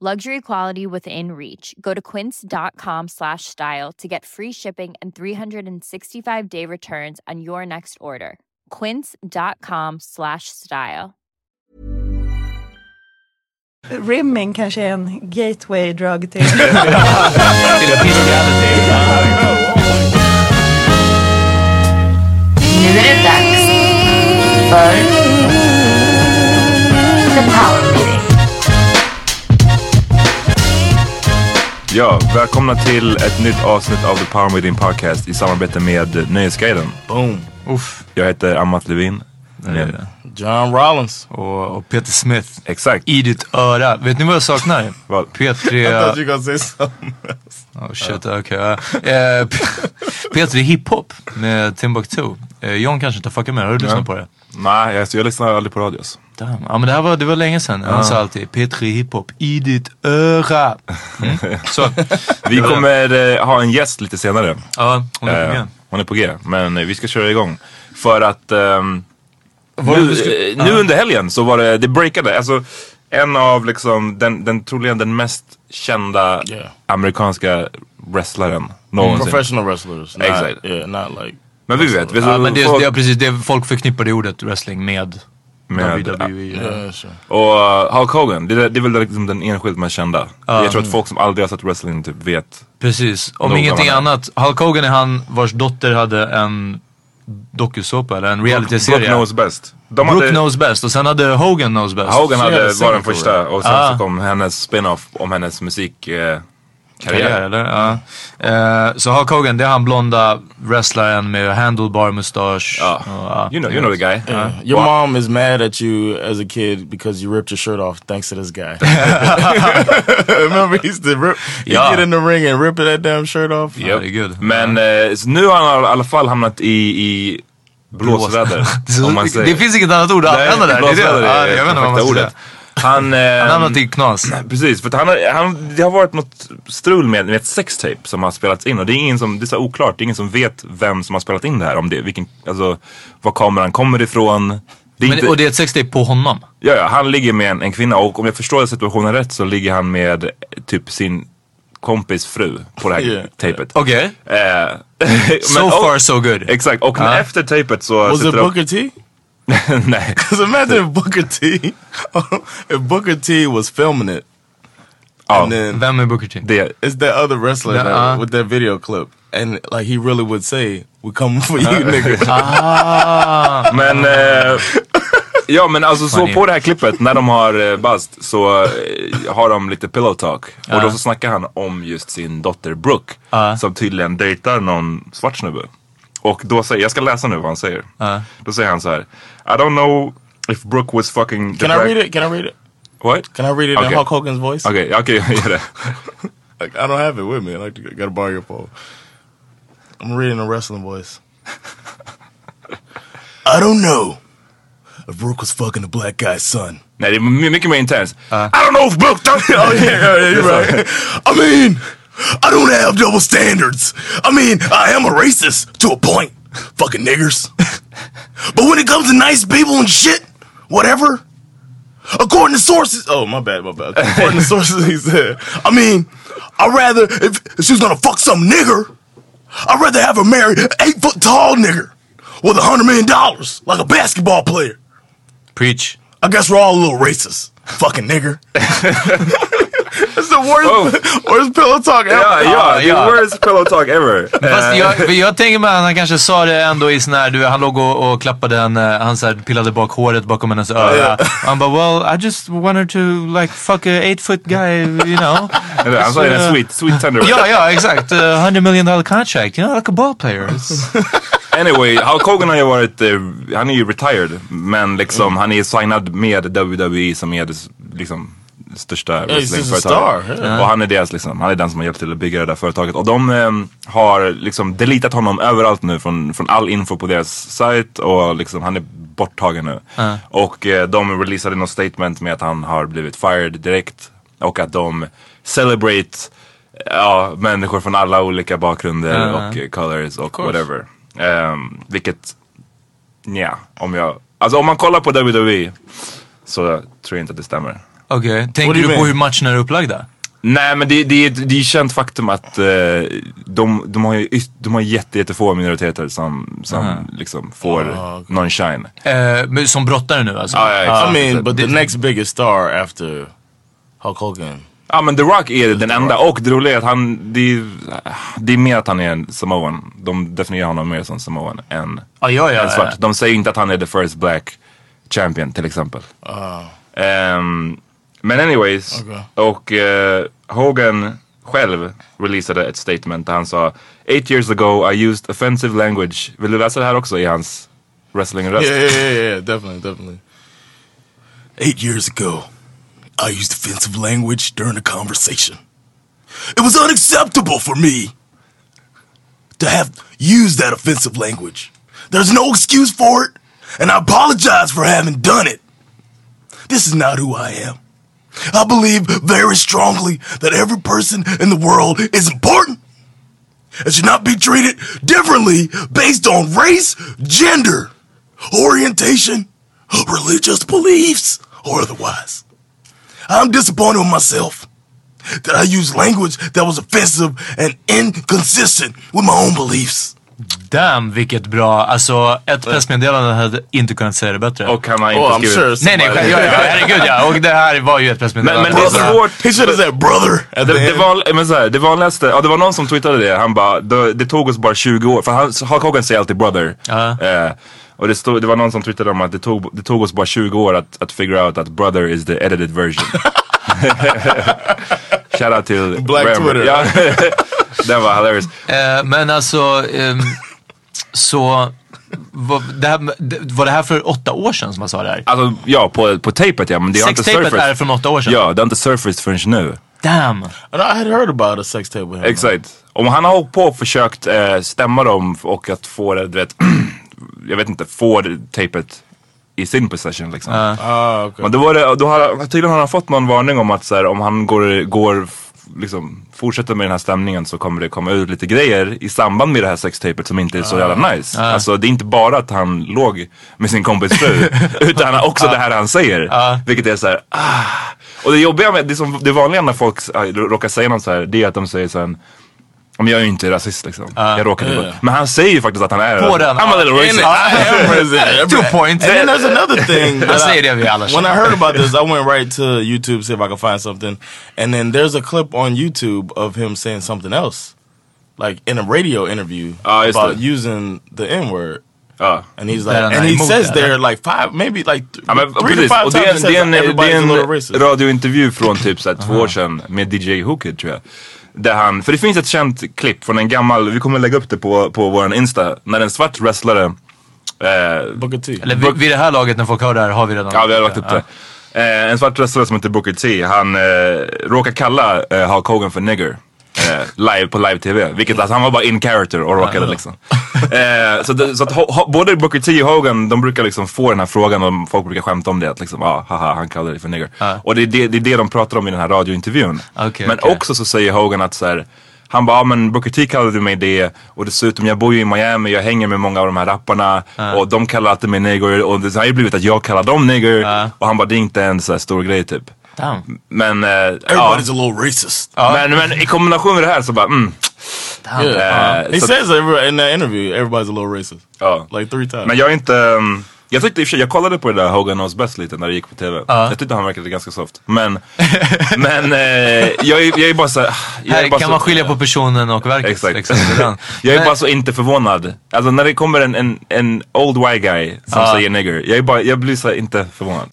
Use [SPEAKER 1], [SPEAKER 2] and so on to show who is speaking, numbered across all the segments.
[SPEAKER 1] Luxury quality within reach. Go to quince.com slash style to get free shipping and 365 day returns on your next order. Quince.com slash style.
[SPEAKER 2] Rimming kanske är en gateway drug till...
[SPEAKER 3] Till att piska
[SPEAKER 4] Nu är det dags för The Power Meeting.
[SPEAKER 5] Ja, välkomna till ett nytt avsnitt av The Power Meeting Podcast i samarbete med Nöjesguiden.
[SPEAKER 3] Boom. Uff.
[SPEAKER 5] Jag heter Amat Levin.
[SPEAKER 3] John Rollins. Och, och Peter Smith.
[SPEAKER 5] Exakt.
[SPEAKER 3] I ditt öra. Vet ni vad jag saknar?
[SPEAKER 5] Vad?
[SPEAKER 3] P3...
[SPEAKER 6] you gonna say something.
[SPEAKER 3] Oh shit, okej. ja. Eh, P- P3 Hiphop med Timbuktu. Eh, John kanske inte har fuckat med det. Har du lyssnat på det?
[SPEAKER 5] Nej, alltså, jag lyssnar aldrig på radio. så.
[SPEAKER 3] Damn. Ja men det här var, det var länge sedan. Han sa alltid P3 Hiphop i ditt öra. Mm. Så,
[SPEAKER 5] Vi kommer eh, ha en gäst lite senare.
[SPEAKER 3] ja, hon är på
[SPEAKER 5] Eh,
[SPEAKER 3] G.
[SPEAKER 5] hon är på G. Men eh, vi ska köra igång. För att ehm,
[SPEAKER 3] Var det
[SPEAKER 5] nu,
[SPEAKER 3] vi skulle-
[SPEAKER 5] eh, nu under helgen så var det, det breakade. Alltså en av liksom, den, den troligen den mest kända
[SPEAKER 6] Yeah.
[SPEAKER 5] amerikanska wrestlaren någonsin.
[SPEAKER 6] Professional wrestlers. Not,
[SPEAKER 5] Exactly.
[SPEAKER 6] Yeah, not like.
[SPEAKER 5] Men vi vet, vi
[SPEAKER 3] Mm. Ja men det,
[SPEAKER 5] folk-
[SPEAKER 3] det, ja, precis, det, folk förknippar det ordet wrestling med, E.
[SPEAKER 5] Med-
[SPEAKER 3] WWE.
[SPEAKER 6] Yeah, sure.
[SPEAKER 5] Och uh, Hulk Hogan, det, det är väl liksom den enskilt mest kända. Jag tror att folk som aldrig har sett wrestling typ vet.
[SPEAKER 3] Precis, om
[SPEAKER 5] Nog
[SPEAKER 3] ingenting
[SPEAKER 5] gammalt.
[SPEAKER 3] annat. Hulk Hogan är han vars dotter hade en dokusåpa eller en realityserie.
[SPEAKER 5] Brooke knows best. De
[SPEAKER 3] Brooke
[SPEAKER 5] hade,
[SPEAKER 3] knows best och sen hade Hogan knows best.
[SPEAKER 5] Hogan
[SPEAKER 6] She
[SPEAKER 5] hade
[SPEAKER 6] had a
[SPEAKER 5] var den
[SPEAKER 6] second
[SPEAKER 5] första och sen
[SPEAKER 3] Ah.
[SPEAKER 5] så kom hennes spin-off om hennes musikkarriär. Eh, karriär.
[SPEAKER 3] karriär eller? Ja. Eh, så Hulk Hogan, det är han blonda wrestlaren med handlebar mustasch.
[SPEAKER 5] Ja.
[SPEAKER 3] Och, ja.
[SPEAKER 5] You know, you know the guy.
[SPEAKER 6] Your mom is mad at you as a kid because you ripped your shirt off thanks to this guy. Remember, he used to rip. He'd
[SPEAKER 3] Yeah.
[SPEAKER 6] get in the ring and rip that damn shirt off.
[SPEAKER 3] Yep. Herregud.
[SPEAKER 5] Men eh, så nu har han i alla fall hamnat i, i blåsväder.
[SPEAKER 3] Så-
[SPEAKER 5] om man säger.
[SPEAKER 3] det finns inget annat ord att
[SPEAKER 5] Nej,
[SPEAKER 3] använda där. Det är det.
[SPEAKER 5] blåsväder
[SPEAKER 3] Ja,
[SPEAKER 5] är
[SPEAKER 3] jag vet inte
[SPEAKER 5] det
[SPEAKER 3] vad man ska
[SPEAKER 5] perfekta
[SPEAKER 3] säga.
[SPEAKER 5] ordet. Han,
[SPEAKER 3] Han
[SPEAKER 5] ehm,
[SPEAKER 3] hamnade i knas.
[SPEAKER 5] Precis, för att han, har- han, det har varit något strul med, med ett sextape som har spelats in och det är, ingen som, det är så här oklart, det är ingen som vet vem som har spelat in det här. Om det, vilken, alltså, var kameran kommer ifrån. Det är
[SPEAKER 3] Men,
[SPEAKER 5] inte,
[SPEAKER 3] och det är ett sextape på honom.
[SPEAKER 5] ja, ja, han ligger med en, en kvinna och om jag förstår situationen rätt så ligger han med eh, typ sin kompis fru på det här
[SPEAKER 6] Yeah.
[SPEAKER 5] tapet.
[SPEAKER 3] Okej.
[SPEAKER 5] Eh,
[SPEAKER 3] So
[SPEAKER 5] men- och-
[SPEAKER 3] far so good.
[SPEAKER 5] Exakt, och
[SPEAKER 3] Ah.
[SPEAKER 5] efter tapet så
[SPEAKER 6] Was it
[SPEAKER 5] sitter de...
[SPEAKER 6] Booker T?
[SPEAKER 5] Nej.
[SPEAKER 6] Because imagine if Booker T, if Booker T was filming it,
[SPEAKER 5] Ja,
[SPEAKER 6] and then
[SPEAKER 3] Vem är Booker T?
[SPEAKER 5] det,
[SPEAKER 6] it's that other wrestler
[SPEAKER 3] Yeah,
[SPEAKER 6] that-
[SPEAKER 3] uh.
[SPEAKER 6] with that video clip, and like he really would say, "We coming for you, nigga."
[SPEAKER 5] Men, eh, ja men alltså så
[SPEAKER 3] Funny.
[SPEAKER 5] på det här klippet när de har eh, bast så eh, har de lite pillow talk. Och då så snackar han om just sin dotter Brooke. Som tydligen dejtar någon svart snubbe. Och då säger, jag ska läsa nu vad han säger. Då säger han så här. I don't know if Brooke was fucking...
[SPEAKER 6] Can I read it? Can I read it?
[SPEAKER 5] What?
[SPEAKER 6] Can I read it in
[SPEAKER 5] Okay.
[SPEAKER 6] Hulk Hogan's voice?
[SPEAKER 5] Okej, okay, okej jag gör det.
[SPEAKER 6] Like, I don't have it with me. I like to, gotta borrow your phone. I'm reading a wrestling voice. I don't know if Brooke was fucking a black guy's son.
[SPEAKER 5] Nej det är my- mycket mer intens. I don't know if Brooke... don't-
[SPEAKER 6] yeah, yeah, you're right. I mean, I don't have double standards. I mean, I am a racist to a point, fucking niggers. but when it comes to nice people and shit, whatever. According to sources, oh my bad, my bad. According to sources, he said. I mean, I'd rather if, if she was gonna fuck some nigger, I'd rather have her marry an eight foot tall nigger with a hundred million dollars, like a basketball player.
[SPEAKER 3] Preach.
[SPEAKER 6] I guess we're all a little racist. Fucking nigger. That's the worst, worst pillow talk ever.
[SPEAKER 5] Ja, ja, the
[SPEAKER 3] ja.
[SPEAKER 5] worst pillow talk ever.
[SPEAKER 3] Fast jag, för jag tänker mig att han kanske sa det ändå i sån här, du, han låg och, och klappade henne, han så här, pillade bak håret bakom hennes öra. Han bara well I just wanted to like fuck a eight foot guy, you know.
[SPEAKER 5] Eller, Han sa ju den sweet, sweet tender.
[SPEAKER 3] ja, ja exakt. Uh, 100 million dollar contract, you know like a ball player.
[SPEAKER 5] Anyway, Hulk Hogan har ju varit, eh, han är ju retired. Men liksom han är signad med WWE som är det liksom största
[SPEAKER 6] he's just a
[SPEAKER 5] wrestlingföretaget.
[SPEAKER 6] star, yeah.
[SPEAKER 5] Och han är deras liksom, han är den som har hjälpt till att bygga det där företaget. Och de ehm, har liksom deletat honom överallt nu från, från all info på deras sajt och liksom han är borttagen nu. Och eh, de releasade något statement med att han har blivit fired direkt. Och att de celebrate ja, människor från alla olika bakgrunder
[SPEAKER 3] Ja.
[SPEAKER 5] och eh, colors och whatever. Um, vilket, nja, om jag, alltså om man kollar på WWE så tror jag inte att det stämmer.
[SPEAKER 3] Okej, tänker
[SPEAKER 6] do
[SPEAKER 3] du
[SPEAKER 6] you
[SPEAKER 3] på
[SPEAKER 6] mean?
[SPEAKER 3] hur matcherna är upplagda?
[SPEAKER 5] Nej men det, det, är- det är ju känt faktum att eh, de, de har ju yt- de har jätte, jättefå minoriteter som, som liksom får någon shine.
[SPEAKER 3] Eh, men som brottare nu alltså?
[SPEAKER 5] Ja, ja, exakt.
[SPEAKER 6] I mean, but the next biggest star after Hulk Hogan.
[SPEAKER 5] Ja men The Rock är den enda och det roliga är att han, det är, det är mer att han är en samoan. De definierar honom mer som samoan än,
[SPEAKER 3] Ja, ja, ja,
[SPEAKER 5] än svart.
[SPEAKER 3] ja.
[SPEAKER 5] De säger inte att han är the first black champion till exempel.
[SPEAKER 3] Ah.
[SPEAKER 5] Ehm, men anyways,
[SPEAKER 6] Okej.
[SPEAKER 5] och eh, Hogan själv releasade ett statement där han sa Eight years ago I used offensive language. Vill du läsa det här också i hans wrestling-röst?
[SPEAKER 6] Yeah, yeah, yeah, yeah, yeah, definitely, definitely. Eight years ago, I used offensive language during a conversation. It was unacceptable for me to have used that offensive language. There's no excuse for it, and I apologize for having done it. This is not who I am. I believe very strongly that every person in the world is important and should not be treated differently based on race, gender, orientation, religious beliefs, or otherwise. I'm disappointed with myself that I used language that was offensive and inconsistent with my own beliefs.
[SPEAKER 3] Damn vilket bra, alltså ett pressmeddelande hade inte kunnat säga det bättre.
[SPEAKER 5] Och han har
[SPEAKER 3] Oh,
[SPEAKER 5] inte skrivit...
[SPEAKER 3] nej nej, själv- ja, ja, herregud ja. Och det här var ju ett
[SPEAKER 5] Men,
[SPEAKER 3] pressmeddelande.
[SPEAKER 5] men det är
[SPEAKER 3] Alltså,
[SPEAKER 5] svårt.
[SPEAKER 6] He should have said brother.
[SPEAKER 5] Det,
[SPEAKER 6] at the
[SPEAKER 5] det,
[SPEAKER 6] end.
[SPEAKER 5] var, men så här, det vanligaste, ja, det var någon som twittrade det, han bara, det, det tog oss bara 20 år, för han, Hulk Hogan säger alltid brother.
[SPEAKER 3] Ja.
[SPEAKER 5] Eh, och det, stod, det var någon som twittrade om att det tog, det tog oss bara 20 år att, att figure out att brother is the edited version. Shoutout till
[SPEAKER 6] Black
[SPEAKER 5] Rembrandt.
[SPEAKER 6] Twitter.
[SPEAKER 5] Ja, den var hilarious.
[SPEAKER 3] eh, men alltså, ehm, så var det, här, med- det- var det här för åtta år sedan som man sa det här?
[SPEAKER 5] Alltså ja, på, på tapet ja, men det har inte
[SPEAKER 3] Sextapet är
[SPEAKER 5] surfaced.
[SPEAKER 3] från åtta år sedan.
[SPEAKER 5] Ja, det har inte surfaced förrän nu.
[SPEAKER 3] Damn!
[SPEAKER 6] And I had heard about a sex tape with him.
[SPEAKER 5] Exakt. Om han har hållit på och försökt eh, stämma dem och att få det, du vet, jag vet inte, få det tapet i sin possession liksom.
[SPEAKER 6] Ah, okay.
[SPEAKER 5] Men då var det, då har, tydligen har han fått någon varning om att så här, om han går, går f- liksom, fortsätter med den här stämningen så kommer det komma ut lite grejer i samband med det här sextapet som inte är
[SPEAKER 3] Ah.
[SPEAKER 5] så jävla nice. Alltså det är inte bara att han låg med sin kompis fru utan också det här han säger. Vilket är så här, ah. Och det jobbiga med, det, som, det vanliga när folk äh, råkar säga något så här, det är att de säger sen om jag är ju inte rasist liksom.
[SPEAKER 3] Ah.
[SPEAKER 5] jag råkar inte vara-" Men han säger ju faktiskt att han är
[SPEAKER 3] På den.
[SPEAKER 5] I'm a little
[SPEAKER 6] And
[SPEAKER 5] racist.
[SPEAKER 6] I am racist.
[SPEAKER 3] Two points.
[SPEAKER 6] And then
[SPEAKER 5] alltså-
[SPEAKER 6] there's another thing. that
[SPEAKER 3] Jag säger det vi alla
[SPEAKER 6] When
[SPEAKER 3] känner.
[SPEAKER 6] I heard about this, I went right to YouTube to see if I could find something. And then there's a clip on YouTube of him saying something else. Like in a radio interview
[SPEAKER 5] Ah, it's
[SPEAKER 6] about
[SPEAKER 5] the-
[SPEAKER 6] using the Ah. N word.
[SPEAKER 5] Ja.
[SPEAKER 6] And he's
[SPEAKER 3] That
[SPEAKER 6] like,
[SPEAKER 3] and
[SPEAKER 6] and
[SPEAKER 3] I
[SPEAKER 6] he
[SPEAKER 3] moved
[SPEAKER 6] says
[SPEAKER 3] that,
[SPEAKER 6] there like five, maybe like th-
[SPEAKER 5] Ja, men,
[SPEAKER 6] three to
[SPEAKER 5] precis.
[SPEAKER 6] five
[SPEAKER 5] Och
[SPEAKER 6] times.
[SPEAKER 5] det är en,
[SPEAKER 6] he
[SPEAKER 5] det är en,
[SPEAKER 6] says,
[SPEAKER 5] det
[SPEAKER 6] everybody's
[SPEAKER 5] är
[SPEAKER 6] a little
[SPEAKER 5] en
[SPEAKER 6] racist.
[SPEAKER 5] radiointervju från typ så här, två år sedan med DJ Hooker tror jag. Där han, för det finns ett känt klipp från en gammal, vi kommer lägga upp det på, på våran Insta, när en svart wrestlare, eh,
[SPEAKER 6] Booker T.
[SPEAKER 3] Eller vid, vid det här laget när folk hör det här har vi redan
[SPEAKER 5] ja vi har lagt upp det. Eh, en svart wrestlare som heter Booker T, han eh, råkar kalla eh, Hulk Hogan för nigger. Eh, live på live-tv, vilket alltså han var bara in character och råkade liksom. Eh, så det, så att ho, ho, både Booker T och Hogan, de brukar liksom få den här frågan och folk brukar skämta om det. Att liksom, ah, haha, han kallar dig för nigger. Och det är det, det är det de pratar om i den här radiointervjun.
[SPEAKER 3] Okej,
[SPEAKER 5] Men
[SPEAKER 3] okej.
[SPEAKER 5] också så säger Hogan att så här, Han bara, ja men Booker T kallade mig det och dessutom jag bor ju i Miami, jag hänger med många av de här rapparna och de kallar alltid mig nigger och det har ju blivit att jag kallar dem nigger och han bara, det är inte en så här stor grej typ.
[SPEAKER 3] Damn.
[SPEAKER 5] Men, eh, ja,
[SPEAKER 6] Everybody's a little racist.
[SPEAKER 5] men, men i kombination med det här så bara, mm,
[SPEAKER 6] Yeah,
[SPEAKER 5] Uh,
[SPEAKER 6] he
[SPEAKER 5] so-
[SPEAKER 6] says everybody, in that interview, everybody's a little racist.
[SPEAKER 5] ja.
[SPEAKER 6] Like three times.
[SPEAKER 5] Men jag är inte... ehm, jag tyckte i och för sig, jag kollade på det där Hogan Knows Best lite när det gick på TV. Jag tyckte han verkade ganska soft. Men, men eh, jag, är, jag är bara så... Jag är
[SPEAKER 3] Här
[SPEAKER 5] bara
[SPEAKER 3] kan
[SPEAKER 5] så,
[SPEAKER 3] man skilja på personen och verket.
[SPEAKER 5] Exakt.
[SPEAKER 3] liksom. Det är den.
[SPEAKER 5] jag är bara så inte förvånad. Alltså när det kommer en, en, en old white guy som
[SPEAKER 3] Ja.
[SPEAKER 5] säger nigger. Jag, är bara, jag blir så här inte förvånad.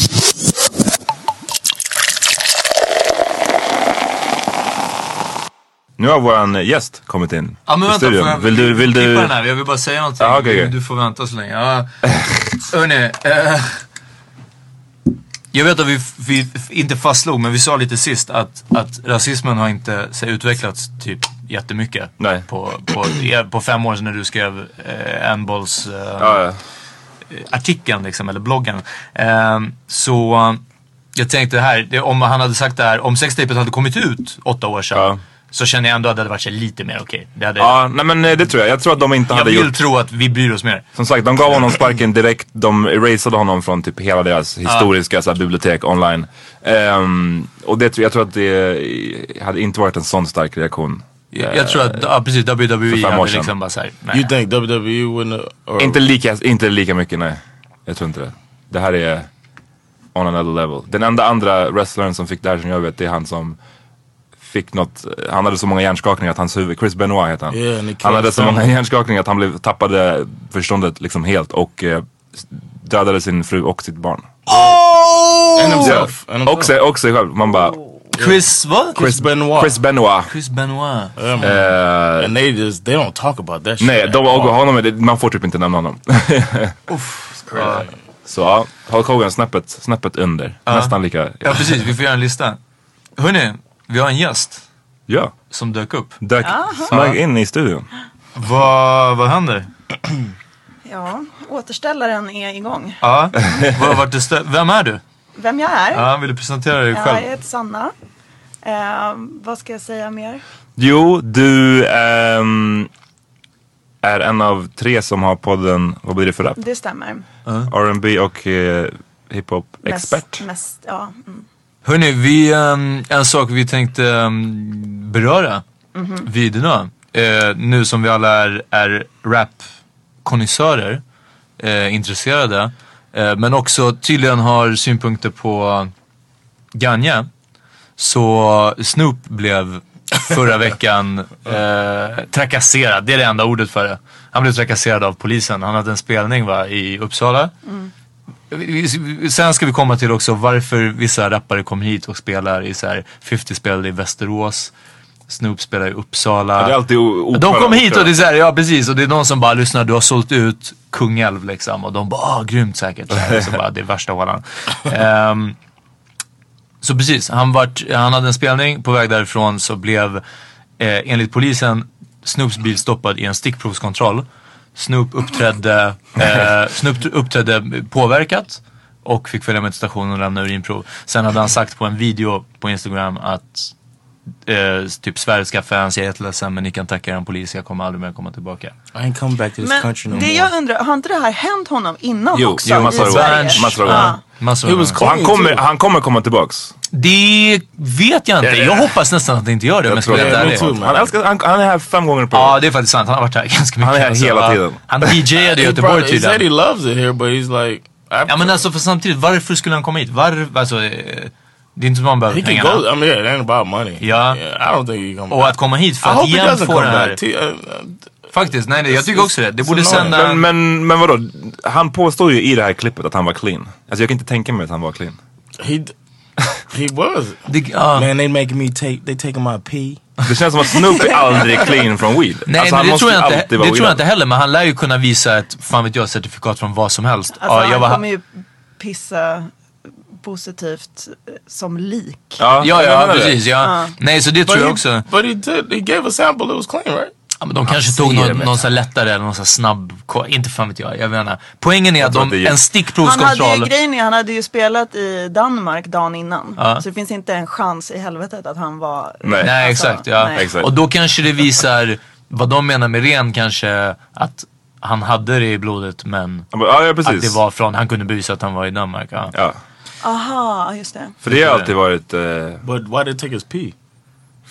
[SPEAKER 5] Nu har våran gäst kommit in
[SPEAKER 3] Ja men
[SPEAKER 5] i
[SPEAKER 3] vänta,
[SPEAKER 5] studion.
[SPEAKER 3] får jag
[SPEAKER 5] vill du, vill
[SPEAKER 3] klippa
[SPEAKER 5] du...
[SPEAKER 3] den här? Jag vill bara säga någonting.
[SPEAKER 5] Ja, okej,
[SPEAKER 3] du,
[SPEAKER 5] okej.
[SPEAKER 3] du får vänta så länge. Ja. Hörni. Eh, jag vet att vi, vi inte fastslog, men vi sa lite sist att, att rasismen har inte så, utvecklats typ jättemycket.
[SPEAKER 5] Nej.
[SPEAKER 3] På, på, eh, på fem år sedan när du skrev eh, Anballs eh,
[SPEAKER 5] Ja, ja.
[SPEAKER 3] artikeln liksom, eller bloggen. Ehm, så eh, jag tänkte här, det, om han hade sagt det här, om sextapet hade kommit ut åtta år sedan.
[SPEAKER 5] Ja.
[SPEAKER 3] Så känner jag ändå att det hade varit så lite mer okej. Det hade-
[SPEAKER 5] Ja, nej men eh, det tror jag. Jag tror att de inte
[SPEAKER 3] Jag
[SPEAKER 5] hade
[SPEAKER 3] vill
[SPEAKER 5] gjort...
[SPEAKER 3] tro att vi bryr oss mer.
[SPEAKER 5] Som sagt, de gav honom sparken direkt. De erasade honom från typ hela deras historiska så här, bibliotek online. Ehm, och det, tror- jag tror att det eh, hade inte varit en sån stark reaktion.
[SPEAKER 3] Jag, jag tror att, ja precis,
[SPEAKER 5] för
[SPEAKER 3] WWE
[SPEAKER 5] fem år
[SPEAKER 3] hade
[SPEAKER 5] sedan.
[SPEAKER 3] liksom bara såhär,
[SPEAKER 6] you
[SPEAKER 3] nej.
[SPEAKER 6] think WWE wouldn't? uh, Or,
[SPEAKER 5] Inte lika, inte lika mycket, nej. Jag tror inte det. Det här är on another level. Den enda andra wrestlern som fick det här som jag vet, det är han som fick något, han hade så många hjärnskakningar att hans huvud, Chris Benoit heter han.
[SPEAKER 6] Yeah, and he
[SPEAKER 5] han hade så
[SPEAKER 6] killed
[SPEAKER 5] många
[SPEAKER 6] himself.
[SPEAKER 5] hjärnskakningar att han blev, tappade förståndet liksom helt och eh, dödade sin fru och sitt barn.
[SPEAKER 6] and
[SPEAKER 5] Ja,
[SPEAKER 6] himself. And himself.
[SPEAKER 5] och, sig, och sig själv. Man bara,
[SPEAKER 3] Chris, vad?
[SPEAKER 6] Chris Benoit.
[SPEAKER 5] Chris Benoit. Eh,
[SPEAKER 3] Chris Benoit.
[SPEAKER 6] Yeah, man. and they just they don't talk about that.
[SPEAKER 5] Nej,
[SPEAKER 6] shit.
[SPEAKER 5] de, och honom, är det- man får typ inte nämna honom.
[SPEAKER 3] Ja.
[SPEAKER 5] Så ja, Hulk Hogan snäppet, snäppet under. Nästan lika.
[SPEAKER 3] ja precis, vi får göra en lista. Hörni, vi har en gäst
[SPEAKER 5] Ja.
[SPEAKER 3] som dök upp.
[SPEAKER 5] Dök, smög in i studion.
[SPEAKER 3] Vad, vad händer?
[SPEAKER 2] Ja, återställaren är igång.
[SPEAKER 3] Ja, vad, vart det stö- vem är du?
[SPEAKER 2] Vem jag är?
[SPEAKER 3] Ja, vill du presentera dig
[SPEAKER 2] jag
[SPEAKER 3] själv?
[SPEAKER 2] heter Sanna. Eh, vad ska jag säga mer?
[SPEAKER 5] Jo, du ehm, är en av tre som har podden, vad blir det för rap?
[SPEAKER 2] Det stämmer.
[SPEAKER 3] Mm.
[SPEAKER 5] R&B och eh, hiphop-expert.
[SPEAKER 2] Mest, mest, ja. Mm.
[SPEAKER 3] Hörni, vi, ehm, en sak vi tänkte ehm, beröra vid idag. Eh, nu som vi alla är, är rapkonnässörer, eh, intresserade. Eh, men också tydligen har synpunkter på Gagne. Så Snoop blev förra veckan eh, trakasserad. Det är det enda ordet för det. Han blev trakasserad av polisen. Han hade en spelning va, i Uppsala.
[SPEAKER 5] Mm.
[SPEAKER 3] Vi- vi- Sen ska vi komma till också varför vissa rappare kommer hit och spelar i så här 50 spelade i Västerås. Snoop spelar i Uppsala.
[SPEAKER 5] Ja, det är alltid o- opera
[SPEAKER 3] De kommer hit
[SPEAKER 5] också.
[SPEAKER 3] och det är så här, ja precis. Och det är någon som bara, lyssna du har sålt ut Kungälv liksom. Och de bara, ah grymt säkert. Så, här, och så bara, det är värsta hålan. Ehm, så precis, han, vart, han hade en spelning. På väg därifrån så blev eh, enligt polisen Snoops bil stoppad i en stickprovskontroll. Snoop uppträdde, eh, Snoop uppträdde påverkat och fick följa med till stationen och lämna urinprov. Sen hade han sagt på en video på Instagram att eh, typ Sverige ska fans, jag är jätteledsen men ni kan tacka er en polis, jag kommer aldrig mer komma tillbaka.
[SPEAKER 6] I ain't come back to this country no
[SPEAKER 2] Men det
[SPEAKER 6] more.
[SPEAKER 2] jag undrar, har inte det här hänt honom innan
[SPEAKER 5] Jo,
[SPEAKER 2] också?
[SPEAKER 5] jo,
[SPEAKER 2] i
[SPEAKER 5] massor av
[SPEAKER 2] Sverige?
[SPEAKER 5] gånger. Massor av
[SPEAKER 2] Ja.
[SPEAKER 5] gånger.
[SPEAKER 3] Massor
[SPEAKER 6] He
[SPEAKER 3] av
[SPEAKER 6] was
[SPEAKER 3] gånger.
[SPEAKER 5] Och han
[SPEAKER 6] clean,
[SPEAKER 5] kommer,
[SPEAKER 6] too.
[SPEAKER 5] han kommer komma tillbaks.
[SPEAKER 3] Det vet jag inte. Jag hoppas nästan att det inte gör det om jag ska vara
[SPEAKER 5] att
[SPEAKER 3] helt
[SPEAKER 6] det.
[SPEAKER 3] ärlig.
[SPEAKER 6] Jag tror det.
[SPEAKER 5] Han, älskar, han, han är här fem gånger per
[SPEAKER 3] Ja,
[SPEAKER 5] år.
[SPEAKER 3] det är faktiskt sant. Han har varit här ganska mycket.
[SPEAKER 5] Han är här hela
[SPEAKER 3] va?
[SPEAKER 5] tiden.
[SPEAKER 3] Han DJade i
[SPEAKER 6] He,
[SPEAKER 3] Göteborg
[SPEAKER 6] probably, he said he
[SPEAKER 3] tydligen.
[SPEAKER 6] loves it here, but he's like, I,
[SPEAKER 3] Ja men alltså för samtidigt, varför skulle han komma hit? Varför, alltså, eh, det är inte som man
[SPEAKER 6] he
[SPEAKER 3] behöver
[SPEAKER 6] can
[SPEAKER 3] pengarna.
[SPEAKER 6] go. I mean, yeah, it ain't about money.
[SPEAKER 3] Yeah.
[SPEAKER 6] I don't think he come.
[SPEAKER 3] Och att komma hit för
[SPEAKER 6] Oh, I
[SPEAKER 3] att
[SPEAKER 6] hope he
[SPEAKER 3] igen
[SPEAKER 6] doesn't
[SPEAKER 3] få
[SPEAKER 6] come
[SPEAKER 3] det här.
[SPEAKER 6] back. T- uh, uh,
[SPEAKER 3] Faktiskt, nej, nej jag tycker också det. Det borde
[SPEAKER 6] annoying.
[SPEAKER 3] sända...
[SPEAKER 5] Men, men, men vadå, han påstår ju i det här klippet att han var clean. Alltså jag kan inte tänka mig att han var clean.
[SPEAKER 6] uh, he d- he was.
[SPEAKER 3] det, ja.
[SPEAKER 6] Man, they making me take. They taking my pee.
[SPEAKER 5] Det känns som att Snoop är aldrig clean från weed.
[SPEAKER 3] Nej
[SPEAKER 5] alltså, han
[SPEAKER 3] men det
[SPEAKER 5] måste
[SPEAKER 3] tror jag
[SPEAKER 5] alltid
[SPEAKER 3] inte, det
[SPEAKER 5] vara
[SPEAKER 3] tror jag
[SPEAKER 5] weedad.
[SPEAKER 3] inte heller. Men han lär ju kunna visa ett, fan vet jag, certifikat från vad som helst.
[SPEAKER 2] Alltså
[SPEAKER 3] ja, jag
[SPEAKER 2] han
[SPEAKER 3] var,
[SPEAKER 2] kommer ju pissa positivt eh, som lik.
[SPEAKER 5] Ja,
[SPEAKER 3] ja,
[SPEAKER 5] jag
[SPEAKER 3] ja
[SPEAKER 5] menar det.
[SPEAKER 3] precis. Ja.
[SPEAKER 2] Ja.
[SPEAKER 3] Nej så det tror jag
[SPEAKER 6] he,
[SPEAKER 3] också.
[SPEAKER 6] but he did. He gave a sample. It was clean, right?
[SPEAKER 3] Ja, men de
[SPEAKER 5] Han
[SPEAKER 3] kanske tog
[SPEAKER 5] ser
[SPEAKER 3] någon,
[SPEAKER 5] det.
[SPEAKER 3] någon så här lättare eller någon så här snabb, ko- inte fan vet jag. jag vet inte. Poängen är att
[SPEAKER 5] tror att
[SPEAKER 3] de,
[SPEAKER 5] det är-
[SPEAKER 3] en
[SPEAKER 2] Han hade ju,
[SPEAKER 3] stickprovskontroll.
[SPEAKER 2] grejen är, han hade ju spelat i Danmark dagen innan.
[SPEAKER 3] Ja.
[SPEAKER 2] Så det finns inte en chans i helvetet att han var...
[SPEAKER 5] Nej.
[SPEAKER 3] Nej
[SPEAKER 2] Alltså,
[SPEAKER 3] exakt, ja.
[SPEAKER 2] nej.
[SPEAKER 5] Exakt.
[SPEAKER 3] Och då kanske det visar vad de menar med ren kanske att han hade det i blodet men
[SPEAKER 5] Ja, men- Ja, ja precis.
[SPEAKER 3] att det var från, han kunde bevisa att han var i Danmark. Ja.
[SPEAKER 5] ja.
[SPEAKER 2] Aha, just det.
[SPEAKER 5] För det har alltid varit eh,
[SPEAKER 6] But why did it take his pee?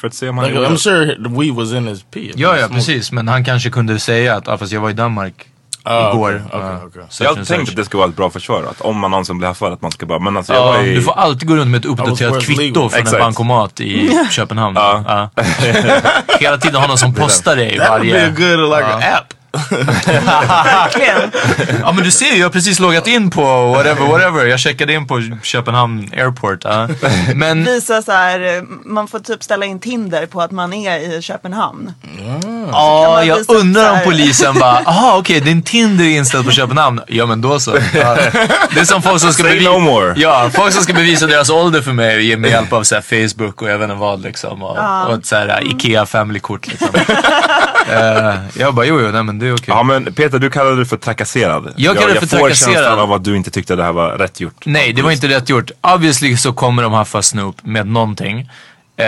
[SPEAKER 5] för att se om han
[SPEAKER 6] Like,
[SPEAKER 5] gjorde
[SPEAKER 6] I'm
[SPEAKER 5] det.
[SPEAKER 6] sure the weed was in his pee.
[SPEAKER 3] Ja, ja precis. Men han kanske kunde säga att, ah, fast jag var i Danmark
[SPEAKER 6] Ah,
[SPEAKER 3] igår.
[SPEAKER 6] okej, okej,
[SPEAKER 3] Ja.
[SPEAKER 6] okej.
[SPEAKER 3] Search
[SPEAKER 5] Jag har
[SPEAKER 3] and
[SPEAKER 5] tänkt
[SPEAKER 3] search.
[SPEAKER 5] att det ska vara ett bra försvar. Att om man någonsin blir haffad att man ska bara, men alltså jag
[SPEAKER 3] Ja,
[SPEAKER 5] var i...
[SPEAKER 3] du får alltid gå runt med ett uppdaterat
[SPEAKER 6] worth
[SPEAKER 3] kvitto
[SPEAKER 6] legal.
[SPEAKER 3] från en
[SPEAKER 5] Exakt.
[SPEAKER 3] bankomat i Köpenhamn. Ja. Hela tiden ha någon som postar dig
[SPEAKER 6] That would be a
[SPEAKER 3] varje...
[SPEAKER 6] good like
[SPEAKER 3] Uh.
[SPEAKER 6] an app.
[SPEAKER 2] Verkligen.
[SPEAKER 3] Ja men du ser ju, jag har precis loggat in på whatever, whatever. Jag checkade in på Köpenhamn airport. ja. Men,
[SPEAKER 2] Visa så här, eh, man får typ ställa in Tinder på att man är i Köpenhamn.
[SPEAKER 3] ja
[SPEAKER 2] Alltså, man
[SPEAKER 3] jag
[SPEAKER 2] visa
[SPEAKER 3] undrar
[SPEAKER 2] så
[SPEAKER 3] om
[SPEAKER 2] här.
[SPEAKER 3] polisen bara, aha okej din Tinder är inställd på Köpenhamn. Ja men då så. Ja. Det är som folk som ska
[SPEAKER 5] Say
[SPEAKER 3] bevisa...
[SPEAKER 5] no more.
[SPEAKER 3] Ja, folk som ska bevisa deras ålder för mig med hjälp av så här, Facebook och jag vet inte vad liksom. Och, och ett så
[SPEAKER 2] Mm.
[SPEAKER 3] här, Ikea family-kort liksom. Eh, jag bara, jo jo, nej men det är okej.
[SPEAKER 5] Ja men Peter du kallade det för trakasserad.
[SPEAKER 3] Jag kallar det för trakasserad.
[SPEAKER 5] Jag får känslan av att du inte tyckte det här var rätt gjort.
[SPEAKER 3] Nej, det var inte rätt gjort. Obviously så kommer de haffa Snoop med någonting. Eh,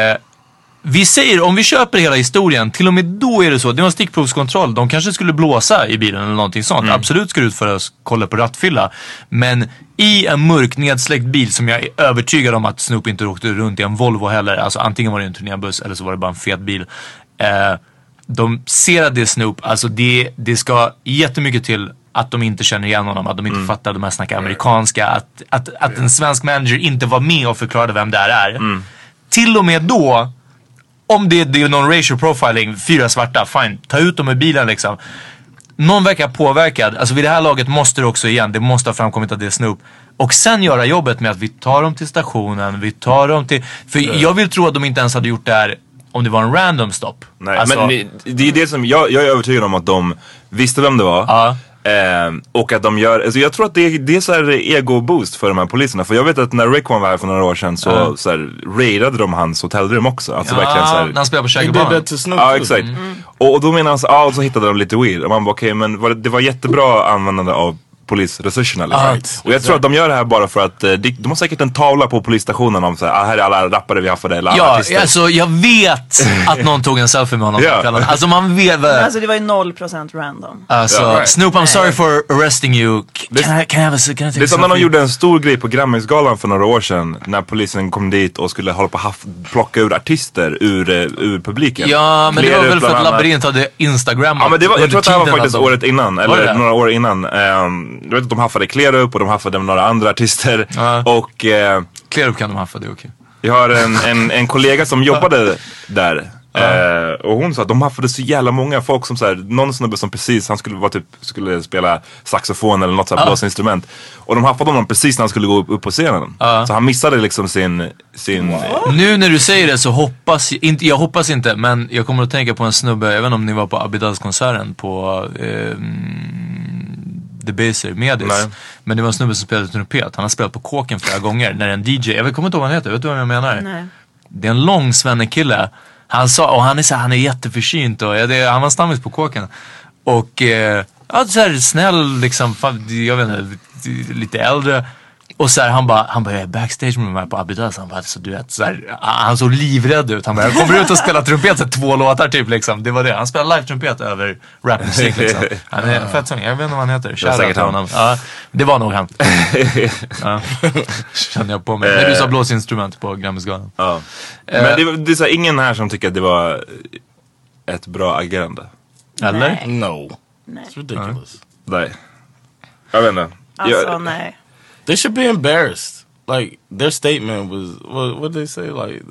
[SPEAKER 3] vi säger, om vi köper hela historien, till och med då är det så. Det var en stickprovskontroll. De kanske skulle blåsa i bilen eller någonting sånt. Absolut ska det utföras kolla på rattfylla. Men i en mörk nedsläckt bil som jag är övertygad om att Snoop inte åkte runt i en Volvo heller. Alltså antingen var det en turnébuss eller så var det bara en fet bil. Eh, de ser att det är Snoop, alltså det, det ska jättemycket till att de inte känner igen honom, att de inte fattar att de här snackar amerikanska, att, att, att en svensk manager inte var med och förklarade vem det här är. Till och med då, om det, det är någon racial profiling, fyra svarta, fine, ta ut dem ur bilen liksom. Någon verkar påverkad, alltså vid det här laget måste det också igen, det måste ha framkommit att det är Snoop. Och sen göra jobbet med att vi tar dem till stationen, vi tar dem till... För jag vill tro att de inte ens hade gjort det här om det var en random stop.
[SPEAKER 5] Nej,
[SPEAKER 3] Alltså-
[SPEAKER 5] men det- det är det som, jag, jag är övertygad om att de visste vem det var.
[SPEAKER 3] Ja.
[SPEAKER 5] Ehm, och att de gör, alltså jag tror att det, är- det är så här ego-boost för de här poliserna. För jag vet att när Rickwan var här för några år sedan så,
[SPEAKER 3] Ja.
[SPEAKER 5] så här, raidade de hans hotellrum också. Alltså
[SPEAKER 3] Ja,
[SPEAKER 5] verkligen så här,
[SPEAKER 3] när han spelar på
[SPEAKER 6] He did
[SPEAKER 3] Shaggybanan.
[SPEAKER 6] that to Snoop.
[SPEAKER 5] Ja
[SPEAKER 6] too.
[SPEAKER 5] exakt.
[SPEAKER 3] Mm.
[SPEAKER 5] Och, och då menar han så, ah, och så hittade de lite weed. Och man bara okej men var det, det var jättebra användande av polisresurserna. Liksom.
[SPEAKER 3] Ja,
[SPEAKER 5] och jag tror att de gör det här bara för att eh, de, de har säkert en tavla på polisstationen om så här, ah, här är alla rappare vi har för det eller alla
[SPEAKER 3] Ja,
[SPEAKER 5] artister.
[SPEAKER 3] alltså jag vet att någon tog en selfie med honom
[SPEAKER 5] Ja.
[SPEAKER 3] den kvällen. Alltså man vet.
[SPEAKER 2] Men
[SPEAKER 3] Alltså,
[SPEAKER 2] Alltså det var ju 0% random.
[SPEAKER 5] Ja, right.
[SPEAKER 3] Snoop I'm sorry for arresting you. C- Can, I, can I have a, can I take a
[SPEAKER 5] Det är som när de
[SPEAKER 3] selfie?
[SPEAKER 5] gjorde en stor grej på Grammisgalan för några år sedan när polisen kom dit och skulle hålla på att haff- plocka ur artister ur, eh, ur publiken.
[SPEAKER 3] Ja, men det var
[SPEAKER 5] Klerus
[SPEAKER 3] väl för
[SPEAKER 5] bland
[SPEAKER 3] att
[SPEAKER 5] annat.
[SPEAKER 3] Labyrint hade Instagram
[SPEAKER 5] Ja, men det var, jag
[SPEAKER 3] under
[SPEAKER 5] tror att det här var
[SPEAKER 3] tiden
[SPEAKER 5] faktiskt
[SPEAKER 3] att de-
[SPEAKER 5] året innan,
[SPEAKER 3] Var det
[SPEAKER 5] eller
[SPEAKER 3] det?
[SPEAKER 5] några år innan. Ehm, jag vet att de haffade Klerup och de haffade några andra artister.
[SPEAKER 3] Ja.
[SPEAKER 5] Och eh,
[SPEAKER 3] Clearup kan de haffa, det är okej.
[SPEAKER 5] Jag har en, en, en kollega som jobbade där. Eh, och hon sa att de haffade så jävla många folk som såhär, någon snubbe som precis, han skulle, var typ, skulle spela saxofon eller något såhär blåsinstrument. Och de haffade honom precis när han skulle gå upp, upp på scenen. Så han missade liksom sin, sin
[SPEAKER 3] Nu när du säger det så hoppas, inte, jag hoppas inte, men jag kommer att tänka på en snubbe, jag vet inte om ni var på Abidals-konserten på eh, mm, The Baser, Medis.
[SPEAKER 5] Nej.
[SPEAKER 3] Men det var en snubbe som spelade trumpet, han har spelat på kåken flera gånger när en DJ, jag kommer inte ihåg vad han heter, vet du vad jag menar?
[SPEAKER 2] Nej.
[SPEAKER 3] Det är en lång svennekille. Han sa, och han är, så, här- han är jätteförsynt och ja, det, han var stammis på kåken. Och eh, ja, så här, snäll liksom, fan, jag vet inte, lite äldre. Och så här, han bara, han bara, jag är backstage med de här på Abidas. Han bara, så du vet, så här, han såg livrädd ut. Han bara, jag kommer ut och spelar trumpet så här, två låtar typ liksom. Det var det. Han spelar live-trumpet över rapmusik liksom. Han är fett sång, jag vet inte vad han heter. Shoutout
[SPEAKER 5] säkert
[SPEAKER 3] till
[SPEAKER 5] han.
[SPEAKER 3] honom. Ja, det var nog han. Ja, kände jag på mig. När du sa blåsinstrument på Grammisgalan.
[SPEAKER 5] Eh.
[SPEAKER 3] Eh,
[SPEAKER 5] ja. Men det, var- det är såhär, ingen här som tycker att det var ett bra agerande.
[SPEAKER 3] Eller?
[SPEAKER 2] Nej.
[SPEAKER 6] No. It's ridiculous.
[SPEAKER 5] Nej. Jag vet inte.
[SPEAKER 2] Alltså
[SPEAKER 5] jag,
[SPEAKER 2] nej.
[SPEAKER 6] They should be embarrassed. Like their statement was what what did they say? Like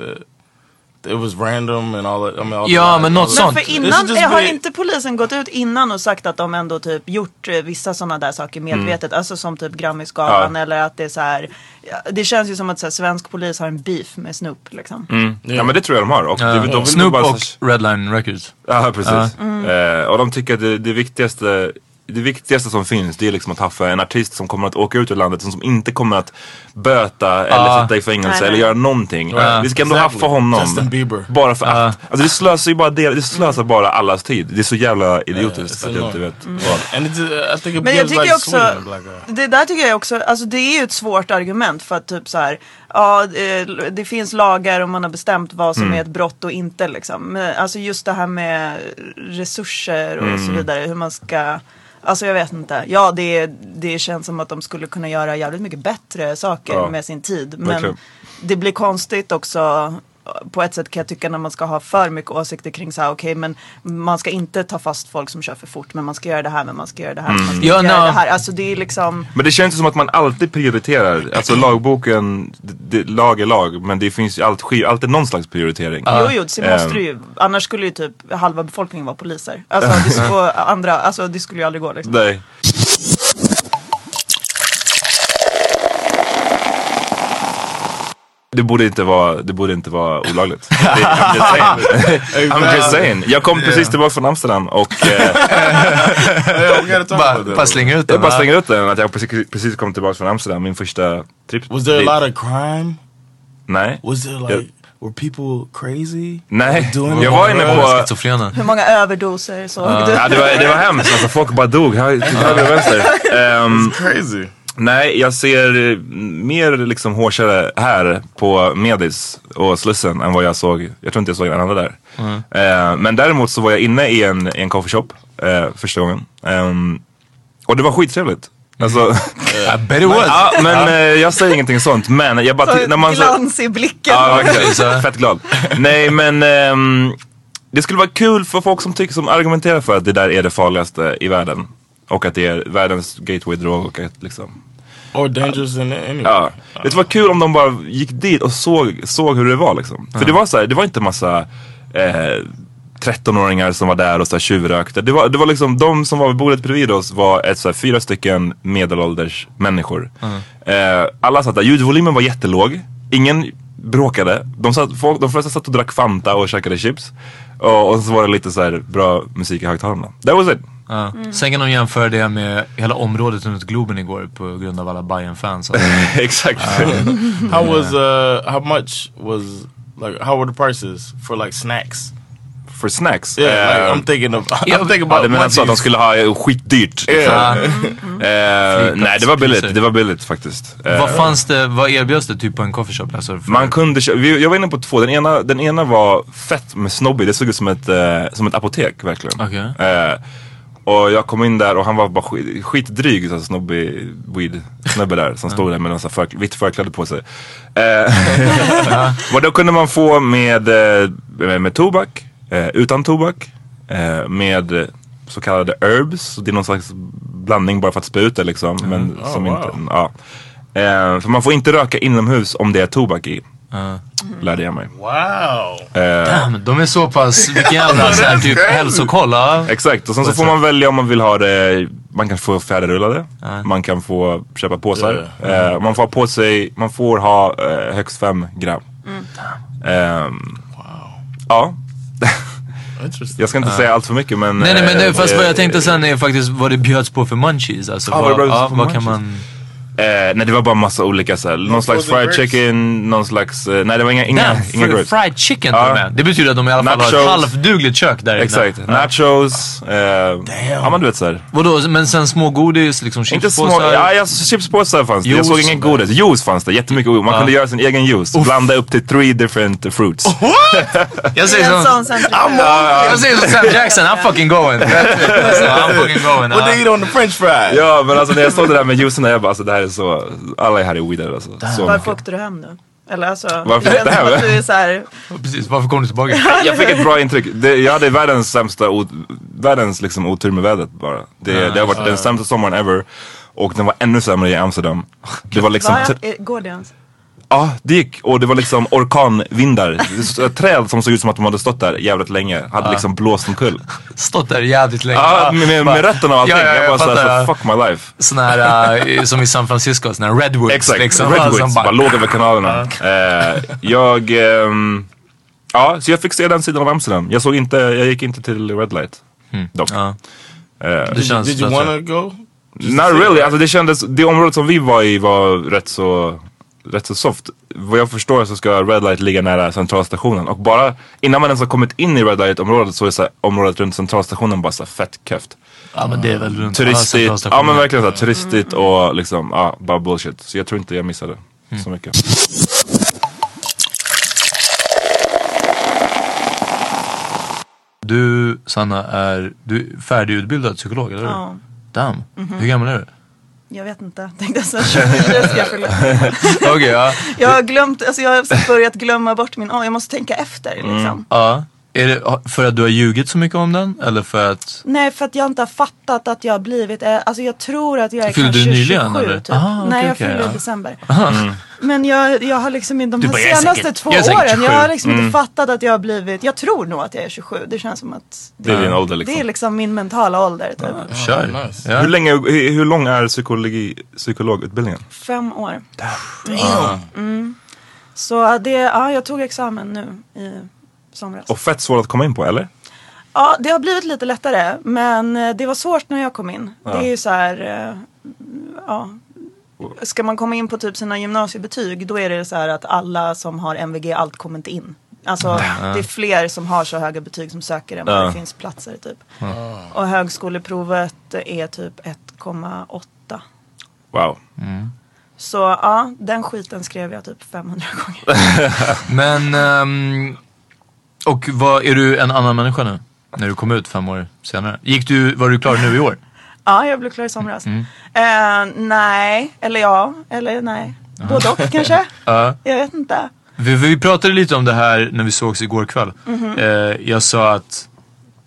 [SPEAKER 6] that it was random and all that. I mean, all
[SPEAKER 3] Ja,
[SPEAKER 6] the
[SPEAKER 3] men något
[SPEAKER 2] Men
[SPEAKER 3] sånt.
[SPEAKER 2] för
[SPEAKER 6] This is
[SPEAKER 2] innan,
[SPEAKER 6] just
[SPEAKER 2] har
[SPEAKER 6] big-
[SPEAKER 2] inte polisen gått ut innan och sagt att de ändå typ gjort eh, vissa sådana där saker
[SPEAKER 3] Mm.
[SPEAKER 2] medvetet? Alltså som typ Grammisgalan
[SPEAKER 5] Ja.
[SPEAKER 2] eller att det är så här. ja, Det känns ju som att så här, svensk polis har en beef med Snoop liksom.
[SPEAKER 3] Mm.
[SPEAKER 5] ja men det tror jag de har. Och de, de vill
[SPEAKER 3] Snoop
[SPEAKER 5] bara-
[SPEAKER 3] och Redline Records.
[SPEAKER 5] Ja, precis. Eh, och de tycker att det, det viktigaste det viktigaste som finns det är liksom att haffa en artist som kommer att åka ut ur landet som, som inte kommer att böta eller
[SPEAKER 3] Ja.
[SPEAKER 5] sätta i fängelse
[SPEAKER 2] Nej, nej.
[SPEAKER 5] eller göra någonting.
[SPEAKER 3] Ja,
[SPEAKER 5] Vi ska ändå
[SPEAKER 6] exactly.
[SPEAKER 5] haffa honom.
[SPEAKER 6] Justin Bieber.
[SPEAKER 5] Bara för att. Alltså det slösar ju bara, del, det slösar bara allas tid. Det är så jävla idiotiskt
[SPEAKER 6] Ja,
[SPEAKER 5] att
[SPEAKER 6] ja,
[SPEAKER 5] jag inte vet.
[SPEAKER 6] And it, uh, I think it
[SPEAKER 2] Men jag
[SPEAKER 6] gives
[SPEAKER 2] tycker
[SPEAKER 6] like
[SPEAKER 2] också,
[SPEAKER 6] Sweden a black eye.
[SPEAKER 2] det där tycker jag också, alltså det är ju ett svårt argument för att typ så här, ja eh, det finns lagar och man har bestämt vad
[SPEAKER 5] Mm.
[SPEAKER 2] som är ett brott och inte liksom. Men alltså just det här med resurser och
[SPEAKER 5] Mm.
[SPEAKER 2] så vidare, hur man ska, alltså jag vet inte. Ja det, det känns som att de skulle kunna göra jävligt mycket bättre saker
[SPEAKER 5] Ja.
[SPEAKER 2] med sin tid. Men
[SPEAKER 5] Verkligen.
[SPEAKER 2] det blir konstigt också. eh, På ett sätt kan jag tycka när man ska ha för mycket åsikter kring så här, okej men man ska inte ta fast folk som kör för fort men man ska göra det här men man ska göra det här men man ska
[SPEAKER 3] Ja,
[SPEAKER 2] göra
[SPEAKER 3] no.
[SPEAKER 2] det här. Alltså det är liksom
[SPEAKER 5] Men det känns ju som att man alltid prioriterar. Alltså lagboken, det, det, lag är lag. Men det finns ju alltid, alltid någon slags prioritering.
[SPEAKER 2] Jo, jo,
[SPEAKER 5] ehm.
[SPEAKER 2] det måste du ju. Annars skulle ju typ halva befolkningen vara poliser. Alltså, det, skulle, och andra, alltså, det skulle ju aldrig gå liksom.
[SPEAKER 5] Nej. Det borde inte vara, det borde inte vara olagligt. Det- I'm just saying. I'm just saying. Jag kom precis tillbaka från Amsterdam och eh,
[SPEAKER 6] Yeah, we gotta talk
[SPEAKER 3] Bara,
[SPEAKER 6] about that.
[SPEAKER 3] bara slänger ut
[SPEAKER 5] jag
[SPEAKER 3] den.
[SPEAKER 5] bara
[SPEAKER 3] va?
[SPEAKER 5] slänger ut den att jag precis, precis kom tillbaka från Amsterdam, min första trip.
[SPEAKER 6] Was there a
[SPEAKER 5] dit.
[SPEAKER 6] lot of crime?
[SPEAKER 5] Nej.
[SPEAKER 6] Was there like, were people crazy?
[SPEAKER 5] Nej.
[SPEAKER 6] doing
[SPEAKER 5] Jag
[SPEAKER 6] it?
[SPEAKER 5] var inne på...
[SPEAKER 3] Schizofrenen.
[SPEAKER 2] Hur många överdoser såg du?
[SPEAKER 5] Ja, det, var, det var hemskt, alltså, folk bara dog här till höger och vänster. Ehm,
[SPEAKER 6] Crazy.
[SPEAKER 5] Nej, jag ser eh, mer liksom hårsare här på Medis och Slussen än vad jag såg. Jag tror inte jag såg en annan där. Eh, men däremot så var jag inne i en, i en coffeeshop eh, första gången. Ehm, och det var skittrevligt. Alltså,
[SPEAKER 3] I bet it was.
[SPEAKER 5] ja, men eh, jag säger ingenting sånt. Men jag bara...
[SPEAKER 2] Så
[SPEAKER 5] ti- när man, så-
[SPEAKER 2] glans i blicken.
[SPEAKER 5] Ja, verkligen. Fett glad. Nej, men ehm, det skulle vara kul för folk som tycker som argumenterar för att det där är det farligaste i världen. Och att det är världens gateway-drog och att liksom
[SPEAKER 6] Or dangerous than any.
[SPEAKER 5] Ja. Det var kul om de bara gick dit och såg, såg hur det var liksom. För det var så här, det var inte massa eh, 13-åringar som var där och så här tjuvrökte. Det var, det var liksom de som var vid bordet bredvid oss var ett, så här, fyra stycken medelålders människor. Eh, alla satt där, ljudvolymen var jättelåg. Ingen bråkade. De, satt, folk, de flesta satt och drack Fanta och käkade chips. Och, och så var det lite så här bra musik i högtalarna. That was it.
[SPEAKER 3] Ja.
[SPEAKER 2] Mm.
[SPEAKER 3] Sen kan de jämföra det med hela området runt Globen igår på grund av alla bayern fans alltså.
[SPEAKER 5] Exakt.
[SPEAKER 6] How was uh how much was like how were the prices for like snacks?
[SPEAKER 5] For snacks.
[SPEAKER 6] Yeah,
[SPEAKER 5] Eh,
[SPEAKER 6] like I'm thinking of I'm thinking
[SPEAKER 5] Ja,
[SPEAKER 6] about
[SPEAKER 5] det menar så att de
[SPEAKER 6] onesies.
[SPEAKER 5] skulle ha eh, skitdyrt. liksom.
[SPEAKER 6] Yeah.
[SPEAKER 3] Mm,
[SPEAKER 5] Eh, nej, det var
[SPEAKER 3] Flygplatspriser.
[SPEAKER 5] billigt. Det var billigt faktiskt. Eh,
[SPEAKER 3] alltså, Vad fanns det, vad erbjöds det typ på en coffeeshop? Alltså, för-
[SPEAKER 5] man kunde kö- vi, Jag var inne på två. Den ena, den ena var fett med snobbig. Det såg ut som ett, eh, som ett apotek verkligen.
[SPEAKER 3] Okej.
[SPEAKER 5] Eh, och jag kom in där och han var bara skit, skitdryg, så här snobbig weed snubbe där som stod där med en för, vitt förkläde på sig. Eh, Vad då kunde man få med, eh, med, med tobak, eh, utan tobak, eh, med så kallade herbs. Så Det är någon slags blandning bara för att spä ut det liksom. Men
[SPEAKER 6] Ah,
[SPEAKER 5] som
[SPEAKER 6] wow.
[SPEAKER 5] inte, ja. eh, för man får inte röka inomhus om det är tobak i. Lärde jag mig.
[SPEAKER 6] Wow.
[SPEAKER 3] Damn, de är så pass, vilken jävla så här, typ hälsokoll. ja.
[SPEAKER 5] Exakt, och sen så
[SPEAKER 3] Vad
[SPEAKER 5] får
[SPEAKER 3] så?
[SPEAKER 5] man välja om man vill ha det, man kan få färdigrullade, man kan få köpa påsar. Eh, man får ha på sig, man får ha eh, högst fem gram. Ehm, Ja,
[SPEAKER 6] Interesting.
[SPEAKER 5] jag ska inte säga allt för mycket men...
[SPEAKER 3] Ah. Nej nej men
[SPEAKER 5] eh,
[SPEAKER 3] det, fast vad
[SPEAKER 5] eh,
[SPEAKER 3] jag tänkte sen är faktiskt vad det bjöds på för munchies. Alltså,
[SPEAKER 5] Ah, vad
[SPEAKER 3] vad,
[SPEAKER 5] det bjöds
[SPEAKER 3] ja,
[SPEAKER 5] på
[SPEAKER 3] vad kan
[SPEAKER 5] munchies.
[SPEAKER 3] man...
[SPEAKER 5] Eh, nej det var bara massa olika såhär, någon slags
[SPEAKER 6] frozen
[SPEAKER 5] fried
[SPEAKER 6] burgers?
[SPEAKER 5] chicken, någon slags, eh, nej det var inga, inga,
[SPEAKER 3] Damn,
[SPEAKER 5] inga
[SPEAKER 3] fr-
[SPEAKER 5] grapes.
[SPEAKER 3] fried chicken
[SPEAKER 5] Ja.
[SPEAKER 3] till och med. Det betyder att de i alla fall har ett
[SPEAKER 5] Nachos.
[SPEAKER 3] halvdugligt kök där inne.
[SPEAKER 5] Exakt,
[SPEAKER 3] Ja.
[SPEAKER 5] nachos, eh, ja men du vet såhär.
[SPEAKER 3] Vadå, men sen smågodis, liksom
[SPEAKER 5] Inte små,
[SPEAKER 3] chipspåsar?
[SPEAKER 5] ja, jag, chipspåsar fanns det.
[SPEAKER 3] Juice. Ah.
[SPEAKER 5] Jag såg ingen godis. Juice fanns det, jättemycket godis. Man kunde göra sin egen juice. Blanda upp till three different fruits.
[SPEAKER 3] Oh, Jag
[SPEAKER 2] Det är
[SPEAKER 3] säger
[SPEAKER 2] en
[SPEAKER 3] som...
[SPEAKER 2] sån central.
[SPEAKER 3] Jag säger som Sam Jackson, I'm fucking going.
[SPEAKER 5] Alltså,
[SPEAKER 3] I'm fucking going.
[SPEAKER 6] What
[SPEAKER 3] ja.
[SPEAKER 6] they eat on the french fries?
[SPEAKER 5] Ja men alltså när jag såg det där med juicen, där, jag bara alltså det här är så, alla är här i weeded alltså. Så
[SPEAKER 2] Varför
[SPEAKER 5] mycket.
[SPEAKER 2] åkte du hem då? Eller alltså,
[SPEAKER 5] Varför
[SPEAKER 2] det
[SPEAKER 5] åkte
[SPEAKER 2] känns
[SPEAKER 5] jag
[SPEAKER 2] som
[SPEAKER 5] hem?
[SPEAKER 2] att du är så här,
[SPEAKER 3] Precis, varför kom du tillbaka?
[SPEAKER 5] Jag fick ett bra intryck. Det, jag hade världens sämsta, o, världens liksom otur med vädret bara. Det, det har varit den sämsta sommaren ever. Och den var ännu sämre i Amsterdam. Det var liksom,
[SPEAKER 2] va? Är- går det ens?
[SPEAKER 5] ja det gick och det var liksom orkanvindar. Så- eh, Träd som såg ut som att de hade stått där jävligt länge, hade liksom blåst omkull.
[SPEAKER 3] Stått där jävligt länge.
[SPEAKER 5] Ja, med, med, med rötterna och allting.
[SPEAKER 3] Ja, ja, jag
[SPEAKER 5] jag bara
[SPEAKER 3] fattar,
[SPEAKER 5] såhär,
[SPEAKER 3] ja.
[SPEAKER 5] så fuck my life.
[SPEAKER 3] Sån här, eh, som i San Francisco, sån här redwoods.
[SPEAKER 5] Exakt,
[SPEAKER 3] liksom. Som
[SPEAKER 5] Redwoods bara låg över kanalerna. Eh, jag, ehm, ja så jag fick se den sidan av Amsterdam. Jag såg inte, jag gick inte till Red Light. Dock.
[SPEAKER 3] Ja. Det känns...
[SPEAKER 6] Did you
[SPEAKER 3] that's
[SPEAKER 6] wanna
[SPEAKER 3] right.
[SPEAKER 6] go?
[SPEAKER 5] Not really, alltså det kändes, det området som vi var i var rätt så, rätt så soft. Vad jag förstår så ska Red Light ligga nära centralstationen och bara innan man ens har kommit in i Red Light området så är så här, området runt centralstationen bara så här fett köft.
[SPEAKER 3] Ja men det är väl runt alla
[SPEAKER 5] Turistigt,
[SPEAKER 3] centralstationer.
[SPEAKER 5] ja men verkligen så här, turistigt och liksom, ja bara bullshit. Så jag tror inte jag missade så mycket.
[SPEAKER 3] Du Sanna är, du är färdigutbildad psykolog eller hur?
[SPEAKER 2] Ja.
[SPEAKER 3] Damn. Hur gammal är du?
[SPEAKER 2] Jag vet inte, tänkte jag säga. 24 ska jag fylla.
[SPEAKER 3] Okej, ja.
[SPEAKER 2] Jag har glömt, alltså jag har börjat glömma bort min, oh, jag måste tänka efter liksom.
[SPEAKER 5] Mm.
[SPEAKER 3] ja. Är det ha- för att du har ljugit så mycket om den? Eller för att...
[SPEAKER 2] Nej, för att jag inte har fattat att jag har blivit, eh, alltså jag tror att jag är
[SPEAKER 3] Fyllde du
[SPEAKER 2] kanske
[SPEAKER 3] nyligen,
[SPEAKER 2] 27
[SPEAKER 3] eller?
[SPEAKER 2] typ.
[SPEAKER 3] Ah, okej,
[SPEAKER 2] Nej, jag
[SPEAKER 3] okej, ja.
[SPEAKER 2] fyllde
[SPEAKER 3] Mm.
[SPEAKER 2] i december. Men jag, jag har liksom inte, de
[SPEAKER 3] Du
[SPEAKER 2] här
[SPEAKER 3] bara, jag är
[SPEAKER 2] senaste
[SPEAKER 3] säkert-
[SPEAKER 2] två
[SPEAKER 3] jag är säkert Mm.
[SPEAKER 2] åren, jag
[SPEAKER 3] 27.
[SPEAKER 2] har liksom inte fattat att jag har blivit, jag tror nog att jag är 27, det känns som att
[SPEAKER 5] Det är din ålder liksom.
[SPEAKER 2] det är liksom min mentala ålder typ.
[SPEAKER 3] Kör.
[SPEAKER 6] nice.
[SPEAKER 3] ja.
[SPEAKER 5] Hur, länge, hur, hur lång är psykologi, psykologutbildningen?
[SPEAKER 2] Fem år. Mm. Så det, ja, jag tog examen nu i somras.
[SPEAKER 5] Och fett svår att komma in på eller?
[SPEAKER 2] Ja, det har blivit lite lättare, men eh, det var svårt när jag kom in. Det är ju så här, eh, ja. Ska man komma in på typ sina gymnasiebetyg, då är det så här att alla som har MVG, allt kommer inte in. Alltså, det är fler som har så höga betyg som söker än vad
[SPEAKER 5] Ja.
[SPEAKER 2] det finns platser typ. Och högskoleprovet är typ 1,8.
[SPEAKER 5] Wow.
[SPEAKER 2] Så ja, den skiten skrev jag typ 500 gånger.
[SPEAKER 3] Men... ehm, och vad, är du en annan människa nu? När du kom ut fem år senare? Gick du, var du klar nu i år?
[SPEAKER 2] Ja, jag blev klar i somras.
[SPEAKER 3] Mm.
[SPEAKER 2] Eh, nej, eller ja, eller nej. Både och kanske.
[SPEAKER 3] Ja.
[SPEAKER 2] Jag vet inte.
[SPEAKER 3] Vi, vi pratade lite om det här när vi sågs igår kväll. Eh, jag sa att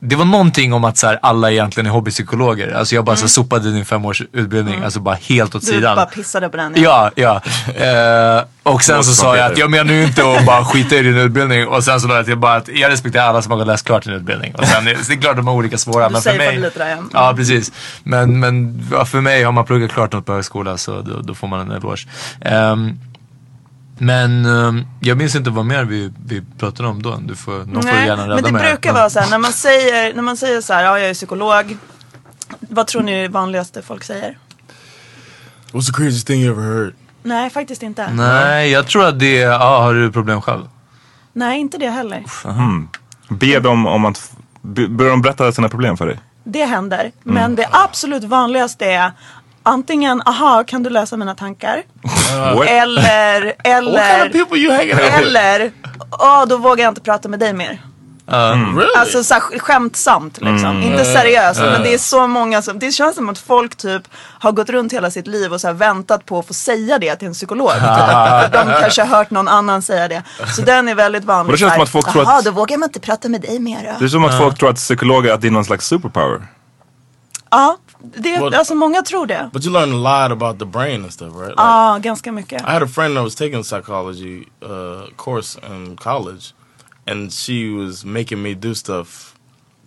[SPEAKER 3] det var någonting om att så här, alla egentligen är hobbypsykologer. Alltså jag bara så här, sopade din femårsutbildning, alltså bara helt åt
[SPEAKER 2] Du
[SPEAKER 3] sidan.
[SPEAKER 2] bara pissade på den.
[SPEAKER 3] Ja, ja. Eh, och sen så
[SPEAKER 5] Måste
[SPEAKER 3] sa
[SPEAKER 5] man
[SPEAKER 3] jag
[SPEAKER 5] veta.
[SPEAKER 3] att jag menar ju inte att bara skita i din utbildning. Och sen så la jag till bara att jag respekterar alla som har läst klart din utbildning. Och sen, det är klart de har olika svåra.
[SPEAKER 2] Du
[SPEAKER 3] men för
[SPEAKER 2] säger
[SPEAKER 3] mig,
[SPEAKER 2] fan lite där, ja.
[SPEAKER 3] Ja, precis. Men, men ja, för mig, har man pluggat klart något på högskola så då, då får man en eloge. Ehm, men ehm, jag minns inte vad mer vi, vi pratade om då. Du får, någon får
[SPEAKER 2] Nej,
[SPEAKER 3] gärna rädda
[SPEAKER 2] men det
[SPEAKER 3] mig. här.
[SPEAKER 2] brukar vara så här när man säger, när man säger så här, ja jag är psykolog. Vad tror ni är det vanligaste folk säger?
[SPEAKER 6] What's the craziest thing you ever heard?
[SPEAKER 2] Nej, faktiskt inte.
[SPEAKER 3] Nej, jag tror att det är, ja, har du problem själv?
[SPEAKER 2] Nej, inte det heller.
[SPEAKER 5] Be dem om att, f- be- börjar de berätta sina problem för dig?
[SPEAKER 2] Det händer.
[SPEAKER 3] Mm.
[SPEAKER 2] Men det absolut vanligaste är antingen, aha, kan du läsa mina tankar?
[SPEAKER 5] What?
[SPEAKER 2] Eller,
[SPEAKER 6] What kind
[SPEAKER 2] eller,
[SPEAKER 6] of people you hanging out with?
[SPEAKER 2] eller, ja då vågar jag inte prata med dig mer.
[SPEAKER 5] Mm.
[SPEAKER 6] Really?
[SPEAKER 2] Alltså så här, sk- skämtsamt liksom. Inte seriöst.
[SPEAKER 5] Uh,
[SPEAKER 2] Men det är så många som, det känns som att folk typ har gått runt hela sitt liv och så här, väntat på att få säga det till en psykolog. Typ. De kanske har hört någon annan säga det. Så den är väldigt vanlig.
[SPEAKER 5] Och det känns
[SPEAKER 2] Så
[SPEAKER 5] som
[SPEAKER 2] här,
[SPEAKER 5] att folk tror att-
[SPEAKER 2] "Jaha, då vågar man inte prata med dig mer
[SPEAKER 5] Det
[SPEAKER 2] då.
[SPEAKER 5] är som att folk tror att psykologer, att det är någon slags superpower.
[SPEAKER 2] Ja, det,
[SPEAKER 6] What-
[SPEAKER 2] alltså många tror det.
[SPEAKER 6] But you learn a lot about the brain and stuff, right? Like,
[SPEAKER 2] Ja, ganska mycket.
[SPEAKER 5] Ah.
[SPEAKER 6] I had a friend that was taking a psychology uh, course in college, and she was making me do stuff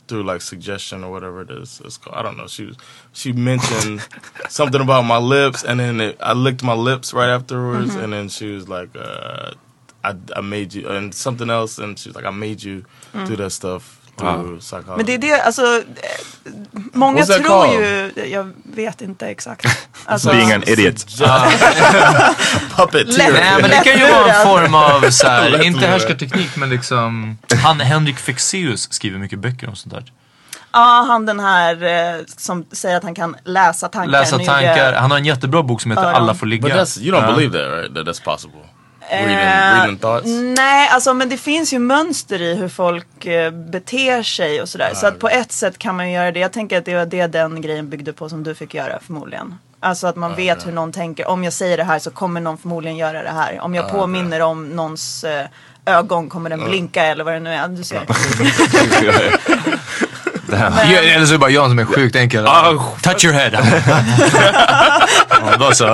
[SPEAKER 6] through like suggestion or whatever it is. It's called. I don't know. She was she mentioned something about my lips, and then it, I licked my lips right afterwards, and then she was like, uh, I, "I made you," and something else, and she was like, "I made you do that stuff." Through psychology.
[SPEAKER 2] Men det är det, alltså, eh, många
[SPEAKER 6] What's that
[SPEAKER 2] tror
[SPEAKER 6] called?
[SPEAKER 2] ju, jag vet inte exakt. Alltså,
[SPEAKER 5] Being an idiot.
[SPEAKER 6] puppet.
[SPEAKER 2] Lätt-
[SPEAKER 3] Nej men det kan ju vara en
[SPEAKER 2] lättlurad.
[SPEAKER 3] form av så här,
[SPEAKER 6] Lättlurad.
[SPEAKER 3] inte härskarteknik men liksom. Han Henrik Fexeus skriver mycket böcker om sånt där.
[SPEAKER 2] Ja, han den här eh, som säger att han kan läsa tankar.
[SPEAKER 3] Läsa
[SPEAKER 2] Nu är
[SPEAKER 3] tankar.
[SPEAKER 2] det-
[SPEAKER 3] Han har en jättebra bok som heter
[SPEAKER 2] Öron.
[SPEAKER 3] Alla får ligga.
[SPEAKER 6] But that's you don't
[SPEAKER 3] Ja.
[SPEAKER 6] believe that, right? That that's possible. reading,
[SPEAKER 2] Eh,
[SPEAKER 6] reading thoughts.
[SPEAKER 2] Nej, alltså men det finns ju mönster i hur folk eh, beter sig och sådär. så att på ett sätt kan man ju göra det. Jag tänker att det var det den grejen byggde på som du fick göra förmodligen. Alltså att man vet hur någon tänker. Om jag säger det här så kommer någon förmodligen göra det här. Om jag påminner om någons eh, ögon kommer den blinka eller vad det nu är. Du ser.
[SPEAKER 3] Ja, eller så är det bara jag som är sjukt enkel. Touch your head. Ah, ja, då så.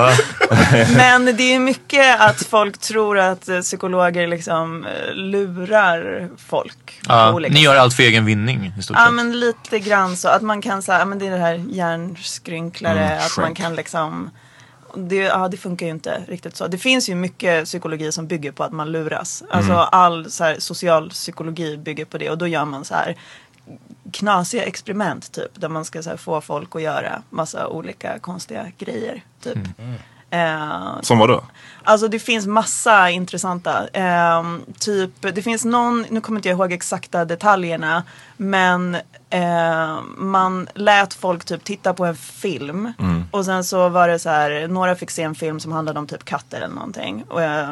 [SPEAKER 2] Men det är ju mycket att folk tror att eh, psykologer liksom eh, lurar folk. på
[SPEAKER 3] Ja,
[SPEAKER 2] olika
[SPEAKER 3] ni gör allt för egen vinning i stort
[SPEAKER 2] Ja
[SPEAKER 3] sett.
[SPEAKER 2] men lite grann så att man kan säga, ja men det är det här hjärnskrynklare, att man
[SPEAKER 5] shrink.
[SPEAKER 2] kan liksom det, ja, det funkar ju inte riktigt så. Det finns ju mycket psykologi som bygger på att man luras. Alltså all så här, social psykologi bygger på det och då gör man så här knasiga experiment typ. Där man ska så här, få folk att göra massa olika konstiga grejer. Typ. Eh,
[SPEAKER 5] Som vadå?
[SPEAKER 2] Alltså det finns massa intressanta. Ehm, typ, det finns någon, nu kommer inte jag ihåg exakta detaljerna, men eh, man lät folk typ titta på en film och sen så var det så här, några fick se en film som handlade om typ katter eller någonting. Och, eh,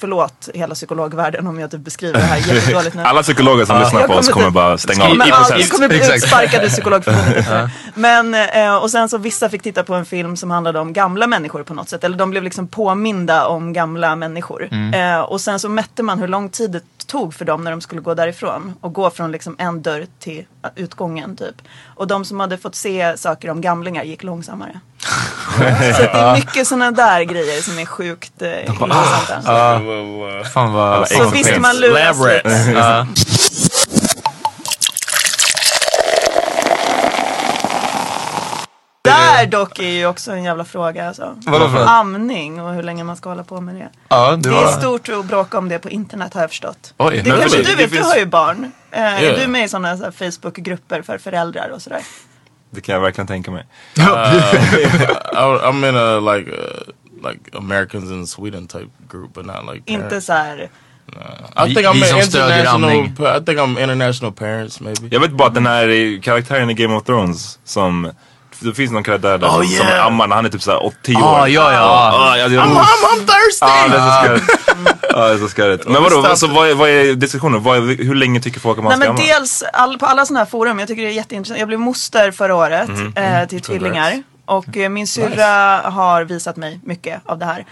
[SPEAKER 2] förlåt hela psykologvärlden om jag typ beskriver det här jättedåligt nu.
[SPEAKER 5] Alla psykologer som lyssnar
[SPEAKER 2] Jag
[SPEAKER 5] på oss
[SPEAKER 2] kommer
[SPEAKER 5] kommer
[SPEAKER 2] typ-
[SPEAKER 5] bara stänga av.
[SPEAKER 2] Men,
[SPEAKER 5] I
[SPEAKER 2] ja,
[SPEAKER 5] process.
[SPEAKER 2] jag kommer bli
[SPEAKER 3] Exakt.
[SPEAKER 2] utsparkad ur psykologförbundet. efter. Men, eh, och sen så vissa fick titta på en film som handlade om gamla människor på något sätt. Eller de blev liksom påminda om gamla människor. Eh, och sen så mätte man hur lång tid det tog för dem när de skulle gå därifrån. Och gå från liksom en dörr till eh, utgången typ. Och de som hade fått se saker om gamlingar gick långsammare. så att det är mycket sådana där grejer som är sjukt eh, intressanta.
[SPEAKER 6] ah, Uh,
[SPEAKER 3] Fan vad...
[SPEAKER 2] Så visst man luras lite. Där dock är ju också en jävla fråga alltså.
[SPEAKER 3] Vadå för något?
[SPEAKER 2] Amning och hur länge man ska hålla på med det.
[SPEAKER 3] Ja, det
[SPEAKER 2] Det är
[SPEAKER 3] var...
[SPEAKER 2] stort att bråka om det på internet har jag förstått.
[SPEAKER 3] Oj,
[SPEAKER 2] det
[SPEAKER 3] men
[SPEAKER 2] kanske
[SPEAKER 5] det-
[SPEAKER 2] du
[SPEAKER 5] det
[SPEAKER 2] vet, du
[SPEAKER 5] finns-
[SPEAKER 2] har ju barn. Eh, Är
[SPEAKER 6] Ja.
[SPEAKER 2] du med i sådana så här Facebookgrupper för föräldrar och sådär?
[SPEAKER 5] Det kan jag verkligen tänka mig.
[SPEAKER 6] I, I'm in a like uh, like Americans in Sweden type group, but not like
[SPEAKER 2] Inte
[SPEAKER 6] parents.
[SPEAKER 2] så här,
[SPEAKER 6] I think I'm
[SPEAKER 3] Vi som
[SPEAKER 6] an
[SPEAKER 3] stödjer
[SPEAKER 6] international.
[SPEAKER 3] amning.
[SPEAKER 6] pa- I think I'm international parents maybe.
[SPEAKER 5] Jag vet bara att den här karaktären i Game of Thrones som... Det finns någon karaktär där
[SPEAKER 6] Oh,
[SPEAKER 5] som- som
[SPEAKER 6] yeah.
[SPEAKER 5] ammar när han är typ såhär 80 år.
[SPEAKER 3] Ja, ja, ja.
[SPEAKER 5] Ah, ja, det-
[SPEAKER 6] I'm, I'm, I'm thirsty.
[SPEAKER 5] Ja, det är så skarpt. Ja, det är så skarpt. Men vadå, alltså, vad, är, vad är diskussionen? Vad är, hur länge tycker folk att man
[SPEAKER 2] Nej
[SPEAKER 5] ska
[SPEAKER 2] men
[SPEAKER 5] amma?
[SPEAKER 2] dels all, på alla sådana här forum, jag tycker det är jätteintressant. Jag blev moster förra året
[SPEAKER 3] Mhm. Mm.
[SPEAKER 2] eh, till tvillingar. Och eh, min syrra har visat mig mycket av det här.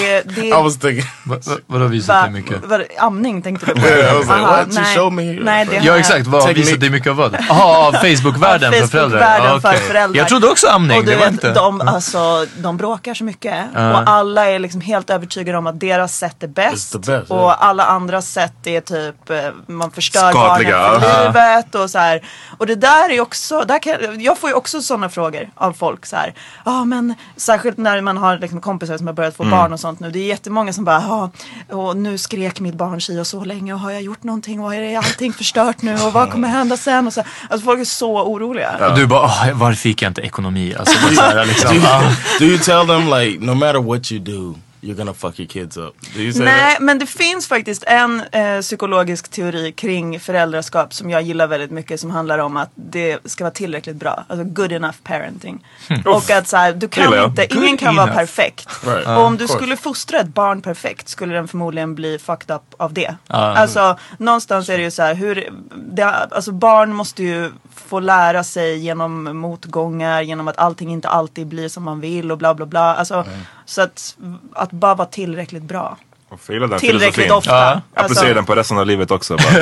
[SPEAKER 2] eh, det...
[SPEAKER 6] I was thinking.
[SPEAKER 3] Va- Vadå visat
[SPEAKER 2] Va,
[SPEAKER 3] dig mycket?
[SPEAKER 2] va, amning tänkte du på?
[SPEAKER 6] Yeah, I was like,
[SPEAKER 2] Aha,
[SPEAKER 6] what? You
[SPEAKER 2] nej.
[SPEAKER 6] showed me.
[SPEAKER 2] Nej, det har
[SPEAKER 3] Ja
[SPEAKER 2] jag.
[SPEAKER 3] exakt, vad
[SPEAKER 6] Teknik.
[SPEAKER 3] visat dig mycket av vad? Äh, Jaha, Facebookvärlden för föräldrar.
[SPEAKER 2] Facebookvärlden
[SPEAKER 3] Ja, okej.
[SPEAKER 2] för föräldrar.
[SPEAKER 3] Jag trodde också amning,
[SPEAKER 2] Och du
[SPEAKER 3] det var
[SPEAKER 2] vet,
[SPEAKER 3] inte... Mm.
[SPEAKER 2] de, alltså, de bråkar så mycket och alla är liksom helt övertygade om att deras sätt är bäst.
[SPEAKER 6] It's the best,
[SPEAKER 2] och
[SPEAKER 6] yeah.
[SPEAKER 2] alla andra sätt är typ, eh, man förstör
[SPEAKER 5] Skadliga,
[SPEAKER 2] barnen för
[SPEAKER 5] ja.
[SPEAKER 2] livet och så här. Och det där är också, där kan, jag får ju också sådana frågor av folk så här. Ja men särskilt när man har liksom kompisar som har börjat få
[SPEAKER 3] Mm.
[SPEAKER 2] barn och sånt nu. Det är jättemånga som bara, ja och nu skrek mitt barn si och så länge och har jag gjort någonting och är allting förstört nu och vad kommer hända sen? Och så, här. alltså folk är så oroliga.
[SPEAKER 3] Och du bara, "Ah, varför fick jag inte ekonomi? Alltså, bara så här, liksom.
[SPEAKER 6] do, you, do you tell them like no matter what you do, you're gonna fuck your kids up? Do you say
[SPEAKER 2] Nej,
[SPEAKER 6] that?
[SPEAKER 2] men det finns faktiskt en eh, psykologisk teori kring föräldraskap som jag gillar väldigt mycket som handlar om att det ska vara tillräckligt bra. Alltså good enough parenting. Och att så här, du
[SPEAKER 5] gillar
[SPEAKER 2] kan
[SPEAKER 5] jag.
[SPEAKER 2] inte,
[SPEAKER 3] Good
[SPEAKER 2] ingen kan vara
[SPEAKER 3] enough.
[SPEAKER 2] perfekt.
[SPEAKER 6] Right.
[SPEAKER 2] Och om du
[SPEAKER 6] Of course.
[SPEAKER 2] skulle fostra ett barn perfekt skulle den förmodligen bli fucked up av det. Alltså någonstans är det ju så här, hur, det, alltså barn måste ju få lära sig genom motgångar, genom att allting inte alltid blir som man vill och bla bla bla. Alltså, Så att, att bara vara tillräckligt bra
[SPEAKER 5] Jag gillar den
[SPEAKER 2] tillräckligt
[SPEAKER 5] filosofin.
[SPEAKER 2] ofta. Alltså-
[SPEAKER 3] Ja.
[SPEAKER 5] Applicera den på resten av livet också. Bara,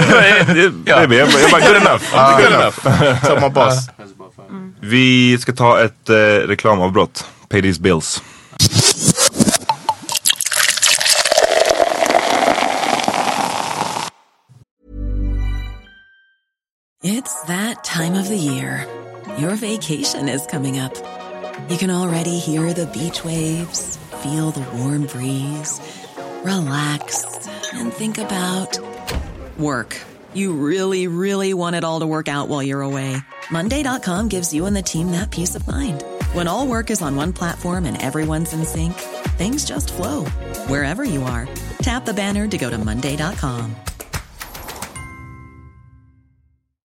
[SPEAKER 5] Baby, jag, jag bara good enough.
[SPEAKER 6] Good enough. Tell my boss.
[SPEAKER 5] Vi ska ta ett eh, reklamavbrott. Pay these bills.
[SPEAKER 7] It's that time of the year. Your vacation is coming up. You can already hear the beach waves, feel the warm breeze, relax, and think about work. You really, really want it all to work out while you're away. Monday.com gives you and the team that peace of mind. When all work is on one platform and everyone's in sync, things just flow wherever you are. Tap the banner to go to Monday.com.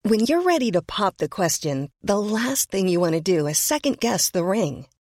[SPEAKER 8] When you're ready to pop the question, the last thing you want to do is second guess the ring.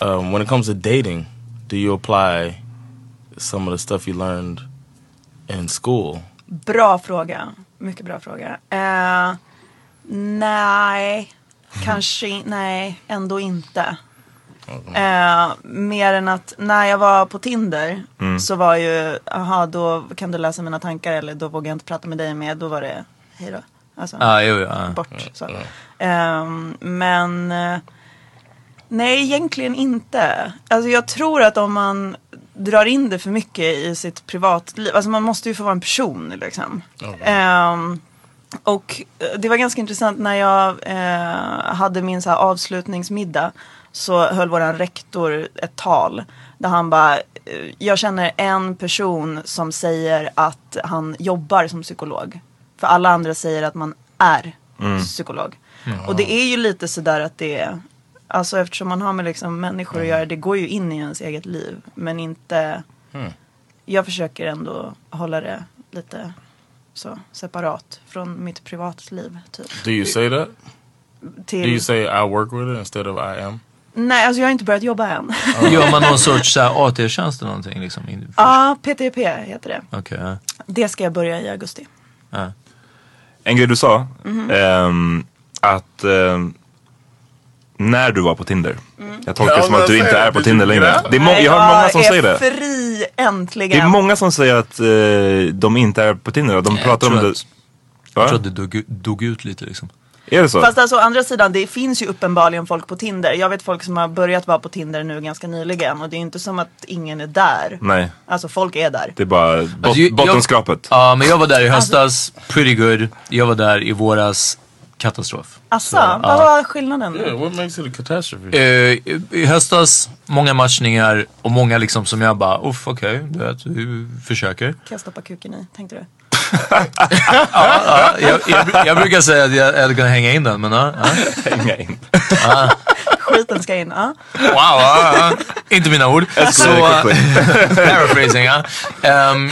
[SPEAKER 6] um, when it comes to dating, do you apply some of the stuff you learned in school?
[SPEAKER 2] Bra fråga. Mycket bra fråga. Eh, nej, kanske in- Nej, ändå inte. Eh, mer än att när jag var på Tinder
[SPEAKER 4] Mm.
[SPEAKER 2] så var ju, aha då kan du läsa mina tankar eller då vågar jag inte prata med dig mer. Då var det hej då. Alltså,
[SPEAKER 3] Ah, jo, ja.
[SPEAKER 2] bort. Så. Ehm, men eh, nej, egentligen inte. Alltså jag tror att om man drar in det för mycket i sitt privatliv, alltså man måste ju få vara en person liksom. Ehm, och eh, det var ganska intressant när jag eh, hade min så här, avslutningsmiddag så höll våran rektor ett tal där han bara, eh, jag känner en person som säger att han jobbar som psykolog. För alla andra säger att man är
[SPEAKER 4] Mm.
[SPEAKER 2] psykolog. Och det är ju lite sådär att det är, alltså eftersom man har med liksom människor att göra, det går ju in i ens eget liv. Men inte, jag försöker ändå hålla det lite så separat från mitt privatliv. Typ.
[SPEAKER 6] Do you say that? Do
[SPEAKER 2] Till,
[SPEAKER 6] you say I work with it instead of I am?
[SPEAKER 2] Nej, alltså jag har inte börjat jobba än.
[SPEAKER 3] Gör man någon sorts så här, AT-tjänst eller någonting? Liksom? In-
[SPEAKER 2] Ja, PTP heter det.
[SPEAKER 3] Okej. ja.
[SPEAKER 2] Det ska jag börja i augusti.
[SPEAKER 5] En grej du sa,
[SPEAKER 2] Mhm.
[SPEAKER 5] ehm, att ehm, när du var på Tinder. Jag tolkar
[SPEAKER 2] Mm. Ja,
[SPEAKER 5] det som att
[SPEAKER 2] men
[SPEAKER 5] du inte
[SPEAKER 2] säg,
[SPEAKER 5] är på
[SPEAKER 2] did
[SPEAKER 5] Tinder
[SPEAKER 2] you
[SPEAKER 5] längre.
[SPEAKER 2] get out?
[SPEAKER 5] Det är må- jag har
[SPEAKER 2] Nej,
[SPEAKER 5] många som
[SPEAKER 2] är
[SPEAKER 5] säger det.
[SPEAKER 2] fri äntligen.
[SPEAKER 5] Det är många som säger att eh, de inte är på Tinder. De pratar om
[SPEAKER 3] tror
[SPEAKER 5] det.
[SPEAKER 3] att-
[SPEAKER 5] Va?
[SPEAKER 3] Jag tror att det dog, u- dog ut lite liksom.
[SPEAKER 5] Är det så?
[SPEAKER 2] Fast alltså å andra sidan, det finns ju uppenbarligen folk på Tinder. Jag vet folk som har börjat vara på Tinder nu ganska nyligen och det är ju inte som att ingen är där.
[SPEAKER 5] Nej,
[SPEAKER 2] Alltså folk är där.
[SPEAKER 5] det är bara bot-
[SPEAKER 3] Alltså, ju- jag-
[SPEAKER 5] bottenskrapet.
[SPEAKER 3] Ja, men jag var där i höstas, pretty good. Jag var där i våras, katastrof.
[SPEAKER 2] Asså,
[SPEAKER 3] Så,
[SPEAKER 2] vad
[SPEAKER 3] ja.
[SPEAKER 2] var skillnaden?
[SPEAKER 6] Yeah, what makes it a catastrophe?
[SPEAKER 3] Eh, i- I höstas, många matchningar och många liksom som jag bara, uff okej, du vet, vi försöker.
[SPEAKER 2] Kan jag stoppa kuken i, tänkte du?
[SPEAKER 3] Ja, jag, jag, jag brukar säga att jag hade kunnat hänga in den, men ja.
[SPEAKER 5] Hänga in.
[SPEAKER 2] Skiten ska in, ja.
[SPEAKER 3] Wow, ja, ja. inte mina ord. Så,
[SPEAKER 2] Escalated quickly.
[SPEAKER 3] paraphrasing, ja. Ehm,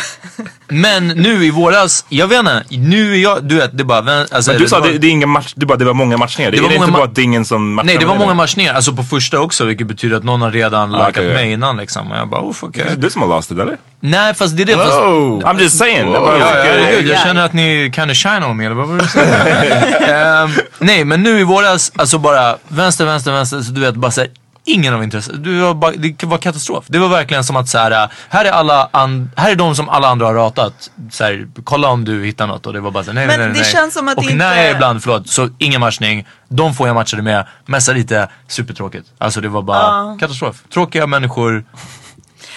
[SPEAKER 3] men nu i våras, jag vet inte, nu är jag, du vet, det är bara... vem- Alltså,
[SPEAKER 5] Men du sa
[SPEAKER 3] var-
[SPEAKER 5] det, det, är ingen match, du bara, det var många matchningar. Det,
[SPEAKER 3] Det
[SPEAKER 5] är
[SPEAKER 3] var
[SPEAKER 5] det
[SPEAKER 3] många
[SPEAKER 5] inte
[SPEAKER 3] ma-
[SPEAKER 5] bara dingen som matchar
[SPEAKER 3] Nej, det
[SPEAKER 5] med
[SPEAKER 3] var
[SPEAKER 5] dig
[SPEAKER 3] många
[SPEAKER 5] nu?
[SPEAKER 3] matchningar. Alltså på första också, vilket betyder att någon har redan
[SPEAKER 5] Ah,
[SPEAKER 3] likat
[SPEAKER 5] okej.
[SPEAKER 3] mig innan liksom. Och jag bara, oh,
[SPEAKER 5] Det
[SPEAKER 3] okej.
[SPEAKER 5] är du som har lost it eller?
[SPEAKER 3] Nej, fast det är det. Fast...
[SPEAKER 5] Whoa. I'm just saying. Det var-
[SPEAKER 3] Ja, ja,
[SPEAKER 5] okej.
[SPEAKER 3] herregud, jag känner att ni kind of shine on me, eller vad var det du sa? Ehm, nej, men nu i våras, alltså bara vänster, vänster, vänster. Så du vet, bara så här, ingen av intresse. Du var bara, det var katastrof. Det var verkligen som att så här, här är, alla and, här är de som alla andra har ratat. Så här, kolla om du hittar något. Och det var bara så här, nej,
[SPEAKER 2] Men
[SPEAKER 3] nej, nej.
[SPEAKER 2] det
[SPEAKER 3] nej.
[SPEAKER 2] känns som att
[SPEAKER 3] och
[SPEAKER 2] det
[SPEAKER 3] när
[SPEAKER 2] inte-
[SPEAKER 3] jag ibland, förlåt, så ingen matchning. De få jag matchade med, messa lite, supertråkigt. Alltså det var bara
[SPEAKER 2] Ja.
[SPEAKER 3] katastrof. Tråkiga människor.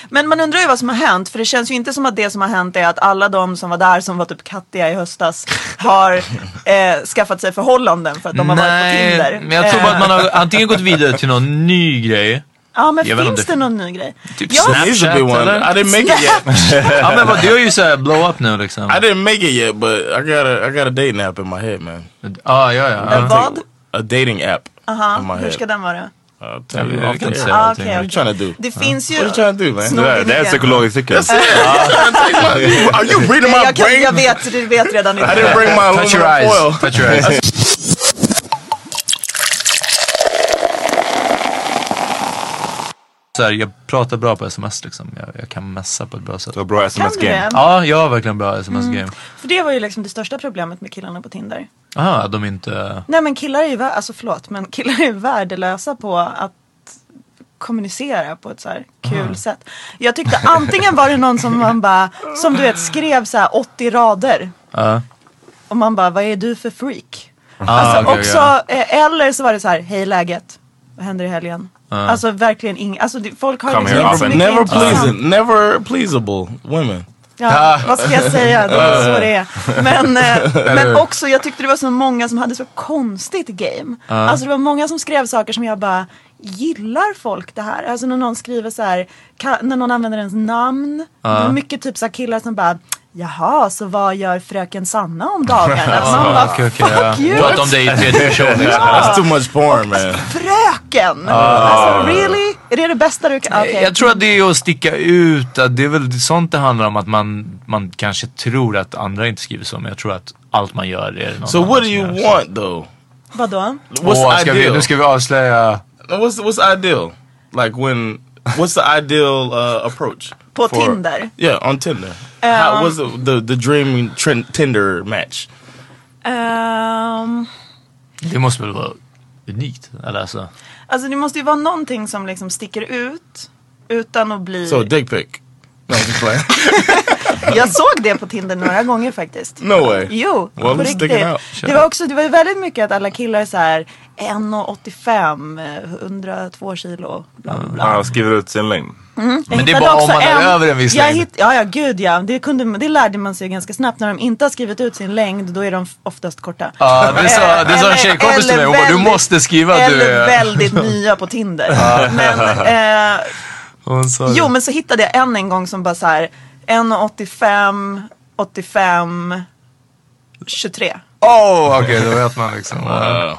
[SPEAKER 2] Men man undrar ju vad som har hänt för det känns ju inte som att det som har hänt är att alla de som var där som var typ kattiga i höstas har eh, skaffat sig förhållanden för att de har
[SPEAKER 3] Nej,
[SPEAKER 2] varit på Tinder.
[SPEAKER 3] men jag tror bara att man
[SPEAKER 2] Eh,
[SPEAKER 3] har antingen gått vidare till någon ny grej.
[SPEAKER 2] Ja men
[SPEAKER 3] Jag vet
[SPEAKER 2] finns
[SPEAKER 3] inte
[SPEAKER 2] det...
[SPEAKER 3] om
[SPEAKER 2] någon ny grej?
[SPEAKER 3] Typ
[SPEAKER 2] Ja. eh,
[SPEAKER 3] Snapchat eller? ja men vad, du har ju såhär blow up nu liksom.
[SPEAKER 6] I didn't make it yet, but I got a I got a dating app in my head, man.
[SPEAKER 3] Ah, yeah, yeah.
[SPEAKER 2] A vad?
[SPEAKER 6] A dating app. in
[SPEAKER 2] Aha,
[SPEAKER 6] my
[SPEAKER 2] hur
[SPEAKER 6] head.
[SPEAKER 2] ska den vara?
[SPEAKER 6] I'll
[SPEAKER 3] Ja,
[SPEAKER 6] tell you
[SPEAKER 3] vi- vi
[SPEAKER 6] off
[SPEAKER 3] kan inte
[SPEAKER 6] the air.
[SPEAKER 3] säga Ah,
[SPEAKER 2] allting. okej,
[SPEAKER 6] What you trying to do?
[SPEAKER 2] Det finns ju...
[SPEAKER 6] What you trying to do, man?
[SPEAKER 2] Snor Det där- det här är igen.
[SPEAKER 5] psykologiskt cykel.
[SPEAKER 6] Are you reading my
[SPEAKER 2] jag, kan,
[SPEAKER 6] brain?
[SPEAKER 2] jag vet, du vet redan
[SPEAKER 6] I didn't bring my
[SPEAKER 3] Touch your
[SPEAKER 6] aluminum
[SPEAKER 3] eyes.
[SPEAKER 6] foil.
[SPEAKER 3] Touch your eyes. Så här, jag pratar bra på sms liksom. Jag, jag kan messa på ett bra sätt. Du
[SPEAKER 5] har bra
[SPEAKER 2] du det? sms-game.
[SPEAKER 3] Ja, jag har verkligen bra sms-game.
[SPEAKER 2] För det var ju liksom det största problemet med killarna på Tinder.
[SPEAKER 3] Aha, att de inte...
[SPEAKER 2] Nej men killar är ju, vär- alltså förlåt, men killar är ju värdelösa på att kommunicera på ett så här kul
[SPEAKER 4] Mm.
[SPEAKER 2] sätt. Jag tyckte antingen var det någon som man bara, som du vet skrev så här 80 rader
[SPEAKER 3] Ja.
[SPEAKER 2] och man bara, vad är du för freak?
[SPEAKER 3] Ah,
[SPEAKER 2] alltså
[SPEAKER 3] okej,
[SPEAKER 2] också,
[SPEAKER 3] ja.
[SPEAKER 2] eh, eller så var det så här, hej läget, vad händer i helgen?
[SPEAKER 6] Ja.
[SPEAKER 3] Ah.
[SPEAKER 2] Alltså verkligen ing, alltså det- folk har liksom inte så
[SPEAKER 6] Never,
[SPEAKER 2] mycket
[SPEAKER 6] never
[SPEAKER 2] intressant.
[SPEAKER 6] pleasing, never pleasable women.
[SPEAKER 2] Ja, vad ska jag säga? Det är så det är. Men, eh, men
[SPEAKER 6] Eller-
[SPEAKER 2] också, jag tyckte det var så många som hade så konstigt game.
[SPEAKER 6] Ja.
[SPEAKER 2] Alltså det var många som skrev saker som jag bara, gillar folk det här? Alltså när någon skriver så här, ka- när någon använder ens namn.
[SPEAKER 4] Ja.
[SPEAKER 2] Det var mycket typ så här killar som bara, jaha, så vad gör fröken Sanna om dagarna? Alltså, man
[SPEAKER 3] Ah,
[SPEAKER 2] bara,
[SPEAKER 3] okej, okej, ja.
[SPEAKER 2] fuck you.
[SPEAKER 3] Prata om dig i tredje person. liksom.
[SPEAKER 6] That's too much porn man.
[SPEAKER 2] Fröken!
[SPEAKER 3] Ah.
[SPEAKER 2] Alltså really? Är det det bästa du kan? okej.
[SPEAKER 3] Jag tror att det är att sticka ut. Att det är väl sånt det handlar om. Att man, man kanske tror att andra inte skriver så. Men jag tror att allt man gör är det någon
[SPEAKER 6] So
[SPEAKER 3] annan
[SPEAKER 6] what do
[SPEAKER 3] som
[SPEAKER 6] you
[SPEAKER 3] gör, så.
[SPEAKER 6] want though?
[SPEAKER 2] Vadå?
[SPEAKER 6] What's
[SPEAKER 3] Åh, ska vi,
[SPEAKER 6] ideal?
[SPEAKER 3] nu ska vi avslöja.
[SPEAKER 6] What's what's ideal? Like when? What's the ideal uh, approach?
[SPEAKER 2] På Tinder?
[SPEAKER 6] Yeah, on Tinder. How
[SPEAKER 2] Um,
[SPEAKER 6] was the, the the dream trend, Tinder match?
[SPEAKER 2] Ehm,
[SPEAKER 3] Det måste väl vara unikt? Eller alltså.
[SPEAKER 2] alltså det måste ju vara någonting som liksom sticker ut utan att bli...
[SPEAKER 6] So dick pic. No, I'm just playing.
[SPEAKER 2] Jag såg det på Tinder några gånger faktiskt.
[SPEAKER 6] No way.
[SPEAKER 2] Jo,
[SPEAKER 6] Well,
[SPEAKER 2] på
[SPEAKER 6] it's
[SPEAKER 2] riktigt.
[SPEAKER 6] sticking out.
[SPEAKER 2] Det var också, det var ju väldigt mycket att alla killar så här 1,85, eh, 102 kilo. Bla, bla, bla.
[SPEAKER 5] Han skriver ut sin längd.
[SPEAKER 2] Mm. Jag
[SPEAKER 5] Men det är
[SPEAKER 2] hittade
[SPEAKER 5] bara om
[SPEAKER 2] också
[SPEAKER 5] man är över en viss
[SPEAKER 2] jag
[SPEAKER 5] längd.
[SPEAKER 2] Hitt, ja, ja, gud ja. Det, kunde, det lärde man sig ganska snabbt. När de inte har skrivit ut sin längd, då är de f- oftast korta.
[SPEAKER 3] Ja, Ah, det sa, det sa en tjejkompis till mig. Hon bara, du måste skriva att du
[SPEAKER 2] Eller
[SPEAKER 3] är...
[SPEAKER 2] väldigt nya på Tinder.
[SPEAKER 3] Ja.
[SPEAKER 2] men, eh,
[SPEAKER 3] Hon sa
[SPEAKER 2] jo,
[SPEAKER 3] det.
[SPEAKER 2] men så hittade jag en en gång som bara så här 1,85, 85, 23.
[SPEAKER 3] Oh, okej, då vet man liksom.
[SPEAKER 6] Wow.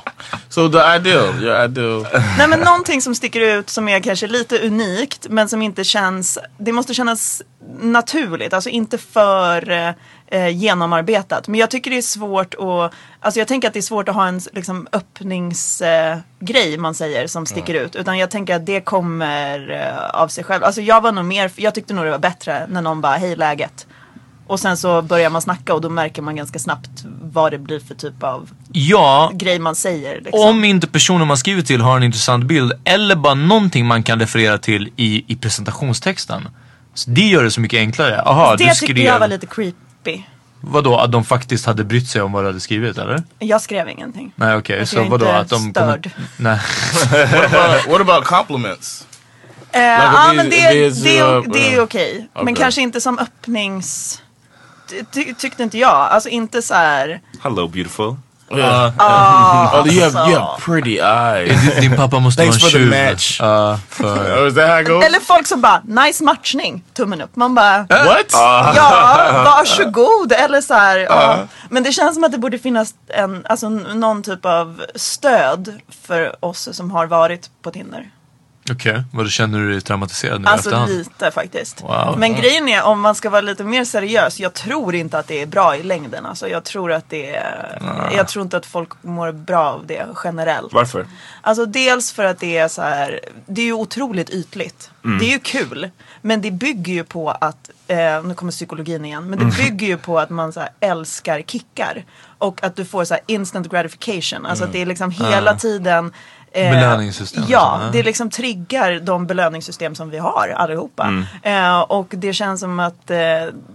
[SPEAKER 6] So the ideal, your ideal.
[SPEAKER 2] Nej men någonting som sticker ut som är kanske lite unikt men som inte känns, det måste kännas naturligt, alltså inte för eh, eh, genomarbetat. Men jag tycker det är svårt att, alltså jag tänker att det är svårt att ha en liksom, öppningsgrej eh, grej man säger som sticker ut. Utan jag tänker att det kommer eh, av sig själv. Alltså jag var nog mer, jag tyckte nog det var bättre när någon bara, hej läget. Och sen så börjar man snacka och då märker man ganska snabbt vad det blir för typ av
[SPEAKER 3] Ja,
[SPEAKER 2] grej man säger. Liksom.
[SPEAKER 3] om inte personen man skriver till har en intressant bild eller bara någonting man kan referera till i, i presentationstexten. Så det gör det så mycket enklare. Aha,
[SPEAKER 2] det
[SPEAKER 3] du
[SPEAKER 2] tyckte
[SPEAKER 3] skrev...
[SPEAKER 2] jag var lite creepy.
[SPEAKER 3] Vadå, att de faktiskt hade brytt sig om vad du hade skrivit eller?
[SPEAKER 2] Jag skrev ingenting. Alltså,
[SPEAKER 3] Nej okej,
[SPEAKER 2] Jag
[SPEAKER 3] så
[SPEAKER 2] är
[SPEAKER 3] vadå
[SPEAKER 2] inte
[SPEAKER 3] att de...
[SPEAKER 2] störd.
[SPEAKER 3] Nej.
[SPEAKER 6] what, about, what about compliments?
[SPEAKER 2] Eh,
[SPEAKER 6] Like,
[SPEAKER 2] ja
[SPEAKER 6] it
[SPEAKER 2] men
[SPEAKER 6] is-
[SPEAKER 2] det,
[SPEAKER 6] it is,
[SPEAKER 2] det,
[SPEAKER 6] uh,
[SPEAKER 2] är- det är
[SPEAKER 6] uh,
[SPEAKER 2] okej. Men
[SPEAKER 6] okay.
[SPEAKER 2] kanske inte som öppnings... Ty, ty, tyckte inte jag. Alltså inte så här...
[SPEAKER 5] Hello beautiful.
[SPEAKER 6] Yeah.
[SPEAKER 2] Ah,
[SPEAKER 6] oh, you have you have
[SPEAKER 2] alltså.
[SPEAKER 6] pretty eyes.
[SPEAKER 3] Din pappa måste
[SPEAKER 6] Thanks
[SPEAKER 3] vara
[SPEAKER 6] for
[SPEAKER 3] en
[SPEAKER 6] the
[SPEAKER 3] tjuv.
[SPEAKER 6] match.
[SPEAKER 3] Ja, för...
[SPEAKER 6] Oh, is that how it goes?
[SPEAKER 2] Eller folk som bara, nice matchning, tummen upp. Man bara,
[SPEAKER 6] What?
[SPEAKER 2] ja, varsågod. Eller så här, ja. Men det känns som att det borde finnas en, alltså, n- någon typ av stöd för oss som har varit på Tinder.
[SPEAKER 3] Okej, vadå känner du dig traumatiserad nu i
[SPEAKER 2] Alltså
[SPEAKER 3] efterhand?
[SPEAKER 2] lite faktiskt.
[SPEAKER 3] Wow.
[SPEAKER 2] Men grejen är om man ska vara lite mer seriös. Jag tror inte att det är bra i längden. Alltså, jag tror att det är, Jag tror inte att folk mår bra av det generellt.
[SPEAKER 5] Varför?
[SPEAKER 2] Alltså dels för att det är så här. Det är ju otroligt ytligt.
[SPEAKER 3] Mm.
[SPEAKER 2] Det är ju kul. Men det bygger ju på att. Eh, nu kommer psykologin igen. Men det
[SPEAKER 3] Mm.
[SPEAKER 2] bygger ju på att man så här, älskar kickar. Och att du får så här, instant gratification.
[SPEAKER 3] Mm.
[SPEAKER 2] Alltså att det är liksom hela tiden. eh,
[SPEAKER 3] Belöningssystem och
[SPEAKER 2] Ja,
[SPEAKER 3] sådär.
[SPEAKER 2] det liksom triggar de belöningssystem som vi har allihopa. Eh, och det känns som att eh,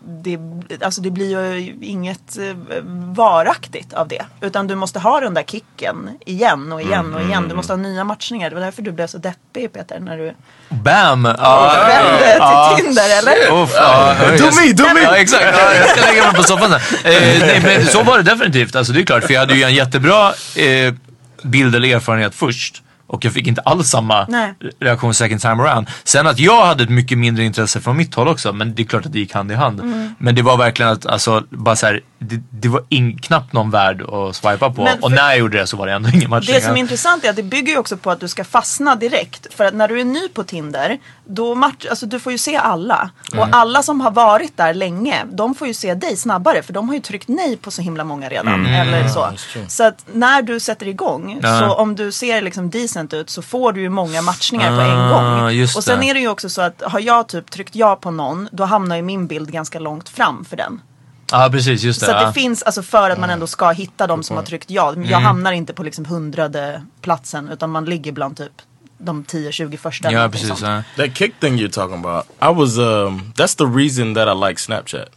[SPEAKER 2] det, alltså det blir ju inget eh, varaktigt av det. Utan du måste ha den där kicken igen och igen och igen. Du måste ha nya matchningar. Det var därför du blev så deppig Peter när du
[SPEAKER 3] Bam! Ja,
[SPEAKER 2] vände
[SPEAKER 3] ja.
[SPEAKER 2] till Tinder eller?
[SPEAKER 3] Uff, ja, ja,
[SPEAKER 6] Do
[SPEAKER 3] jag-
[SPEAKER 6] me, do me.
[SPEAKER 3] Ja, exakt. Ja, jag ska lägga mig på soffan sen. Eh, nej, men så var det definitivt. Alltså, det är klart, för jag hade ju en jättebra eh, bild eller erfarenhet först. Och jag fick inte alls samma
[SPEAKER 2] Nej.
[SPEAKER 3] reaktion second time around. Sen att jag hade ett mycket mindre intresse från mitt håll också. Men det är klart att det gick hand i hand.
[SPEAKER 2] Mm.
[SPEAKER 3] Men det var verkligen att, alltså, bara så här, det, det var in, knappt någon värd att swipa på.
[SPEAKER 2] Men för-
[SPEAKER 3] Och när jag gjorde det så var det ändå ingen match.
[SPEAKER 2] Det som är intressant är att det bygger ju också på att du ska fastna direkt. För att när du är ny på Tinder, då match, alltså du får ju se alla.
[SPEAKER 3] Mm.
[SPEAKER 2] Och alla som har varit där länge, de får ju se dig snabbare. För de har ju tryckt nej på så himla många redan.
[SPEAKER 3] Mm.
[SPEAKER 2] Eller så. Så att när du sätter igång,
[SPEAKER 3] Ja.
[SPEAKER 2] så om du ser liksom decent ut så får du ju många matchningar på en
[SPEAKER 3] Ah,
[SPEAKER 2] gång.
[SPEAKER 3] just
[SPEAKER 2] Och sen
[SPEAKER 3] det.
[SPEAKER 2] är det ju också så att har jag typ tryckt ja på någon, då hamnar ju min bild ganska långt fram för den.
[SPEAKER 3] Ja, precis. Just det.
[SPEAKER 2] Så att
[SPEAKER 3] ja. Mm.
[SPEAKER 2] det finns, alltså för att man ändå ska hitta de som har tryckt ja. Jag hamnar inte på liksom hundrade platsen utan man ligger bland typ de 10-20 första. eller
[SPEAKER 3] Ja,
[SPEAKER 2] någonting
[SPEAKER 3] precis.
[SPEAKER 2] sånt.
[SPEAKER 3] Ja.
[SPEAKER 6] That kick thing you're talking about, I was um that's the reason that I like Snapchat.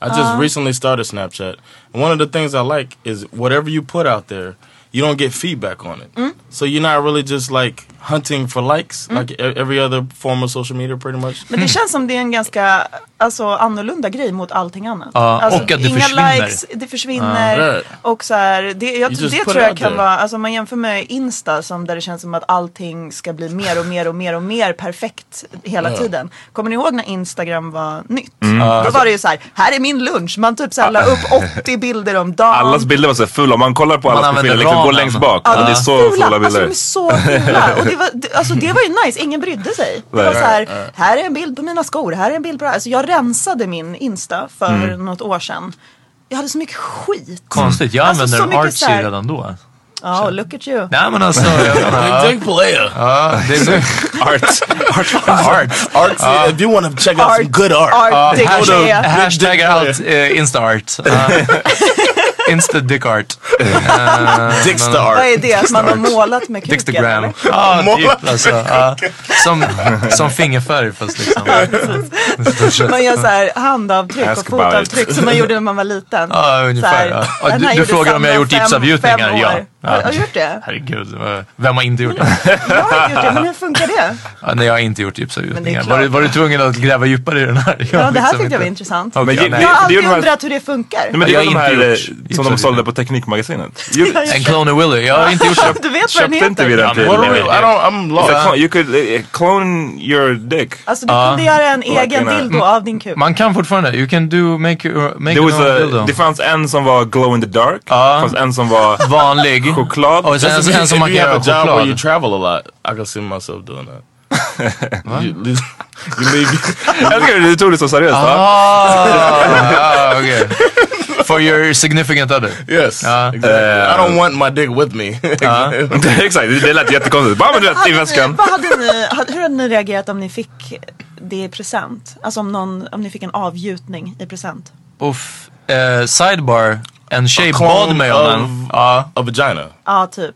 [SPEAKER 6] I just recently started Snapchat. And one of the things I like is whatever you put out there, you don't get feedback on it. So you're not really just like hunting for likes like e- every other form of social media pretty much.
[SPEAKER 2] Men det känns som det är en ganska alltså, annorlunda grej mot allting annat.
[SPEAKER 3] Ja,
[SPEAKER 2] alltså,
[SPEAKER 3] och att det
[SPEAKER 2] inga
[SPEAKER 3] försvinner.
[SPEAKER 2] likes, det försvinner.
[SPEAKER 6] Right.
[SPEAKER 2] Och så här, det, jag,
[SPEAKER 6] You just
[SPEAKER 2] det
[SPEAKER 6] put
[SPEAKER 2] tror
[SPEAKER 6] it
[SPEAKER 2] jag
[SPEAKER 6] out
[SPEAKER 2] kan
[SPEAKER 6] there.
[SPEAKER 2] vara, alltså om man jämför med Insta som där det känns som att allting ska bli mer och mer och mer och mer perfekt hela tiden. Kommer ni ihåg när Instagram var nytt? Då var det ju så här, här är min lunch. Man typ så här la upp 80 bilder om dagen.
[SPEAKER 5] Allas bilder var så här fulla. Om man kollar på
[SPEAKER 3] Man
[SPEAKER 5] allas
[SPEAKER 3] använder
[SPEAKER 5] profiler, liksom, gå
[SPEAKER 3] ramen.
[SPEAKER 5] längst bak.
[SPEAKER 2] Ja,
[SPEAKER 5] Och det är så fula
[SPEAKER 2] Alltså de
[SPEAKER 5] bilder.
[SPEAKER 2] är så fula. Och det var, det, alltså, det var ju nice, ingen brydde sig. Det var
[SPEAKER 5] Nej.
[SPEAKER 2] så här, här är en bild på mina skor, här är en bild på det här. Alltså, jag rensade min Insta för
[SPEAKER 5] Mm.
[SPEAKER 2] något år sedan. Jag hade så mycket skit.
[SPEAKER 3] Konstigt, jag
[SPEAKER 2] Alltså,
[SPEAKER 3] använder
[SPEAKER 2] så
[SPEAKER 3] en
[SPEAKER 2] mycket så
[SPEAKER 3] artsy
[SPEAKER 2] här-
[SPEAKER 3] redan då.
[SPEAKER 2] Ja, look at you.
[SPEAKER 3] Nej men alltså.
[SPEAKER 6] Big dick player.
[SPEAKER 3] Ja, det är
[SPEAKER 5] Art.
[SPEAKER 6] Art. Art. art. if you want to check out some good art.
[SPEAKER 2] Art, dick
[SPEAKER 3] hashtag-
[SPEAKER 2] player.
[SPEAKER 3] Hashtag allt eh, instaart. Ja. Insta dickart. Eh,
[SPEAKER 6] Dick
[SPEAKER 2] Vad
[SPEAKER 6] star.
[SPEAKER 2] är det? Att man har målat med kuken?
[SPEAKER 3] Dickstagram.
[SPEAKER 2] eller?
[SPEAKER 3] Ja, typ alltså. ja. som, som fingerfärg fast liksom.
[SPEAKER 2] Man gör så här handavtryck
[SPEAKER 5] Ask
[SPEAKER 2] och
[SPEAKER 5] about it.
[SPEAKER 2] fotavtryck som man gjorde när man var liten.
[SPEAKER 3] Ja, ungefär,
[SPEAKER 2] Så här,
[SPEAKER 3] ja. Ja,
[SPEAKER 2] den
[SPEAKER 3] du-
[SPEAKER 2] här
[SPEAKER 3] du
[SPEAKER 2] gjorde
[SPEAKER 3] frågar om jag har
[SPEAKER 2] Sandra
[SPEAKER 3] gjort
[SPEAKER 2] fem-
[SPEAKER 3] gipsavgjutningar,
[SPEAKER 2] fem
[SPEAKER 3] ja.
[SPEAKER 2] år.
[SPEAKER 3] Ja.
[SPEAKER 2] Har har du gjort det?
[SPEAKER 3] Herregud, vad- vem har inte gjort det?
[SPEAKER 2] Jag har inte gjort det, men hur funkar det?
[SPEAKER 3] Ja, nej, jag har inte gjort
[SPEAKER 2] Men det är
[SPEAKER 3] djupsavgjutningar.
[SPEAKER 2] klart.
[SPEAKER 3] Var, du- var du tvungen att gräva djupare i den här?
[SPEAKER 2] Ja, det
[SPEAKER 3] liksom
[SPEAKER 2] här tyckte
[SPEAKER 3] inte.
[SPEAKER 2] jag var intressant.
[SPEAKER 3] Okej,
[SPEAKER 5] Men
[SPEAKER 3] ja,
[SPEAKER 5] ge-
[SPEAKER 3] nej.
[SPEAKER 2] Jag har
[SPEAKER 5] det
[SPEAKER 2] alltid
[SPEAKER 5] gjorde man-
[SPEAKER 2] undrat hur det funkar.
[SPEAKER 5] Nej, men det
[SPEAKER 3] Jag
[SPEAKER 5] är
[SPEAKER 3] har
[SPEAKER 5] de
[SPEAKER 3] inte
[SPEAKER 5] här
[SPEAKER 3] gjort
[SPEAKER 5] eh, som de
[SPEAKER 3] gipsavgjutningar.
[SPEAKER 5] sålde på Teknikmagasinet.
[SPEAKER 3] En clone of Willy. Jag har inte gjort det.
[SPEAKER 2] Du vet vad den
[SPEAKER 5] Köpte inte vi
[SPEAKER 2] heter?
[SPEAKER 5] den till?
[SPEAKER 6] What are we? I don't. I'm
[SPEAKER 5] It's a
[SPEAKER 6] lost.
[SPEAKER 5] clone- You could eh, clone your dick.
[SPEAKER 2] Alltså du kunde göra en egen
[SPEAKER 5] in a-
[SPEAKER 2] dildo av din kuk.
[SPEAKER 3] Man kan fortfarande. You can do, make, your-
[SPEAKER 5] There
[SPEAKER 3] make your
[SPEAKER 5] was
[SPEAKER 3] own
[SPEAKER 5] a,
[SPEAKER 3] dildo.
[SPEAKER 5] det fanns en som var glow in the dark.
[SPEAKER 3] Ja.
[SPEAKER 5] Det fanns en som var...
[SPEAKER 3] Vanlig.
[SPEAKER 5] Choklad.
[SPEAKER 3] Och sen
[SPEAKER 6] That's
[SPEAKER 3] en-
[SPEAKER 6] if
[SPEAKER 3] en som
[SPEAKER 6] you-
[SPEAKER 3] man
[SPEAKER 6] if
[SPEAKER 3] kan
[SPEAKER 6] you
[SPEAKER 3] göra
[SPEAKER 6] have a job where you
[SPEAKER 3] choklad.
[SPEAKER 6] travel a lot, I can see myself doing that. you, leave- you leave.
[SPEAKER 5] Jag älskar hur du tog det så seriöst. va?
[SPEAKER 3] Ah, ah, okay. For your significant other.
[SPEAKER 6] Yes, exactly. I don't want my dick with me.
[SPEAKER 5] Eh,
[SPEAKER 6] Uh-huh.
[SPEAKER 5] Exakt, det det lät jättekonstigt. Bara men du vet, i
[SPEAKER 2] hade ni,
[SPEAKER 5] väskan.
[SPEAKER 2] Alltså, vad hade ni, hade- hur hade ni reagerat om ni fick det i present? Alltså om, någon, om ni fick en avgjutning i present?
[SPEAKER 3] Uff, eh, sidebar. En tjej
[SPEAKER 6] clone
[SPEAKER 3] bad mig om
[SPEAKER 6] of-
[SPEAKER 3] den. Ja.
[SPEAKER 6] a vagina.
[SPEAKER 2] Ja, typ.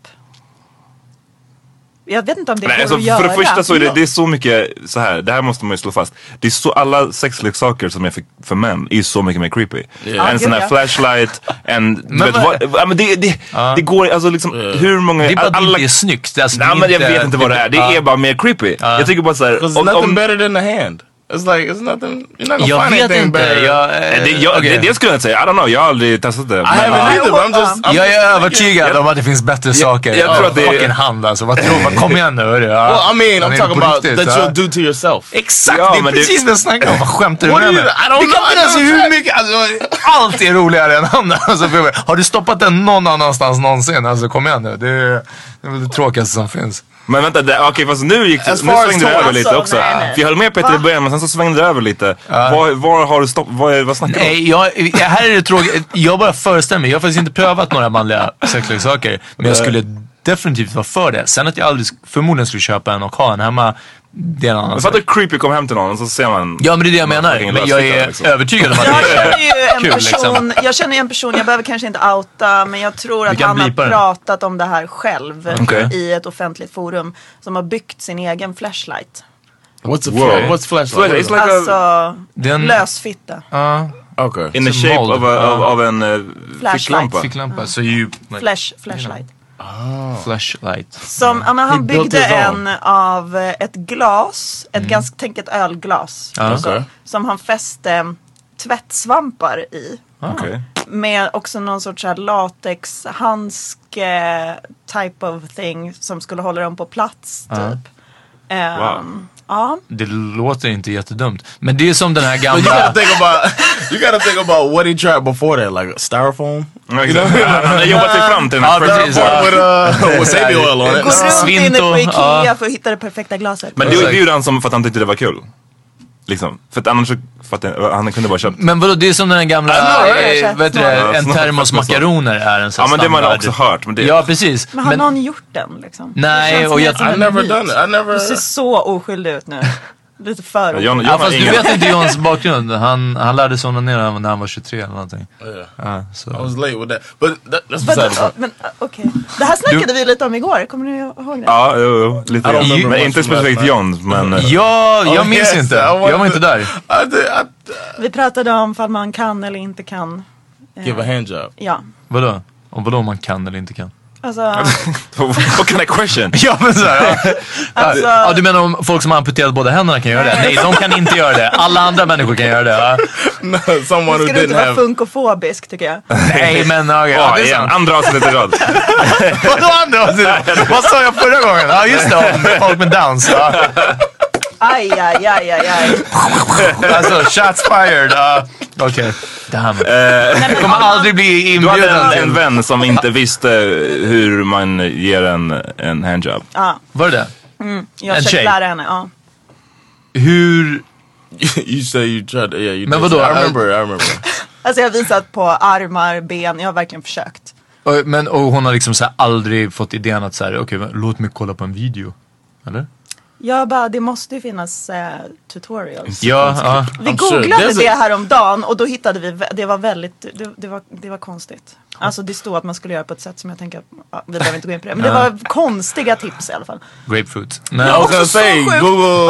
[SPEAKER 2] Jag vet inte om det
[SPEAKER 5] Nej,
[SPEAKER 2] går
[SPEAKER 5] alltså,
[SPEAKER 2] att göra.
[SPEAKER 5] för det första så är det, det är så mycket så här. det här måste man ju slå fast. Det är så, alla sexleksaker som är för, för män är ju så mycket mer creepy.
[SPEAKER 6] Yeah.
[SPEAKER 5] En
[SPEAKER 2] Ja,
[SPEAKER 5] sån här
[SPEAKER 2] gud,
[SPEAKER 5] flashlight, en... du
[SPEAKER 3] Men
[SPEAKER 5] vet,
[SPEAKER 3] vad-
[SPEAKER 5] vad- ja, men det, det, det går alltså liksom hur många...
[SPEAKER 3] Det är bara att det
[SPEAKER 5] alla,
[SPEAKER 3] inte är snyggt. Alltså, det
[SPEAKER 5] nej
[SPEAKER 3] är
[SPEAKER 5] men jag vet inte vad det är, det
[SPEAKER 3] Ja.
[SPEAKER 5] är bara mer creepy. Jag tycker bara
[SPEAKER 6] Because
[SPEAKER 5] såhär...
[SPEAKER 6] nothing better than the hand. It's like it's nothing. You're not gonna
[SPEAKER 3] Jag
[SPEAKER 6] find
[SPEAKER 3] vet
[SPEAKER 6] anything
[SPEAKER 3] inte.
[SPEAKER 6] better.
[SPEAKER 3] Jag, eh,
[SPEAKER 5] Det, jag,
[SPEAKER 3] okej.
[SPEAKER 5] det, det skulle jag inte säga, I don't know, jag har aldrig testat det.
[SPEAKER 6] I
[SPEAKER 5] men-
[SPEAKER 6] haven't either. But I'm just. I'm
[SPEAKER 3] Jag
[SPEAKER 6] just-
[SPEAKER 3] är övertygad om att det finns bättre saker.
[SPEAKER 5] jag tror att det är-
[SPEAKER 3] Fucking hand alltså. Vad tror man? Kom igen nu. hörru. Ja.
[SPEAKER 6] Well, I mean,
[SPEAKER 3] Jag
[SPEAKER 6] I'm
[SPEAKER 3] menar,
[SPEAKER 6] talking
[SPEAKER 3] på
[SPEAKER 6] about
[SPEAKER 3] riktigt,
[SPEAKER 6] that
[SPEAKER 3] ja.
[SPEAKER 6] you'll do to yourself.
[SPEAKER 3] Exakt,
[SPEAKER 5] Ja,
[SPEAKER 3] det är
[SPEAKER 5] men det-
[SPEAKER 3] precis det jag snackar om. Vad Skämtar du
[SPEAKER 6] What
[SPEAKER 3] med
[SPEAKER 6] do
[SPEAKER 3] mig?
[SPEAKER 6] you- I don't
[SPEAKER 3] Det kan
[SPEAKER 6] know, I
[SPEAKER 3] finnas
[SPEAKER 6] don't
[SPEAKER 3] hur
[SPEAKER 6] know.
[SPEAKER 3] mycket, alltså, allt är roligare än andra. Alltså, för mig. har du stoppat den någon annanstans någonsin? Alltså kom igen nu. Det är, det är väl det tråkigaste som finns.
[SPEAKER 5] Men vänta, det- okej fast nu gick nu
[SPEAKER 6] As far as
[SPEAKER 5] svängde det över
[SPEAKER 6] toys,
[SPEAKER 5] lite
[SPEAKER 2] alltså,
[SPEAKER 5] också.
[SPEAKER 2] nej, nej.
[SPEAKER 5] För jag höll med Peter i början men sen så svängde det över lite. Var, var har du stopp, vad, är- vad snackar du om?
[SPEAKER 3] Nej, jag, här är det tråkigt. Jag bara föreställer mig. Jag har faktiskt inte prövat några manliga sexleksaker. Men jag skulle definitivt vara för det. Sen att jag aldrig sk- förmodligen skulle köpa en och ha en hemma, det är en annan
[SPEAKER 5] Men
[SPEAKER 3] sak.
[SPEAKER 5] Fattar du creepy kom hem till någon och så ser man...
[SPEAKER 3] Ja, men det är det jag menar.
[SPEAKER 5] fucking
[SPEAKER 3] Men jag
[SPEAKER 5] lösfitta,
[SPEAKER 3] är
[SPEAKER 5] liksom.
[SPEAKER 3] övertygad om att
[SPEAKER 2] Jag
[SPEAKER 3] det
[SPEAKER 2] känner ju en
[SPEAKER 3] Kul,
[SPEAKER 2] person,
[SPEAKER 3] liksom.
[SPEAKER 2] jag känner ju en person, jag behöver kanske inte outa men jag tror att
[SPEAKER 3] kan
[SPEAKER 2] han har
[SPEAKER 3] bleepa den.
[SPEAKER 2] pratat om det här själv
[SPEAKER 5] Okej.
[SPEAKER 2] i ett offentligt forum som har byggt sin egen flashlight.
[SPEAKER 6] What's a
[SPEAKER 5] Whoa.
[SPEAKER 6] flash? What's flashlight?
[SPEAKER 5] It's like
[SPEAKER 2] Alltså
[SPEAKER 5] a,
[SPEAKER 3] Den-
[SPEAKER 2] lösfitta.
[SPEAKER 6] okay.
[SPEAKER 5] in the
[SPEAKER 3] it's a
[SPEAKER 5] shape
[SPEAKER 3] mold.
[SPEAKER 5] of, a, of, av en uh,
[SPEAKER 2] Flashlight.
[SPEAKER 5] ficklampa.
[SPEAKER 3] Fick lampa, så you...
[SPEAKER 2] Flash, flashlight.
[SPEAKER 3] Flashlight.
[SPEAKER 2] Som, ja, men
[SPEAKER 6] He
[SPEAKER 2] han
[SPEAKER 6] built
[SPEAKER 2] byggde
[SPEAKER 6] his
[SPEAKER 2] en
[SPEAKER 6] own.
[SPEAKER 2] av eh, ett glas,
[SPEAKER 3] Mm.
[SPEAKER 2] ett ganska, tänk ett ölglas. alltså,
[SPEAKER 6] Okay.
[SPEAKER 2] Som han fäste tvättsvampar i.
[SPEAKER 3] Ah.
[SPEAKER 5] Okej.
[SPEAKER 2] Med också någon sorts så här latexhandsk eh, type of thing som skulle hålla dem på plats typ. Ehm,
[SPEAKER 5] Wow.
[SPEAKER 2] Ja,
[SPEAKER 3] Det låter inte jättedumt. Men det är som den här
[SPEAKER 6] But you
[SPEAKER 3] gamla...
[SPEAKER 6] gotta think about you gotta think about what he tried before that, like styrofoam.
[SPEAKER 5] Ja, exakt. Han har jobbat sig fram till den
[SPEAKER 3] Ja,
[SPEAKER 5] här
[SPEAKER 3] precis.
[SPEAKER 5] first
[SPEAKER 3] Ja.
[SPEAKER 5] part.
[SPEAKER 6] with uh, wasabi oil on it.
[SPEAKER 2] gå runt inne
[SPEAKER 3] Svinto,
[SPEAKER 2] på Ikea
[SPEAKER 3] ja.
[SPEAKER 2] för att hitta det perfekta glaset.
[SPEAKER 5] Men det
[SPEAKER 3] Exakt.
[SPEAKER 5] det gjorde han som för att han tyckte det var kul. Liksom. För att annars så fattar jag, han kunde bara köpt.
[SPEAKER 3] Men vadå, det är som den här gamla...
[SPEAKER 2] Snarare,
[SPEAKER 3] eh,
[SPEAKER 2] kanske.
[SPEAKER 3] Vad heter
[SPEAKER 5] Snarare.
[SPEAKER 3] det? En termos makaroner är en sån
[SPEAKER 5] Ja men det har man
[SPEAKER 3] standard.
[SPEAKER 5] också hört. Men det,
[SPEAKER 3] Ja, precis.
[SPEAKER 2] Men har
[SPEAKER 3] Men-
[SPEAKER 2] någon gjort den liksom?
[SPEAKER 3] Nej,
[SPEAKER 2] Det känns
[SPEAKER 3] och
[SPEAKER 2] mer
[SPEAKER 3] jag-
[SPEAKER 2] som
[SPEAKER 6] I
[SPEAKER 2] en
[SPEAKER 6] never
[SPEAKER 2] myt.
[SPEAKER 6] done it. I never.
[SPEAKER 2] Du ser så oskyldig ut nu. Lite för
[SPEAKER 5] jag,
[SPEAKER 2] oskyldig.
[SPEAKER 5] jag,
[SPEAKER 3] Ja,
[SPEAKER 5] har
[SPEAKER 3] fast du
[SPEAKER 5] ingen-
[SPEAKER 3] vet inte Johns bakgrund. Han, han lärde sig onanera när han var 23 eller någonting.
[SPEAKER 6] Yeah,
[SPEAKER 3] Ja, så.
[SPEAKER 6] I was late with that, but that, that's
[SPEAKER 2] Men,
[SPEAKER 6] beside the uh, point.
[SPEAKER 2] men okej. Det här snackade vi lite om igår, kommer ni ihåg det?
[SPEAKER 5] Ja, jo, jo, lite
[SPEAKER 6] I don't
[SPEAKER 5] grann.
[SPEAKER 6] remember
[SPEAKER 5] Men
[SPEAKER 6] much
[SPEAKER 5] inte
[SPEAKER 6] from last
[SPEAKER 5] specifikt
[SPEAKER 6] night.
[SPEAKER 5] John, men... eh,
[SPEAKER 3] Ja, jag
[SPEAKER 6] Oh,
[SPEAKER 3] minns
[SPEAKER 6] yes,
[SPEAKER 3] inte.
[SPEAKER 6] I wanted-
[SPEAKER 3] Jag var inte där.
[SPEAKER 6] I did. I
[SPEAKER 2] Vi pratade om ifall man kan eller inte kan.
[SPEAKER 6] give a hand job.
[SPEAKER 2] Ja.
[SPEAKER 3] Vadå? Och vadå om man kan eller inte kan?
[SPEAKER 2] Alltså,
[SPEAKER 5] What kind of question?
[SPEAKER 3] Ja men såhär. Ja.
[SPEAKER 2] Alltså-
[SPEAKER 3] ja, du menar om folk som har amputerat båda händerna kan göra det? Nej, de kan inte göra det. Alla andra människor kan göra det. Ja.
[SPEAKER 6] No, someone who
[SPEAKER 2] ska du
[SPEAKER 6] didn't
[SPEAKER 2] inte vara
[SPEAKER 6] have.
[SPEAKER 2] funkofobisk tycker jag.
[SPEAKER 3] Nej men okej.
[SPEAKER 5] Ja,
[SPEAKER 3] ja, det är
[SPEAKER 5] igen.
[SPEAKER 3] sant.
[SPEAKER 5] Andra avsnittet i rad.
[SPEAKER 3] Vadå andra avsnittet? Vad sa jag förra gången? Ja just det, om folk med dans. Ja.
[SPEAKER 2] Aj, aj, aj, aj, aj.
[SPEAKER 3] Alltså shots fired. Ja. Okej. Damn. Jag kommer aldrig bli
[SPEAKER 5] Du hade
[SPEAKER 3] inbjuden
[SPEAKER 5] en, en
[SPEAKER 3] till...
[SPEAKER 5] vän som inte visste hur man ger en, en handjob.
[SPEAKER 3] Var det det?
[SPEAKER 2] Jag
[SPEAKER 3] En
[SPEAKER 2] försökte
[SPEAKER 3] tjej.
[SPEAKER 2] lära henne. Ja.
[SPEAKER 3] Hur...
[SPEAKER 6] you say you tried. To, yeah, you.
[SPEAKER 3] Men
[SPEAKER 6] did.
[SPEAKER 3] vadå?
[SPEAKER 6] I remember. I remember.
[SPEAKER 2] Alltså jag har visat på armar, ben, jag har verkligen försökt.
[SPEAKER 3] Och, men, och hon har liksom så här aldrig fått idén att så här, okej, men låt mig kolla på en video. Eller?
[SPEAKER 2] Jag bara, det måste ju finnas eh, tutorials.
[SPEAKER 3] Ja, ja.
[SPEAKER 2] Vi
[SPEAKER 3] I'm sure.
[SPEAKER 2] googlade
[SPEAKER 3] There's a-
[SPEAKER 2] det här om dagen och då hittade vi, vä- det var väldigt, det, det, var, det var konstigt. Alltså det stod att man skulle göra på ett sätt som jag tänker, ja, vi behöver inte gå in på det. Men det
[SPEAKER 3] Ja.
[SPEAKER 2] var konstiga tips i alla fall.
[SPEAKER 3] Grapefruit.
[SPEAKER 2] Det
[SPEAKER 3] Nej,
[SPEAKER 2] var också så sjukt.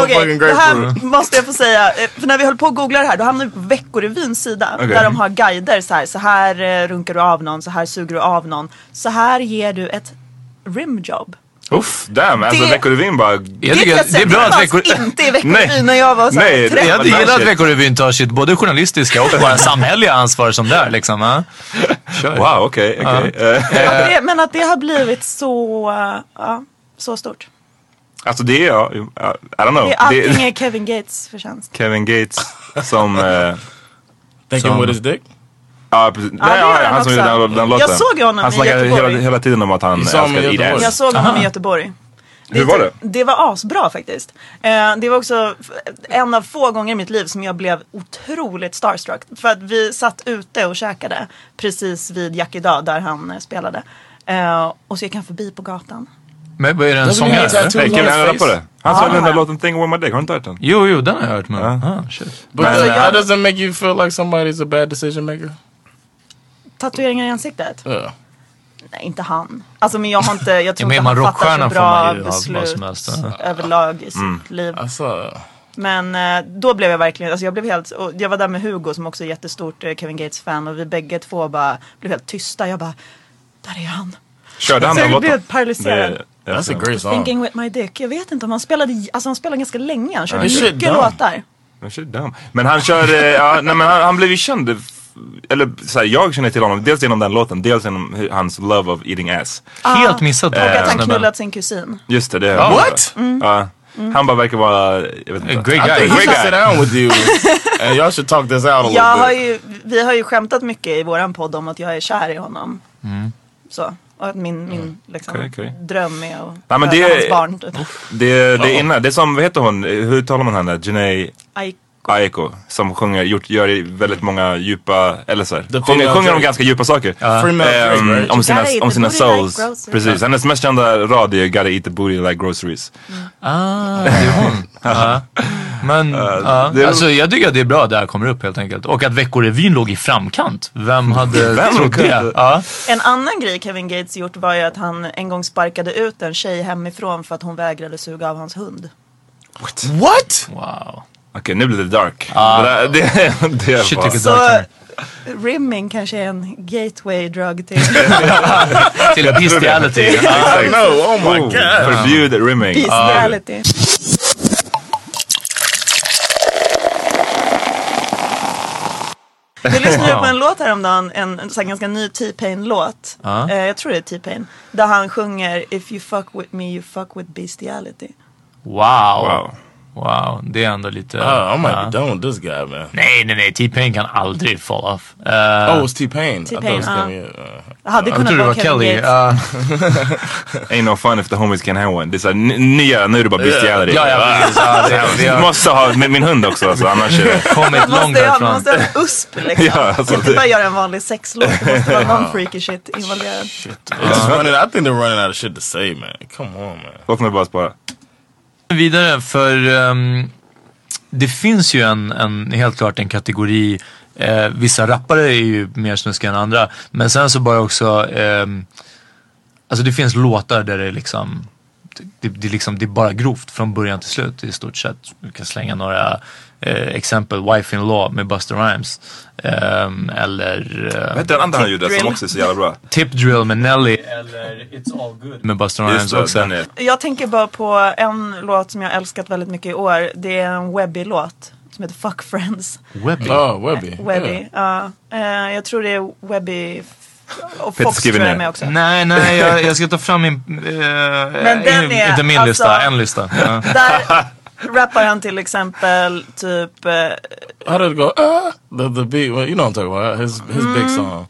[SPEAKER 2] Okej, Det här måste jag få säga, eh, för när vi höll på att googla det här då hamnade vi på Veckorevyns sida.
[SPEAKER 3] Okej.
[SPEAKER 2] Där de har guider så här, så här eh, runkar du av någon, så här suger du av någon. Så här ger du ett rimjob.
[SPEAKER 5] Uff, damn. Alltså
[SPEAKER 2] Det-
[SPEAKER 5] Veckorevyn bara...
[SPEAKER 3] Jag tycker att- det är bra att
[SPEAKER 2] fanns
[SPEAKER 3] Veckor-
[SPEAKER 2] inte i Veckorevyn när jag var så här
[SPEAKER 3] Nej,
[SPEAKER 2] tretton.
[SPEAKER 3] jag hade gillat att Veckorevyn tar sitt både journalistiska och bara samhälleliga ansvar som där liksom. Ja.
[SPEAKER 5] Wow, okej. okej. Eh,
[SPEAKER 3] Eh,
[SPEAKER 2] Att det, men att det har blivit så, eh, ja, så stort.
[SPEAKER 5] Alltså det är jag. I don't know.
[SPEAKER 2] Det, allting är Kevin Gates förtjänst.
[SPEAKER 5] Kevin Gates som... Uh,
[SPEAKER 6] Thinking with his dick?
[SPEAKER 5] Ja, precis.
[SPEAKER 2] Ja,
[SPEAKER 5] Nej,
[SPEAKER 2] det gör
[SPEAKER 5] ja,
[SPEAKER 2] han
[SPEAKER 5] han som gjorde
[SPEAKER 2] också.
[SPEAKER 5] den, den
[SPEAKER 2] Jag
[SPEAKER 5] låten.
[SPEAKER 2] såg ju honom
[SPEAKER 5] han
[SPEAKER 2] i
[SPEAKER 5] snackade hela,
[SPEAKER 2] Göteborg.
[SPEAKER 5] hela tiden om att han
[SPEAKER 6] Jag såg honom i
[SPEAKER 5] älskade
[SPEAKER 6] Göteborg.
[SPEAKER 5] IDS.
[SPEAKER 2] Jag såg honom i Göteborg.
[SPEAKER 5] Hur var det?
[SPEAKER 2] Det var asbra faktiskt. Eh, det var också f- en av få gånger i mitt liv som jag blev otroligt starstruck. För att vi satt ute och käkade precis vid Jack idag där han eh, spelade. Eh, och så gick han förbi på gatan.
[SPEAKER 3] Men vad är det en
[SPEAKER 2] Doesn't he
[SPEAKER 3] sångare?
[SPEAKER 2] have
[SPEAKER 3] eller?
[SPEAKER 2] tattoo on
[SPEAKER 5] Hey, Kevin,
[SPEAKER 2] his
[SPEAKER 5] han
[SPEAKER 2] face?
[SPEAKER 5] på det. Han
[SPEAKER 2] Ja,
[SPEAKER 5] sa den
[SPEAKER 2] ja.
[SPEAKER 5] där låten Thing with my dick, har du inte hört den?
[SPEAKER 3] Jo, jo, den har jag hört men. Ah, shit.
[SPEAKER 6] But
[SPEAKER 5] Men,
[SPEAKER 6] uh,
[SPEAKER 5] eh,
[SPEAKER 6] how does it make you feel like somebody's a bad decision maker?
[SPEAKER 2] Tatueringar i ansiktet?
[SPEAKER 6] Ja.
[SPEAKER 2] Nej, inte han. Alltså men jag har inte, jag
[SPEAKER 3] Ja,
[SPEAKER 2] tror
[SPEAKER 3] men är
[SPEAKER 2] inte
[SPEAKER 3] man
[SPEAKER 2] han fattar
[SPEAKER 3] rockstjärna
[SPEAKER 2] så
[SPEAKER 3] får man
[SPEAKER 2] bra
[SPEAKER 3] ju ha vad
[SPEAKER 2] beslut
[SPEAKER 3] som helst. ja.
[SPEAKER 2] överlag i sitt
[SPEAKER 3] Mm.
[SPEAKER 2] liv.
[SPEAKER 6] Alltså,
[SPEAKER 2] Men eh, då blev jag verkligen, alltså jag blev helt, och jag var där med Hugo som också är jättestort eh, Kevin Gates fan och vi bägge två bara blev helt tysta. Jag bara, där är han.
[SPEAKER 5] Körde han
[SPEAKER 2] Så
[SPEAKER 5] den
[SPEAKER 2] jag blev
[SPEAKER 5] låten?
[SPEAKER 2] paralyserad.
[SPEAKER 5] Det är-
[SPEAKER 6] That's a great song.
[SPEAKER 2] Thinking with my dick. Jag vet inte om han spelade, alltså han spelade ganska länge. Han körde
[SPEAKER 5] Ja, det är
[SPEAKER 2] mycket
[SPEAKER 5] shit, damn.
[SPEAKER 2] låtar.
[SPEAKER 5] Men shit, damn. Men han kör, eh, ja, nej men han, han blev ju känd, eh, f- eller så här, jag känner till honom dels genom den låten, dels genom hu- hans love of eating ass.
[SPEAKER 3] Helt missat
[SPEAKER 2] Ah. Och att han
[SPEAKER 5] snubben.
[SPEAKER 2] knullat sin kusin.
[SPEAKER 5] Just det, det
[SPEAKER 6] Ah,
[SPEAKER 5] har jag
[SPEAKER 6] what?
[SPEAKER 5] hört. Ja. Han bara verkar vara, jag vet inte.
[SPEAKER 6] I
[SPEAKER 3] great
[SPEAKER 6] think he
[SPEAKER 5] Great
[SPEAKER 6] should
[SPEAKER 5] guy.
[SPEAKER 6] sit down with you and y'all should talk this out a little
[SPEAKER 2] Jag
[SPEAKER 6] bit.
[SPEAKER 2] har ju, vi har ju skämtat mycket i våran podd om att jag är kär i honom. Så. Och att min, min liksom,
[SPEAKER 5] Mm. Okej, okej.
[SPEAKER 2] dröm är att
[SPEAKER 5] Nej, men
[SPEAKER 2] föda
[SPEAKER 5] det-
[SPEAKER 2] hans barn. Typ.
[SPEAKER 5] Det, det är innan, det är som, vad heter hon, Eh, hur talar man henne? Jhené
[SPEAKER 2] Aj,
[SPEAKER 5] Aiko som sjunger, gjort, gör väldigt många djupa, eller så här, sjunger,
[SPEAKER 6] female
[SPEAKER 5] sjunger om
[SPEAKER 6] Drake.
[SPEAKER 5] ganska djupa saker.
[SPEAKER 6] Free male Drake,
[SPEAKER 5] Ehm,
[SPEAKER 6] right?
[SPEAKER 5] om sina,
[SPEAKER 2] Gotta eat
[SPEAKER 5] om
[SPEAKER 2] the
[SPEAKER 5] sina
[SPEAKER 2] booty like
[SPEAKER 5] souls.
[SPEAKER 2] groceries.
[SPEAKER 5] Precis, hennes mest kända rad är Gotta eat the booty like groceries.
[SPEAKER 3] Ah, det är hon. Ja. Men ja.
[SPEAKER 5] det är-
[SPEAKER 3] alltså, jag tycker att det är bra att det här kommer upp helt enkelt. Och att Veckorevyn låg i framkant. Vem hade
[SPEAKER 5] Vem
[SPEAKER 3] trott det?
[SPEAKER 5] kunde?
[SPEAKER 3] Ja.
[SPEAKER 2] En annan grej Kevin Gates gjort var ju att han en gång sparkade ut en tjej hemifrån för att hon vägrade suga av hans hund.
[SPEAKER 6] What?
[SPEAKER 3] Wow.
[SPEAKER 5] Okej, nu blir det dark. Det, där- det, det
[SPEAKER 3] Ah. Shit,
[SPEAKER 5] var...
[SPEAKER 3] vilket
[SPEAKER 2] Så
[SPEAKER 3] dark humor.
[SPEAKER 2] rimming kanske är en gateway drug till
[SPEAKER 3] Till bestiality.
[SPEAKER 5] Exakt.
[SPEAKER 6] No, oh my
[SPEAKER 5] Oh,
[SPEAKER 6] god.
[SPEAKER 5] Förbjud rimming. Ah.
[SPEAKER 2] bestiality. Vi lyssnade på en låt häromdagen, en, en så här ganska ny T-Pain-låt.
[SPEAKER 3] Ja.
[SPEAKER 2] Eh, jag tror det är T-Pain. Där han sjunger If you fuck with me you fuck with bestiality.
[SPEAKER 3] Wow.
[SPEAKER 5] Wow.
[SPEAKER 3] Wow, det är ändå lite...
[SPEAKER 6] Oh, I might
[SPEAKER 3] ja.
[SPEAKER 2] Uh-huh.
[SPEAKER 6] be done with this guy, man.
[SPEAKER 2] Uh,
[SPEAKER 3] Nej, nej, nej. T-Pain kan aldrig fall off. Eh,
[SPEAKER 6] Oh, it's T-Pain. I thought it
[SPEAKER 2] T-Pain,
[SPEAKER 6] was
[SPEAKER 2] uh.
[SPEAKER 6] Kevin, yeah, uh.
[SPEAKER 2] Det hade
[SPEAKER 3] jag
[SPEAKER 2] kunnat
[SPEAKER 3] trodde det var
[SPEAKER 2] vara Kevin
[SPEAKER 3] Kelly.
[SPEAKER 2] Gates.
[SPEAKER 3] Eh,
[SPEAKER 5] Ain't no fun if the homies can have one. Det är såhär n- nya, nu är det bara bestiality.
[SPEAKER 3] ja, ja, precis. Ja, det- vi
[SPEAKER 5] Du
[SPEAKER 3] har
[SPEAKER 5] måste ha med min hund också alltså, annars är det...
[SPEAKER 3] kommit
[SPEAKER 2] Man
[SPEAKER 3] långt
[SPEAKER 2] måste, ha- man
[SPEAKER 3] därifrån.
[SPEAKER 2] måste ha en USP liksom.
[SPEAKER 5] Ja, alltså,
[SPEAKER 2] Inte bara göra en vanlig sexlåt, det måste vara någon freaky shit involverad. Uh-huh.
[SPEAKER 6] It's running, I think they're running out of shit to say, man. Come on, man.
[SPEAKER 5] Låt mig bara spara.
[SPEAKER 3] vidare för ehm, det finns ju en, en, helt klart en kategori. Eh, vissa rappare är ju mer snuskiga än andra. Men sen så bara också, ehm, alltså det finns låtar där det är liksom det, det, är liksom, det är bara grovt från början till slut i stort sett. Vi kan slänga några eh, exempel. Wife in Law med Buster Rhymes. Ehm, eller
[SPEAKER 5] Vad
[SPEAKER 3] eh,
[SPEAKER 5] heter den andra han gjorde som också är så jävla bra?
[SPEAKER 3] Tip Drill med Nelly. Eller It's All Good med Buster Rhymes
[SPEAKER 5] Just det,
[SPEAKER 3] också.
[SPEAKER 5] den är...
[SPEAKER 2] Jag tänker bara på en låt som jag älskat väldigt mycket i år. Det är en Webby-låt som heter Fuck Friends.
[SPEAKER 3] Webby.
[SPEAKER 6] Oh, Webby.
[SPEAKER 2] Uh, Webby, ja. Eh, jag tror det är Webby f- och
[SPEAKER 5] Peter
[SPEAKER 2] Fox tror jag är
[SPEAKER 5] Skrivner.
[SPEAKER 2] med också.
[SPEAKER 3] Nej, nej, jag, jag ska ta fram min... eh,
[SPEAKER 2] den
[SPEAKER 3] in,
[SPEAKER 2] är-
[SPEAKER 3] inte min
[SPEAKER 2] alltså-
[SPEAKER 3] lista, en lista. Ja.
[SPEAKER 2] Där rappar han till exempel typ eh,
[SPEAKER 6] Yeah. How did it go? Ah, the, the beat. Well, you know what I'm talking about. His, his
[SPEAKER 2] Mm.
[SPEAKER 6] big song.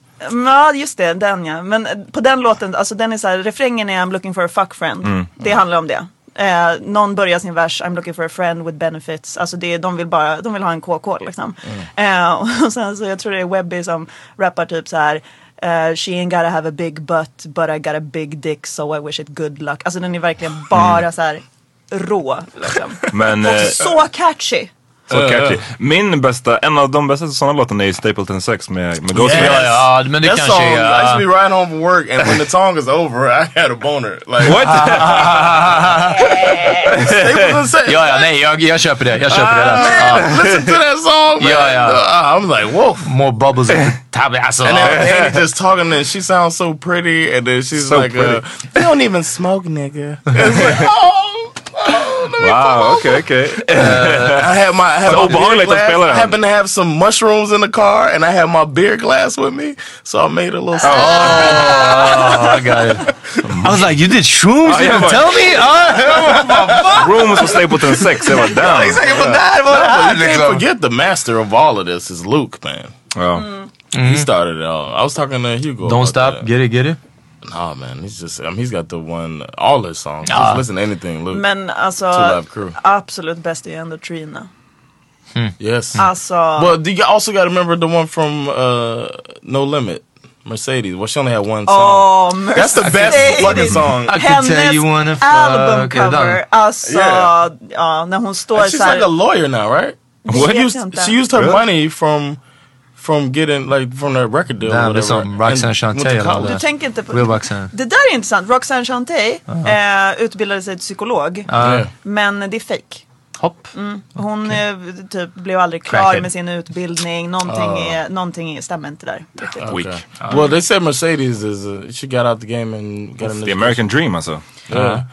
[SPEAKER 2] Ja just det, den ja. Men eh, på den låten, alltså den är så här, refrängen är I'm looking for a fuck friend.
[SPEAKER 5] Mm.
[SPEAKER 2] Det handlar om det. Eh, någon börjar sin vers, I'm looking for a friend with benefits. Alltså det, är- de vill bara,
[SPEAKER 5] Mm.
[SPEAKER 2] de vill ha en KK liksom. Eh, och sen så jag tror det är Webby som rappar typ så här eh, she ain't gotta have a big butt but I got a big dick so I wish it good luck. Alltså den är verkligen bara så här rå. Liksom.
[SPEAKER 5] Mm. Men...
[SPEAKER 2] Och
[SPEAKER 5] eh,
[SPEAKER 2] så catchy!
[SPEAKER 5] Så catchy. Min bästa, en av de bästa sådana låtarna är ju Stapleton 6 med, med Ghostface.
[SPEAKER 6] that song, I
[SPEAKER 2] uh,
[SPEAKER 6] used to be riding home from work, and when the song is over, I had a boner. Like
[SPEAKER 5] what?
[SPEAKER 6] Stapleton said,
[SPEAKER 3] Ja, ja, nej, jag, jag köper det. Jag köper det
[SPEAKER 6] "Man,
[SPEAKER 3] där.
[SPEAKER 6] listen to that song. Man.
[SPEAKER 3] Ja, ja.
[SPEAKER 6] I'm like, whoa.
[SPEAKER 3] More bubbles in the tablet. Alltså.
[SPEAKER 6] And then Andy just talking, and she sounds so pretty, and then she's
[SPEAKER 3] So
[SPEAKER 6] like, uh,
[SPEAKER 3] pretty.
[SPEAKER 6] "You don't even smoke, nigga." It's like, oh, oh,
[SPEAKER 3] Ah.
[SPEAKER 6] let me
[SPEAKER 5] Wow, Ah, okej, okej.
[SPEAKER 6] I had my I had
[SPEAKER 5] Så
[SPEAKER 6] my beer
[SPEAKER 5] obehagligt att
[SPEAKER 6] glass.
[SPEAKER 5] spela
[SPEAKER 6] I
[SPEAKER 5] den.
[SPEAKER 6] happened to have some mushrooms in the car, and I had my beer glass with me, so I made a little.
[SPEAKER 3] Oh, I got it. I was like, you did shrooms?
[SPEAKER 5] Ah,
[SPEAKER 3] you
[SPEAKER 5] jag
[SPEAKER 3] didn't
[SPEAKER 5] bara-
[SPEAKER 3] tell me? Ah,
[SPEAKER 5] Rooms på Stapleton 6, jag var down.
[SPEAKER 6] He's like, "But that- but that- you can't forget the master of all of this is Luke, man.
[SPEAKER 5] Ja.
[SPEAKER 6] He started it all. I was talking to Hugo.
[SPEAKER 3] Don't
[SPEAKER 6] about
[SPEAKER 3] stop.
[SPEAKER 6] that.
[SPEAKER 3] Get it, get it.
[SPEAKER 6] Nah, man. He's just. I mean, he's got the one. All his songs.
[SPEAKER 3] Ah.
[SPEAKER 6] Just listen to anything, Luke.
[SPEAKER 2] Men
[SPEAKER 6] Two
[SPEAKER 2] alltså
[SPEAKER 6] Live Crew.
[SPEAKER 2] absolut bäst är ju ändå Trina.
[SPEAKER 6] Yes.
[SPEAKER 2] Alltså,
[SPEAKER 6] But do you also got to remember the one from uh, No Limit, Mercedes. Well, she only had one song.
[SPEAKER 2] åh
[SPEAKER 6] That's the best
[SPEAKER 2] Mercedes.
[SPEAKER 6] fucking song.
[SPEAKER 3] I could tell you wanna
[SPEAKER 2] Hennes
[SPEAKER 3] fuck. Okay, done.
[SPEAKER 2] albumcover, alltså,
[SPEAKER 6] Yeah.
[SPEAKER 2] ja, när hon står
[SPEAKER 6] And she's
[SPEAKER 2] såhär.
[SPEAKER 6] like a lawyer now, right?
[SPEAKER 2] What?
[SPEAKER 6] She used, she used her
[SPEAKER 5] Really?
[SPEAKER 6] money from from getting like from that record deal.
[SPEAKER 3] Damn, there's
[SPEAKER 6] or whatever.
[SPEAKER 3] some Roxanne
[SPEAKER 6] and went to
[SPEAKER 3] Shantay and all
[SPEAKER 6] college.
[SPEAKER 2] du tänker inte på...
[SPEAKER 3] Real Roxanne.
[SPEAKER 2] Det där är intressant. Roxanne Shantay eh, utbildade sig till psykolog.
[SPEAKER 6] Yeah.
[SPEAKER 2] Men det är fake.
[SPEAKER 3] Hopp.
[SPEAKER 2] Mm. Hon eh, typ, blev aldrig klar
[SPEAKER 3] Crackhead.
[SPEAKER 2] med sin utbildning. Någonting, är, någonting är, stämmer inte där. riktigt.
[SPEAKER 5] Weak.
[SPEAKER 6] Okay. Well, they said Mercedes is uh, she got out the game and got in
[SPEAKER 5] The American Dream alltså.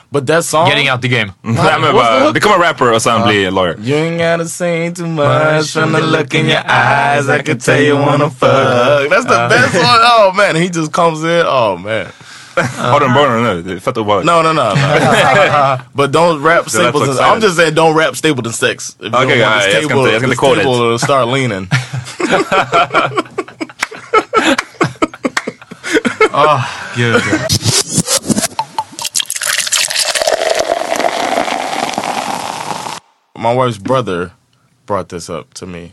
[SPEAKER 6] But that song,
[SPEAKER 3] Getting out the game.
[SPEAKER 5] Nej men
[SPEAKER 6] What's the
[SPEAKER 5] bara,
[SPEAKER 6] hook?
[SPEAKER 5] become a rapper och sen bli lawyer.
[SPEAKER 6] you ain't gotta say too much from the look in your eyes. I could tell you wanna fuck. That's
[SPEAKER 3] Uh,
[SPEAKER 6] the best one. Oh man, he just comes in. Oh man.
[SPEAKER 5] Har du en boner nu? Det är fett obehagligt.
[SPEAKER 6] No, no, no. no. but don't rap
[SPEAKER 5] So that's
[SPEAKER 6] Stapleton.
[SPEAKER 5] like
[SPEAKER 6] I'm just saying, don't rap Stapleton Six. If you
[SPEAKER 5] Okay,
[SPEAKER 6] don't want
[SPEAKER 5] yeah,
[SPEAKER 6] this
[SPEAKER 5] yeah, it's gonna-
[SPEAKER 6] table,
[SPEAKER 5] it's gonna
[SPEAKER 6] this
[SPEAKER 5] quote it.
[SPEAKER 6] table to start leaning. Ah,
[SPEAKER 3] Gud.
[SPEAKER 6] My wife's brother brought this up to me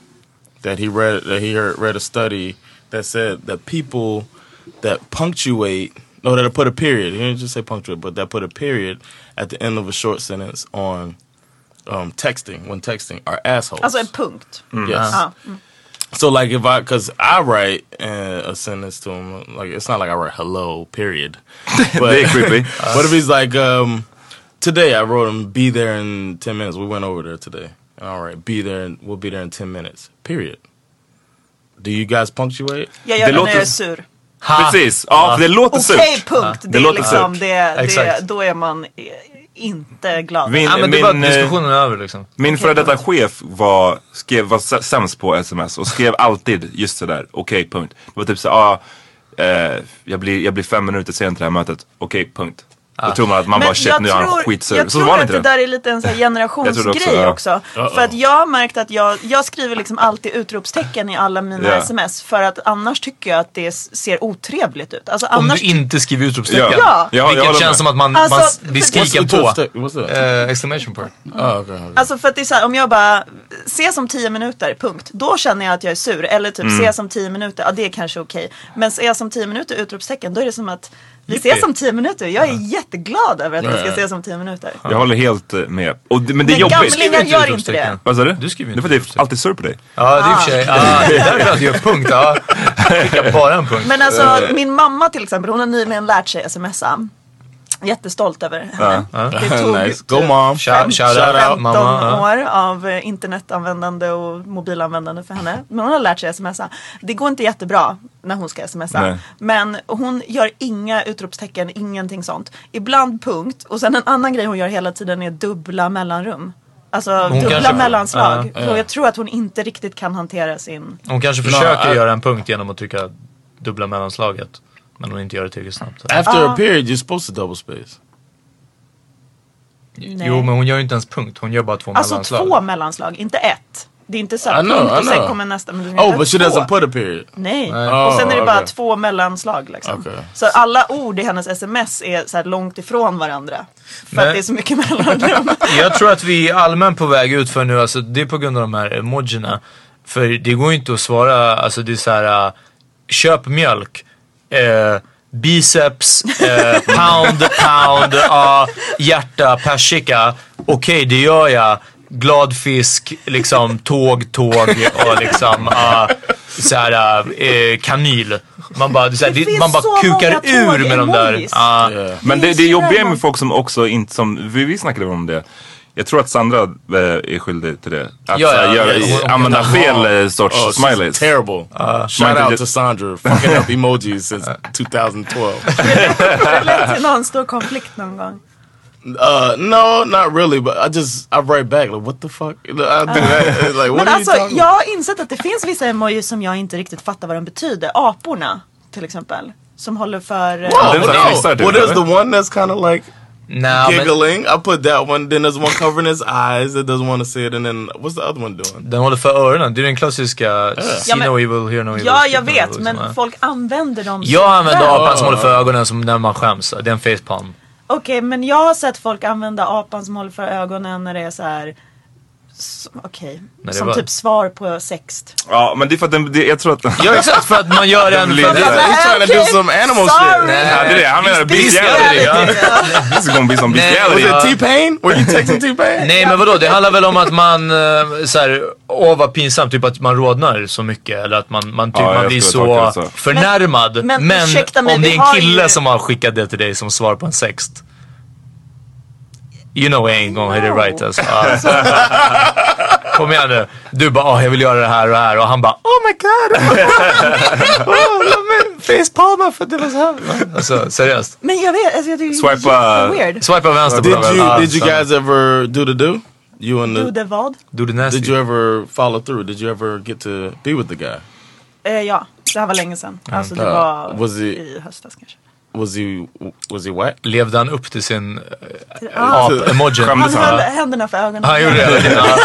[SPEAKER 6] that he read that he heard, read a study that said that people that punctuate no that put a period he didn't just say punctuate but that put a period at the end of a short sentence on um, texting when texting are assholes.
[SPEAKER 2] Alltså en punkt.
[SPEAKER 6] Yes.
[SPEAKER 2] Ja.
[SPEAKER 6] So like if I, cause I write uh, a sentence to him, like it's not like I write hello, period. But,
[SPEAKER 5] Det är creepy.
[SPEAKER 6] What if he's like, um, today I wrote him, be there in ten minutes. We went over there today. And All right, be there. In, we'll be there in ten minutes. Period. Do you guys punctuate?
[SPEAKER 2] Jag gör
[SPEAKER 5] Det
[SPEAKER 2] det när jag
[SPEAKER 5] låter-
[SPEAKER 2] är sur.
[SPEAKER 5] Precis, ja för det låter
[SPEAKER 2] Okej,
[SPEAKER 5] surt.
[SPEAKER 2] punkt. Det, är
[SPEAKER 5] låter
[SPEAKER 2] liksom,
[SPEAKER 5] surt.
[SPEAKER 2] det, det,
[SPEAKER 3] Exakt.
[SPEAKER 2] då är man eh, inte glad.
[SPEAKER 5] Min,
[SPEAKER 3] Ja, men det var
[SPEAKER 5] min, eh,
[SPEAKER 3] diskussionen över liksom.
[SPEAKER 5] min före detta chef var, skrev, var sä- sämst på sms och skrev alltid just sådär, okej punkt. Det var typ såhär, ah, eh, jag, blir, jag blir fem minuter sen till det här mötet, okej punkt. Då tror man att man bara shit nu är han skitsur.
[SPEAKER 2] jag
[SPEAKER 5] Så
[SPEAKER 2] tror
[SPEAKER 5] var det
[SPEAKER 2] att
[SPEAKER 5] inte
[SPEAKER 2] det
[SPEAKER 5] det.
[SPEAKER 2] där är lite en sån här
[SPEAKER 5] Jag tror det också,
[SPEAKER 2] generationsgrej
[SPEAKER 5] ja.
[SPEAKER 2] också. För att jag har märkt att jag, jag skriver liksom alltid utropstecken i alla mina
[SPEAKER 5] Ja.
[SPEAKER 2] sms. För att annars tycker jag att det s- ser otrevligt ut. Alltså
[SPEAKER 3] Om du
[SPEAKER 2] annars...
[SPEAKER 3] inte skriver utropstecken.
[SPEAKER 5] Ja.
[SPEAKER 2] Ja.
[SPEAKER 5] Ja, jag håller
[SPEAKER 3] Vilket
[SPEAKER 5] med.
[SPEAKER 3] känns som att man,
[SPEAKER 2] Alltså,
[SPEAKER 3] man s- blir
[SPEAKER 2] för-
[SPEAKER 3] skriken
[SPEAKER 6] What's the
[SPEAKER 3] på.
[SPEAKER 6] toothstick? What's that?
[SPEAKER 3] Eh, exclamation part.
[SPEAKER 6] oh, okay, okay.
[SPEAKER 2] Alltså för att det är så här, om jag bara ses om tio minuter, punkt. Då känner jag att jag är sur. Eller typ
[SPEAKER 5] Mm.
[SPEAKER 2] ses om tio minuter, ja det är kanske okej. Men ses om tio minuter, utropstecken, då är det som att vi ses om tio minuter. Jag är jätteglad över att vi ska
[SPEAKER 6] Ja.
[SPEAKER 2] ses om tio minuter.
[SPEAKER 5] Jag håller helt eh, med. Och, det- men det är
[SPEAKER 2] Men
[SPEAKER 5] jobbigt.
[SPEAKER 2] gamlingar- Jag gör inte
[SPEAKER 3] Utropstecken.
[SPEAKER 5] Vad sa du?
[SPEAKER 3] Du skriver
[SPEAKER 5] det är
[SPEAKER 3] inte
[SPEAKER 5] för att jag är alltid sur på dig.
[SPEAKER 3] Ja, det är i och för sig. Ah, det är därför att jag gör punkt. Ja. Fick jag bara en punkt.
[SPEAKER 2] Men alltså
[SPEAKER 3] Eh.
[SPEAKER 2] min mamma till exempel, hon har nyligen lärt sig smsa. Jättestolt över henne. Det tog
[SPEAKER 6] Nice. Go mom.
[SPEAKER 3] Shout, shout out,
[SPEAKER 2] 15
[SPEAKER 3] mamma. ja.
[SPEAKER 2] år av eh, internetanvändande och mobilanvändande för henne. Men hon har lärt sig smsa. Det går inte jättebra när hon ska smsa.
[SPEAKER 5] Nej.
[SPEAKER 2] Men hon gör inga utropstecken, ingenting sånt. Ibland punkt. Och sen en annan grej hon gör hela tiden är dubbla mellanrum. Alltså dubbla
[SPEAKER 3] kanske-
[SPEAKER 2] mellanslag.
[SPEAKER 3] Ja,
[SPEAKER 2] Så jag tror att hon inte riktigt kan hantera sin...
[SPEAKER 3] Hon kanske försöker
[SPEAKER 2] eh.
[SPEAKER 6] No, I-
[SPEAKER 3] göra en punkt genom att trycka dubbla mellanslaget. Men hon inte gör det tillräckligt snabbt.
[SPEAKER 6] After a period, you're supposed to double space.
[SPEAKER 3] Jo, men hon gör ju inte ens punkt. Hon gör bara två
[SPEAKER 2] Alltså
[SPEAKER 3] mellanslag.
[SPEAKER 2] två mellanslag, inte ett. Det är inte så
[SPEAKER 6] I
[SPEAKER 2] här
[SPEAKER 6] know,
[SPEAKER 2] punkt och
[SPEAKER 6] I
[SPEAKER 2] sen
[SPEAKER 6] know.
[SPEAKER 2] kommer nästa. Men det är
[SPEAKER 6] Oh,
[SPEAKER 2] inte
[SPEAKER 6] but she
[SPEAKER 2] två.
[SPEAKER 6] doesn't put a period.
[SPEAKER 2] Nej,
[SPEAKER 6] Nej. Oh,
[SPEAKER 2] och sen är det bara
[SPEAKER 6] Okej.
[SPEAKER 2] två mellanslag liksom.
[SPEAKER 6] Okej.
[SPEAKER 2] Så alla ord i hennes sms är så här långt ifrån varandra. För
[SPEAKER 3] Men-
[SPEAKER 2] att det är så mycket mellanrum.
[SPEAKER 3] Jag tror att vi är allmänt på väg ut för nu, alltså det är på grund av de här emojierna. För det går ju inte att svara, alltså det är så här. äh, köp mjölk. eh, biceps, eh, pound, pound, ah, hjärta, persika. Okej, det gör jag. Glad fisk, liksom tåg, tåg och liksom ah, så här, eh, kanyl. Man bara, så här, det,
[SPEAKER 5] finns
[SPEAKER 3] man bara
[SPEAKER 5] så
[SPEAKER 3] kukar
[SPEAKER 5] många
[SPEAKER 3] ur med de där.
[SPEAKER 5] tåg-emojis.
[SPEAKER 3] Ah.
[SPEAKER 5] Men det, det jobbiga med folk som också inte, som vi, vi snackade om det. Jag tror att Sandra eh, är skyldig till det. Att
[SPEAKER 6] Ja,
[SPEAKER 5] ja,
[SPEAKER 6] ja,
[SPEAKER 5] göra,
[SPEAKER 6] ja, ja.
[SPEAKER 5] använda
[SPEAKER 6] Hon-
[SPEAKER 5] fel eh, sorts
[SPEAKER 6] Oh, she's
[SPEAKER 5] smileys.
[SPEAKER 6] terrible.
[SPEAKER 3] Uh, Ah,
[SPEAKER 6] Shout
[SPEAKER 5] Man
[SPEAKER 6] out
[SPEAKER 5] inte-
[SPEAKER 6] to Sandra fucking up emojis since 2012.
[SPEAKER 2] Det lät till någon stor konflikt någon gång.
[SPEAKER 6] Uh, no, not really. But I just I write back like, what the fuck? I do that. Like, what
[SPEAKER 2] Men
[SPEAKER 6] are
[SPEAKER 2] alltså,
[SPEAKER 6] you talking?
[SPEAKER 2] jag har insett att det finns vissa emojis som jag inte riktigt fattar vad de betyder. Aporna, till exempel. Som håller för... eh,
[SPEAKER 6] Whoa,
[SPEAKER 2] apor.
[SPEAKER 6] no. Well, there's the one that's kind of like
[SPEAKER 3] but-
[SPEAKER 6] giggling. I put that one. Then there's one covering his eyes that doesn't want to see it. And then what's the other one doing?
[SPEAKER 3] Den håller för öronen. Det är den klassiska see
[SPEAKER 2] Ja, men-
[SPEAKER 3] no evil, hear no evil.
[SPEAKER 2] Ja, jag
[SPEAKER 3] skip no
[SPEAKER 2] vet,
[SPEAKER 3] evil,
[SPEAKER 2] men
[SPEAKER 3] liksom.
[SPEAKER 2] folk använder dem så
[SPEAKER 3] Jag använder
[SPEAKER 2] väl.
[SPEAKER 3] apan som håller för ögonen som när man skäms. Det är en face palm.
[SPEAKER 2] Okej, men jag har sett folk använda apan som håller för ögonen när det är så här. s- Okej,
[SPEAKER 5] När det
[SPEAKER 2] som
[SPEAKER 5] var-
[SPEAKER 2] typ svar på sext.
[SPEAKER 5] Ja, men det är för att den, det, jag tror att...
[SPEAKER 3] Ja, exakt, för att man gör en-
[SPEAKER 5] blir-
[SPEAKER 3] för att- He's trying to do some animal shit. Sorry.
[SPEAKER 5] Nej, det är det. Han menar
[SPEAKER 3] Bestiality,
[SPEAKER 5] bestiality. This is gonna be some
[SPEAKER 3] Nej,
[SPEAKER 5] bestiality.
[SPEAKER 3] was it
[SPEAKER 6] T-Pain? Were you texting T-Pain?
[SPEAKER 3] Nej men vadå, det handlar väl om att man, eh, så här, åh vad pinsamt, typ att man rodnar så mycket eller att man, man, typ,
[SPEAKER 5] Ja,
[SPEAKER 3] man
[SPEAKER 5] jag
[SPEAKER 3] blir
[SPEAKER 5] skulle
[SPEAKER 3] så,
[SPEAKER 5] tolka det så.
[SPEAKER 3] förnärmad.
[SPEAKER 2] Men-
[SPEAKER 3] Men,
[SPEAKER 2] men ursäkta mig,
[SPEAKER 3] om
[SPEAKER 2] vi
[SPEAKER 3] det är
[SPEAKER 2] har
[SPEAKER 3] en kille
[SPEAKER 2] ju-
[SPEAKER 3] som har skickat det till dig som svar på en sext. You know I ain't gonna hit it right alltså. Ja. Kom igen nu. Du bara, åh jag vill göra det här och det här och han bara, Oh my god! Facepalmar för att det var så här. alltså seriöst.
[SPEAKER 2] Men jag vet, alltså, jag tycker det är
[SPEAKER 5] uh,
[SPEAKER 6] Swipa-
[SPEAKER 2] jätteweird.
[SPEAKER 3] Swipa vänster på
[SPEAKER 6] Did
[SPEAKER 3] den.
[SPEAKER 6] you
[SPEAKER 3] Ah,
[SPEAKER 6] did you
[SPEAKER 3] så.
[SPEAKER 6] guys ever do the do? You and the
[SPEAKER 2] Do det vad?
[SPEAKER 3] do the nasty.
[SPEAKER 6] Did you ever follow through? Did you ever get to be with the guy?
[SPEAKER 2] Eh, ja, det här var länge sedan.
[SPEAKER 5] Mm.
[SPEAKER 2] Alltså det
[SPEAKER 6] Uh,
[SPEAKER 2] var
[SPEAKER 6] was it-
[SPEAKER 2] i höstas kanske.
[SPEAKER 6] Was he was he whack?
[SPEAKER 3] Levde han upp till sin uh,
[SPEAKER 2] Ah.
[SPEAKER 3] ap-emoji?
[SPEAKER 2] Han höll händerna för ögonen.
[SPEAKER 3] Han gjorde det? Ja.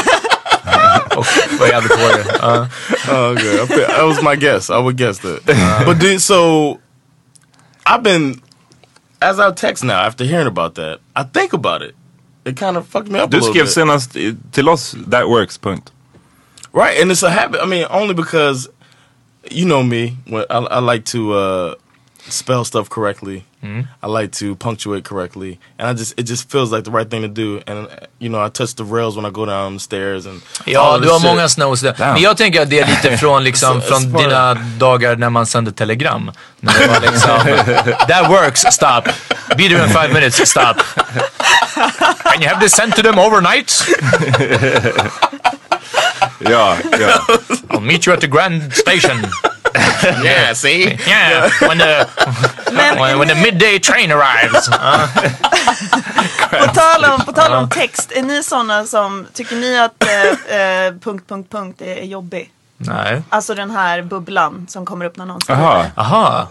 [SPEAKER 3] Och var jävligt hårig. Ja.
[SPEAKER 6] Oh, okay. I feel- that was my guess. I would guess that. but do, so, I've been as I text now after hearing about that. I think about it. It kind of fucked me up. a
[SPEAKER 5] Du
[SPEAKER 6] little
[SPEAKER 5] skrev
[SPEAKER 6] bit.
[SPEAKER 5] senast eh, till oss, that works, punkt.
[SPEAKER 6] Right, and it's a habit. I mean, only because you know me. When I, I like to uh, spell stuff correctly, I like to punctuate correctly, and I just it just feels like the right thing to do. And uh, you know, I touch the rails when I go down the stairs, and all
[SPEAKER 3] Ja, du
[SPEAKER 6] of this
[SPEAKER 3] har
[SPEAKER 6] shit.
[SPEAKER 3] många snows där. Men jag tänker att det är lite från, liksom,
[SPEAKER 6] Så-
[SPEAKER 3] från
[SPEAKER 6] smart.
[SPEAKER 3] dina dagar när man sände telegram. När det var liksom, that works, stop. Be there in five minutes, stop. Can you have this sent to them overnight?
[SPEAKER 5] Ja, ja.
[SPEAKER 3] I'll meet you at the Grand Station.
[SPEAKER 6] Yeah, see?
[SPEAKER 3] Yeah, when the, when, when the midday train arrives. Ja.
[SPEAKER 2] På tal om, på tal om text, är ni sådana som, tycker ni att eh, eh, punkt, punkt, punkt är är jobbig?
[SPEAKER 3] Nej.
[SPEAKER 2] Alltså den här bubblan som kommer upp när någon skriver.
[SPEAKER 3] Aha. Aha.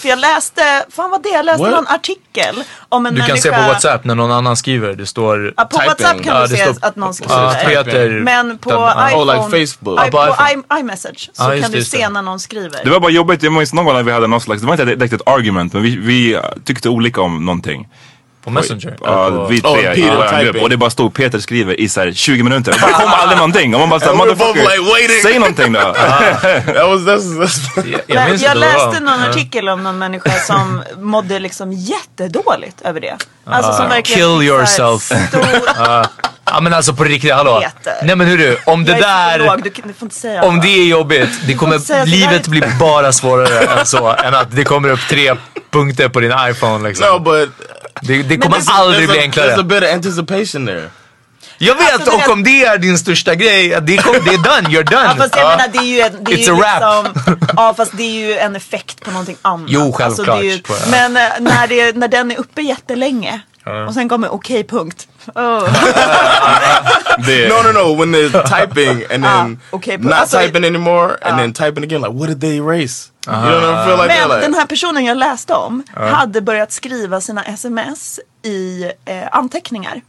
[SPEAKER 2] För jag läste, fan vad det är, jag läste
[SPEAKER 3] What?
[SPEAKER 2] någon artikel om en
[SPEAKER 3] Du kan
[SPEAKER 2] människa.
[SPEAKER 3] se på WhatsApp när någon annan skriver. Det står...
[SPEAKER 2] Ja, på WhatsApp kan du
[SPEAKER 3] det
[SPEAKER 2] se
[SPEAKER 3] står-
[SPEAKER 2] att någon skriver.
[SPEAKER 3] Ja, Peter.
[SPEAKER 2] Men på
[SPEAKER 3] Den- ja.
[SPEAKER 2] iPhone, I,
[SPEAKER 5] Ja, på
[SPEAKER 2] på
[SPEAKER 5] iPhone.
[SPEAKER 2] I, iMessage så
[SPEAKER 5] Ja, just
[SPEAKER 2] kan
[SPEAKER 5] det,
[SPEAKER 2] du
[SPEAKER 5] just
[SPEAKER 2] se
[SPEAKER 5] det.
[SPEAKER 2] när någon skriver.
[SPEAKER 5] Det var bara jobbigt, jag minns någon gång när vi hade någon slags, det var inte direkt ett argument, men vi, vi eh, tyckte olika om någonting.
[SPEAKER 3] På Messenger?
[SPEAKER 5] Ja,
[SPEAKER 6] Alltså,
[SPEAKER 3] På-
[SPEAKER 5] vi
[SPEAKER 3] Oh,
[SPEAKER 5] tre i
[SPEAKER 3] Peter
[SPEAKER 5] vår grupp.
[SPEAKER 3] typing.
[SPEAKER 5] Och det bara stod Peter skriver i så här 20 minuter. Och bara kom aldrig någonting. Och man bara såhär,
[SPEAKER 6] And we're both like
[SPEAKER 5] motherfucker,
[SPEAKER 6] waiting.
[SPEAKER 5] säg någonting då.
[SPEAKER 6] that was that's, that's
[SPEAKER 2] Men jag läste någon artikel om någon människa som mådde liksom jättedåligt över det. Alltså som
[SPEAKER 3] Ah.
[SPEAKER 2] verkligen
[SPEAKER 3] Kill
[SPEAKER 2] fick så här
[SPEAKER 3] yourself.
[SPEAKER 2] Stor...
[SPEAKER 3] Ja. Ja men alltså på riktigt, hallå.
[SPEAKER 2] Peter.
[SPEAKER 3] Nej men hörru, om det
[SPEAKER 2] jag är
[SPEAKER 3] där...
[SPEAKER 2] psykolog, du, kan- du får inte säga
[SPEAKER 3] Om
[SPEAKER 2] så.
[SPEAKER 3] det är jobbigt, det
[SPEAKER 2] får inte säga
[SPEAKER 3] kommer,
[SPEAKER 2] så där.
[SPEAKER 3] livet blir bara svårare än så. Än att det kommer upp tre punkter på din iPhone liksom.
[SPEAKER 6] No, but...
[SPEAKER 3] Det, det kommer
[SPEAKER 6] There's a-
[SPEAKER 3] aldrig bli
[SPEAKER 6] there's a- There's
[SPEAKER 3] enklare.
[SPEAKER 6] a bit of anticipation there.
[SPEAKER 3] Jag vet,
[SPEAKER 2] Alltså, du vet-
[SPEAKER 3] och om det är din största grej, att det, kom, det är done, you're done.
[SPEAKER 2] Ja, fast jag
[SPEAKER 3] Ja.
[SPEAKER 2] menar det är ju, en, det är
[SPEAKER 3] It's
[SPEAKER 2] ju
[SPEAKER 3] a wrap.
[SPEAKER 2] liksom, ja fast det är ju en effekt på någonting annat.
[SPEAKER 3] Jo,
[SPEAKER 2] Alltså, det är ju,
[SPEAKER 3] självklart, tror jag.
[SPEAKER 2] men eh, när, det, när den är uppe jättelänge
[SPEAKER 6] Ja.
[SPEAKER 2] och sen kommer okej punkt. Oh.
[SPEAKER 6] no, no, no. When they're typing and then
[SPEAKER 2] Ah, okay, but
[SPEAKER 6] not
[SPEAKER 2] also- Ah.
[SPEAKER 6] typing anymore and then typing again, like, what did they erase? You know what I feel like?
[SPEAKER 2] Men
[SPEAKER 6] They're
[SPEAKER 2] den
[SPEAKER 6] like
[SPEAKER 2] här personen jag läste om
[SPEAKER 6] Ja.
[SPEAKER 2] hade börjat skriva sina sms i eh, anteckningar.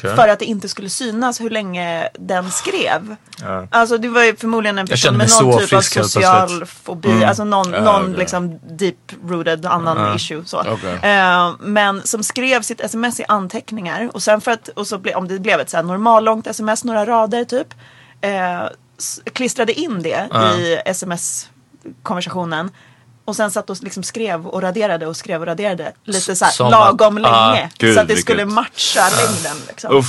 [SPEAKER 2] För att det inte skulle synas hur länge den skrev.
[SPEAKER 3] Ja.
[SPEAKER 2] Alltså det var ju förmodligen en
[SPEAKER 3] Jag
[SPEAKER 2] person
[SPEAKER 3] känner
[SPEAKER 2] med
[SPEAKER 3] mig
[SPEAKER 2] någon
[SPEAKER 3] så
[SPEAKER 2] typ av
[SPEAKER 3] frisk helt
[SPEAKER 2] social
[SPEAKER 3] plötsligt.
[SPEAKER 2] fobi,
[SPEAKER 3] Mm.
[SPEAKER 2] alltså någon,
[SPEAKER 3] Ja,
[SPEAKER 2] någon
[SPEAKER 3] okej.
[SPEAKER 2] liksom deep-rooted annan
[SPEAKER 3] Ja.
[SPEAKER 2] issue. Så.
[SPEAKER 3] Okej.
[SPEAKER 2] Eh, men som skrev sitt sms i anteckningar och sen för att, och så ble, om det blev ett så här normallångt sms, några rader typ, eh, s- klistrade in det
[SPEAKER 3] Ja.
[SPEAKER 2] i sms-konversationen. Och sen satt och liksom skrev och raderade och skrev och raderade lite så här
[SPEAKER 3] Som
[SPEAKER 2] lagom
[SPEAKER 3] att-
[SPEAKER 2] länge.
[SPEAKER 3] ah, gud,
[SPEAKER 2] så att det
[SPEAKER 3] vilket-
[SPEAKER 2] skulle matcha längden liksom.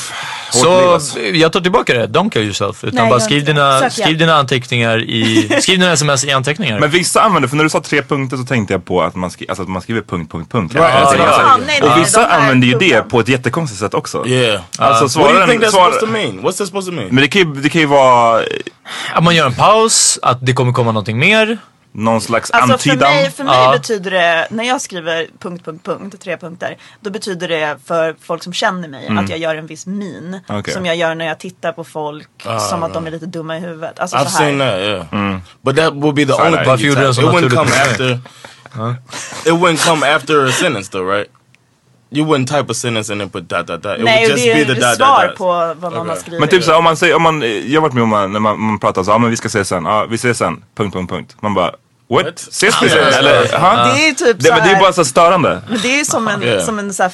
[SPEAKER 3] Så
[SPEAKER 5] alltså.
[SPEAKER 3] jag tar tillbaka det, don't kill yourself. Utan
[SPEAKER 2] Nej,
[SPEAKER 3] bara
[SPEAKER 2] gör
[SPEAKER 3] skriv
[SPEAKER 2] inte
[SPEAKER 3] dina,
[SPEAKER 2] det. Sök
[SPEAKER 3] skriv
[SPEAKER 2] hjälp.
[SPEAKER 3] dina anteckningar i, skriv dina sms i anteckningar.
[SPEAKER 5] Men vissa använder, för när du sa tre punkter så tänkte jag på att man, skri- alltså att man skriver punkt, punkt, punkt.
[SPEAKER 3] Ja,
[SPEAKER 5] Alltså,
[SPEAKER 3] ja,
[SPEAKER 5] alltså,
[SPEAKER 3] ja. Ja, nej, nej,
[SPEAKER 5] och vissa
[SPEAKER 3] de här
[SPEAKER 5] använder ju det på ett jättekonstigt sätt också.
[SPEAKER 6] Yeah.
[SPEAKER 5] Alltså
[SPEAKER 6] What do you
[SPEAKER 5] svara
[SPEAKER 6] think
[SPEAKER 5] den,
[SPEAKER 6] that's
[SPEAKER 5] svara,
[SPEAKER 6] supposed to mean? What's that supposed to mean?
[SPEAKER 5] men det kan, ju, det kan ju vara... eh,
[SPEAKER 3] Att man gör en paus, att det kommer komma någonting mer.
[SPEAKER 5] Någon slags
[SPEAKER 2] Alltså för mig, för mig betyder det, när jag skriver punkt, punkt, punkt, tre punkter, då betyder det för folk som känner mig
[SPEAKER 6] Mm.
[SPEAKER 2] att jag gör en viss min
[SPEAKER 6] Okej.
[SPEAKER 2] som jag gör när jag tittar på folk
[SPEAKER 6] Ah,
[SPEAKER 2] som att
[SPEAKER 6] right.
[SPEAKER 2] de är lite dumma i huvudet. Alltså
[SPEAKER 6] I've
[SPEAKER 2] så här.
[SPEAKER 6] seen
[SPEAKER 5] uh,
[SPEAKER 6] that, yeah. But Mm. that would be the
[SPEAKER 3] Side eye.
[SPEAKER 6] only thing
[SPEAKER 3] Varför
[SPEAKER 6] you
[SPEAKER 3] gjorde du den
[SPEAKER 6] type.
[SPEAKER 3] så
[SPEAKER 6] It wouldn't come
[SPEAKER 3] naturligt
[SPEAKER 6] after. It wouldn't come after a sentence though, right? You wouldn't type a sentence and then put dot dot dot. It
[SPEAKER 2] Nej,
[SPEAKER 6] would
[SPEAKER 2] och
[SPEAKER 6] just
[SPEAKER 2] det
[SPEAKER 6] be
[SPEAKER 2] är
[SPEAKER 6] the
[SPEAKER 2] ju
[SPEAKER 6] dot
[SPEAKER 2] svar
[SPEAKER 6] dot
[SPEAKER 2] på
[SPEAKER 6] dot.
[SPEAKER 2] vad man har skrivit.
[SPEAKER 5] Men typ såhär, om man säger, om man, eh, jag har varit med om man, när man, man pratar så, ja men vi ska ses sen, ja vi ses sen, punkt, punkt, punkt. Man bara, what? Ses
[SPEAKER 3] Ah,
[SPEAKER 5] vi
[SPEAKER 2] Ja,
[SPEAKER 5] sen?
[SPEAKER 2] ja,
[SPEAKER 5] Eller,
[SPEAKER 2] ja.
[SPEAKER 5] ha?
[SPEAKER 2] Det är ju typ
[SPEAKER 5] det, men det är
[SPEAKER 2] såhär-
[SPEAKER 5] bara så störande.
[SPEAKER 2] Men det är ju som en,
[SPEAKER 5] Yeah.
[SPEAKER 2] som en så här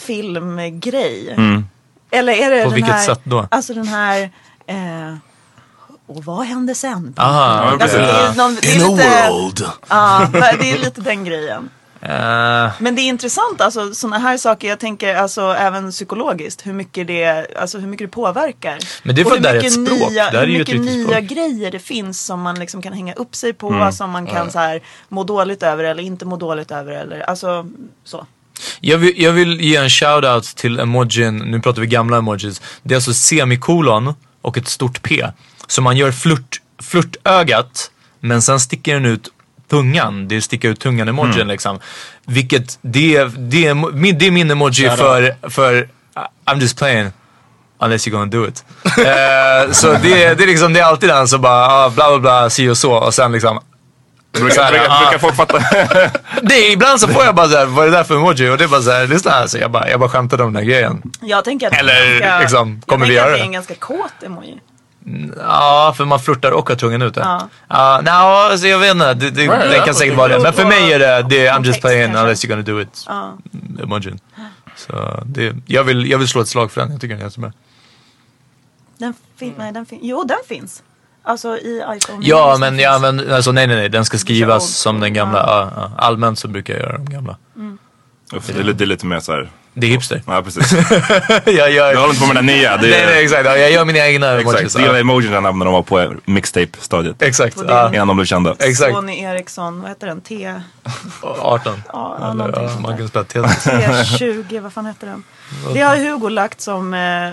[SPEAKER 2] filmgrej.
[SPEAKER 5] Mm.
[SPEAKER 2] Eller är det
[SPEAKER 5] På
[SPEAKER 2] den
[SPEAKER 5] vilket
[SPEAKER 2] här,
[SPEAKER 5] sätt då?
[SPEAKER 2] Alltså den här, eh, och vad hände sen?
[SPEAKER 5] Ah,
[SPEAKER 3] Aha,
[SPEAKER 2] alltså,
[SPEAKER 3] okej.
[SPEAKER 2] det är ju någon, det är
[SPEAKER 6] In a
[SPEAKER 2] lite,
[SPEAKER 6] world.
[SPEAKER 2] Ja, men det är lite den grejen.
[SPEAKER 3] Eh,
[SPEAKER 2] Men det är intressant, alltså sådana här saker, jag tänker alltså även psykologiskt, hur mycket det, alltså, hur mycket det påverkar.
[SPEAKER 3] Men det är
[SPEAKER 2] Och
[SPEAKER 3] för att det
[SPEAKER 2] hur
[SPEAKER 3] här är
[SPEAKER 2] mycket
[SPEAKER 3] ett språk.
[SPEAKER 2] Nya,
[SPEAKER 3] Det här är
[SPEAKER 2] hur
[SPEAKER 3] ju ett
[SPEAKER 2] mycket
[SPEAKER 3] riktigt
[SPEAKER 2] nya
[SPEAKER 3] språk.
[SPEAKER 2] grejer det finns som man liksom kan hänga upp sig på,
[SPEAKER 3] Mm.
[SPEAKER 2] som man
[SPEAKER 3] Ja.
[SPEAKER 2] kan så här, må dåligt över eller inte må dåligt över eller alltså så.
[SPEAKER 3] Jag vill, jag vill ge en shout-out till emojin, nu pratar vi gamla emojis. Det är alltså semikolon och ett stort P. Så man gör flört, flörtögat, men sen sticker den ut tungan. Det sticker ut tungan-emojin
[SPEAKER 5] Mm.
[SPEAKER 3] liksom. Vilket, det, är- det, är, min- det är min emoji
[SPEAKER 5] Shout
[SPEAKER 3] för, för I'm just playing. Unless you're gonna do it. Eh, så det, är- det är liksom, det är alltid den som bara, ah, bla bla bla, si och så. Och sen liksom, så
[SPEAKER 5] Brukar,
[SPEAKER 3] här,
[SPEAKER 5] brukar,
[SPEAKER 3] ah.
[SPEAKER 5] brukar folk fatta?
[SPEAKER 3] Det är, ibland så får jag bara såhär, vad är det där för emoji? Och det är bara såhär, lyssna här. Så jag bara, jag bara skämtade om den här grejen.
[SPEAKER 2] Jag tänker att
[SPEAKER 3] Eller,
[SPEAKER 2] det är ganska-
[SPEAKER 3] liksom, kommer
[SPEAKER 2] jag
[SPEAKER 3] vi göra
[SPEAKER 2] tänker att det? är
[SPEAKER 3] det?
[SPEAKER 2] en ganska kåt emoji.
[SPEAKER 3] Ja, för man flörtar och har tungan ute.
[SPEAKER 2] Ja.
[SPEAKER 3] Ja, nej, alltså jag vet inte. Det, det,
[SPEAKER 2] Right,
[SPEAKER 3] den kan
[SPEAKER 2] that's
[SPEAKER 3] säkert
[SPEAKER 2] what
[SPEAKER 3] vara det.
[SPEAKER 2] they do.
[SPEAKER 3] Men för mig är det, det är I'm just playing
[SPEAKER 2] kanske.
[SPEAKER 3] unless you're gonna do it
[SPEAKER 2] Ja.
[SPEAKER 3] emojin. Så det, jag, vill, jag vill slå ett slag för den. Jag tycker den är jättebra.
[SPEAKER 2] Mm. Den finns, nej den finns, jo den finns. Alltså i iPhone.
[SPEAKER 3] Ja, men jag använder, alltså nej nej nej. Den ska skrivas som den gamla. Ja, ja. Allmänt så brukar jag göra de gamla.
[SPEAKER 2] Mm.
[SPEAKER 5] Uff, det, är lite- det är lite mer såhär.
[SPEAKER 3] Det är hipster.
[SPEAKER 5] Ja precis.
[SPEAKER 3] jag, gör...
[SPEAKER 5] Du håller inte på med den nya. Det är,
[SPEAKER 3] Nej, nej, exakt. Ja, jag gör mina egna emojis.
[SPEAKER 5] Exakt, dina emojin använde de var på mixtape-stadiet.
[SPEAKER 3] Exakt.
[SPEAKER 2] På ja. din-
[SPEAKER 5] Innan de blev kända.
[SPEAKER 2] Sony Ericsson, vad heter den? T...
[SPEAKER 3] 18.
[SPEAKER 2] Ja, ja,
[SPEAKER 3] Eller,
[SPEAKER 2] någonting
[SPEAKER 3] ja,
[SPEAKER 2] sånt
[SPEAKER 3] man
[SPEAKER 2] där.
[SPEAKER 3] kan spela Tetris.
[SPEAKER 2] T20, vad fan heter den? Det har Hugo lagt som, eh, eh,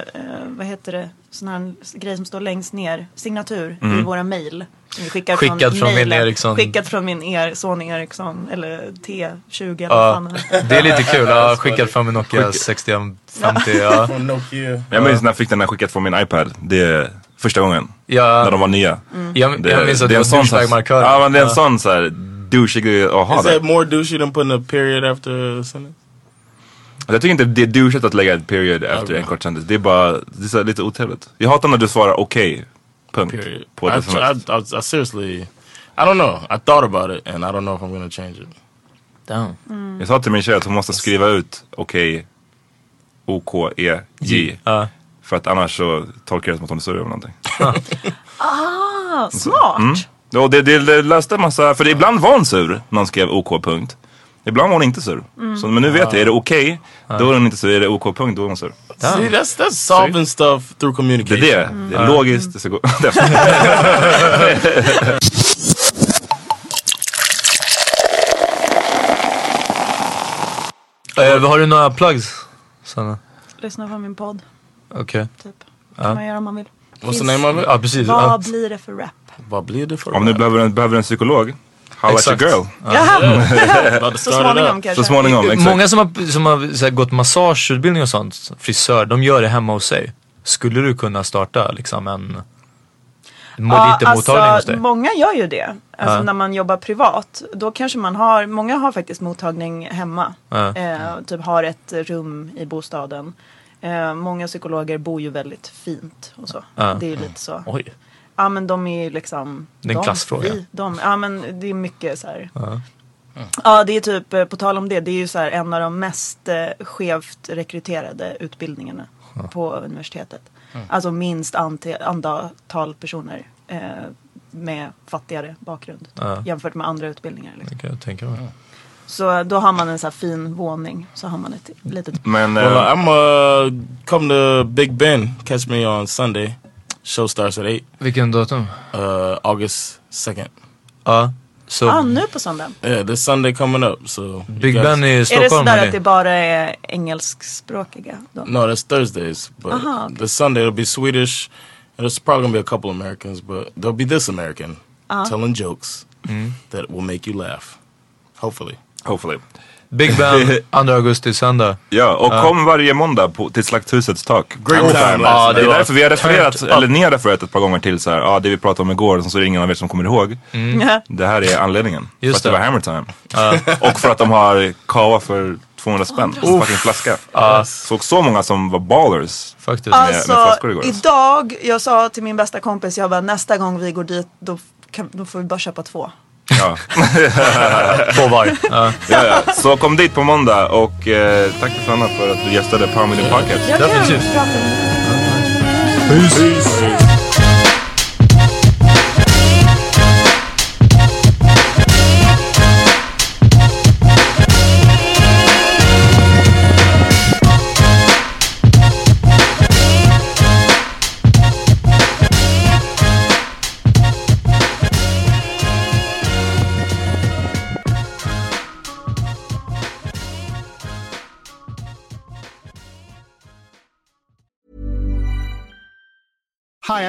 [SPEAKER 2] vad heter det, sån här grej som står längst ner, signatur i
[SPEAKER 3] Mm.
[SPEAKER 2] våra mejl. Som vi skickar
[SPEAKER 3] Skickat från min
[SPEAKER 2] mejlen.
[SPEAKER 3] Ericsson.
[SPEAKER 2] Skickat från min er, Sony Ericsson, eller T20 eller vad
[SPEAKER 3] Ja,
[SPEAKER 2] fan den heter.
[SPEAKER 3] det är lite kul. Ja, skickad från min Nokia
[SPEAKER 5] Skicka-
[SPEAKER 3] 6150. Ja.
[SPEAKER 6] From Nokia.
[SPEAKER 5] Jag minns när jag fick den här skickat från min iPad. Det är första gången.
[SPEAKER 3] Ja.
[SPEAKER 5] När de var nya.
[SPEAKER 3] Mm. Jag- jag minns att det
[SPEAKER 5] är en
[SPEAKER 3] var
[SPEAKER 5] sån så här-
[SPEAKER 3] douchebag-markören.
[SPEAKER 5] Ja men det är en
[SPEAKER 3] Ja.
[SPEAKER 5] sån såhär douchig grej att ha
[SPEAKER 6] Is
[SPEAKER 5] där.
[SPEAKER 6] that more douchey than putting a period after a sentence?
[SPEAKER 5] Alltså, Jag tycker inte det är douchigt att lägga ett period efter en kort sentence. Det är bara det är så här lite otrevligt. Jag hatar när du svarar okej. punkt.
[SPEAKER 6] Period.
[SPEAKER 5] På ett
[SPEAKER 6] I,
[SPEAKER 5] sms.
[SPEAKER 6] I, I, I seriously, I don't know. I thought about it and I don't know if I'm gonna change it.
[SPEAKER 3] Damn.
[SPEAKER 5] Jag sa till min tjej att hon måste skriva ut okej, O-K-E-J. För att annars så tolkar jag det som att hon är sur över någonting.
[SPEAKER 2] Ah, smart!
[SPEAKER 5] Mm. Ja, Och det, det, det löste en massa, för ibland var hon sur när hon skrev OK punkt. Ibland var hon inte sur.
[SPEAKER 6] Mm.
[SPEAKER 5] Så, men nu vet jag, är det okej, då är hon inte sur. Är det OK punkt, då är hon sur.
[SPEAKER 6] See, that's that's solving stuff through
[SPEAKER 5] Det är
[SPEAKER 6] communication.
[SPEAKER 5] det. Det är logiskt. Det ska gå.
[SPEAKER 3] Eh, har du några plugs? Sanna?
[SPEAKER 2] Lyssna på min podd,
[SPEAKER 3] Okej.
[SPEAKER 2] typ.
[SPEAKER 3] Ja.
[SPEAKER 2] Kan man göra om man vill.
[SPEAKER 3] What's the
[SPEAKER 2] Finns-
[SPEAKER 3] name of it? Ja, precis.
[SPEAKER 2] Vad
[SPEAKER 3] Ja.
[SPEAKER 2] blir det för rap?
[SPEAKER 6] Vad blir det för
[SPEAKER 5] Om du behöver en, behöver en psykolog, how about your
[SPEAKER 3] Exakt.
[SPEAKER 5] girl?
[SPEAKER 2] Jaha. Så småningom kanske.
[SPEAKER 5] Så småningom, exakt.
[SPEAKER 3] Många som har, som har så här, gått massageutbildning och sånt, frisör, de gör det hemma hos sig. Skulle du kunna starta liksom en
[SPEAKER 2] Ja, alltså,
[SPEAKER 3] Molite-mottagning hos dig?
[SPEAKER 2] Många gör ju det. Alltså
[SPEAKER 3] Ja.
[SPEAKER 2] när man jobbar privat. Då kanske man har, många har faktiskt mottagning hemma.
[SPEAKER 3] Ja.
[SPEAKER 2] Eh, typ har ett rum i bostaden. Eh, många psykologer bor ju väldigt fint och så.
[SPEAKER 3] Ja.
[SPEAKER 2] Det är ju lite så.
[SPEAKER 3] Oj.
[SPEAKER 2] Ja men de är ju liksom.
[SPEAKER 3] Det är en
[SPEAKER 2] de,
[SPEAKER 3] klassfråga.
[SPEAKER 2] vi, de, ja men det är mycket så här.
[SPEAKER 3] Ja. Mm.
[SPEAKER 2] Ja det är typ, eh, på tal om det, det är ju så här en av de mest eh, skevt rekryterade utbildningarna på universitetet.
[SPEAKER 3] Mm.
[SPEAKER 2] Alltså minst ante, antal personer eh, med fattigare bakgrund typ,
[SPEAKER 3] Ja. Mm.
[SPEAKER 2] jämfört med andra utbildningar. Liksom.
[SPEAKER 3] Det kan jag tänka mig.
[SPEAKER 2] Så eh, då har man en så här fin våning, så har man ett litet...
[SPEAKER 5] eh,
[SPEAKER 6] well, I'm uh come to Big Ben. Catch me on Sunday. Show starts at eight.
[SPEAKER 3] Vilken datum?
[SPEAKER 6] Uh, August second.
[SPEAKER 3] Uh, so
[SPEAKER 2] ah, nu på söndag.
[SPEAKER 6] yeah, this Sunday coming up. So you
[SPEAKER 3] Big
[SPEAKER 6] guys-
[SPEAKER 3] Ben i
[SPEAKER 2] Är det
[SPEAKER 3] Stockholm
[SPEAKER 2] sådär att det
[SPEAKER 3] hörni.
[SPEAKER 2] bara är engelskspråkiga? Då?
[SPEAKER 6] No, that's Thursdays. But
[SPEAKER 2] Aha, Uh-huh, okay.
[SPEAKER 6] the Sunday it'll be Swedish. And there's probably gonna be a couple Americans, but there'll be this American
[SPEAKER 2] Uh-huh.
[SPEAKER 6] telling jokes
[SPEAKER 3] Mm-hmm.
[SPEAKER 6] that will make you laugh. Hopefully.
[SPEAKER 5] Hopefully.
[SPEAKER 3] Big Ben 2 augusti söndag.
[SPEAKER 5] Ja, och
[SPEAKER 3] Ja.
[SPEAKER 5] kom varje måndag på, till Slakthusets tak.
[SPEAKER 6] Great
[SPEAKER 5] Oh,
[SPEAKER 6] time
[SPEAKER 5] fan.
[SPEAKER 6] last
[SPEAKER 5] Ja,
[SPEAKER 6] night.
[SPEAKER 5] det är därför vi har
[SPEAKER 3] Turned
[SPEAKER 5] refererat,
[SPEAKER 3] up.
[SPEAKER 5] eller ni har refererat ett par gånger till så här, ja det vi pratade om igår, så är det ingen av er som kommer ihåg.
[SPEAKER 2] Mm.
[SPEAKER 3] Mm.
[SPEAKER 5] Det här är anledningen.
[SPEAKER 3] Just
[SPEAKER 5] för att det
[SPEAKER 3] det.
[SPEAKER 5] var hammer time. och för att de har kava för 200 spänn. En fucking flaska. Såg så många som var ballers.
[SPEAKER 3] Faktiskt.
[SPEAKER 5] Med,
[SPEAKER 2] Alltså,
[SPEAKER 5] med flaskor igår.
[SPEAKER 2] idag, jag sa till min bästa kompis, jag bara nästa gång vi går dit, då, kan, då får vi bara köpa två.
[SPEAKER 5] Ja.
[SPEAKER 3] På var. Ja.
[SPEAKER 5] Ja, ja. Så kom dit på måndag och eh, tack Susanna för att du gästade Palm Million Pocket.
[SPEAKER 2] Jag kan
[SPEAKER 3] Definitivt.
[SPEAKER 2] prata med
[SPEAKER 5] Peace.
[SPEAKER 9] Hi,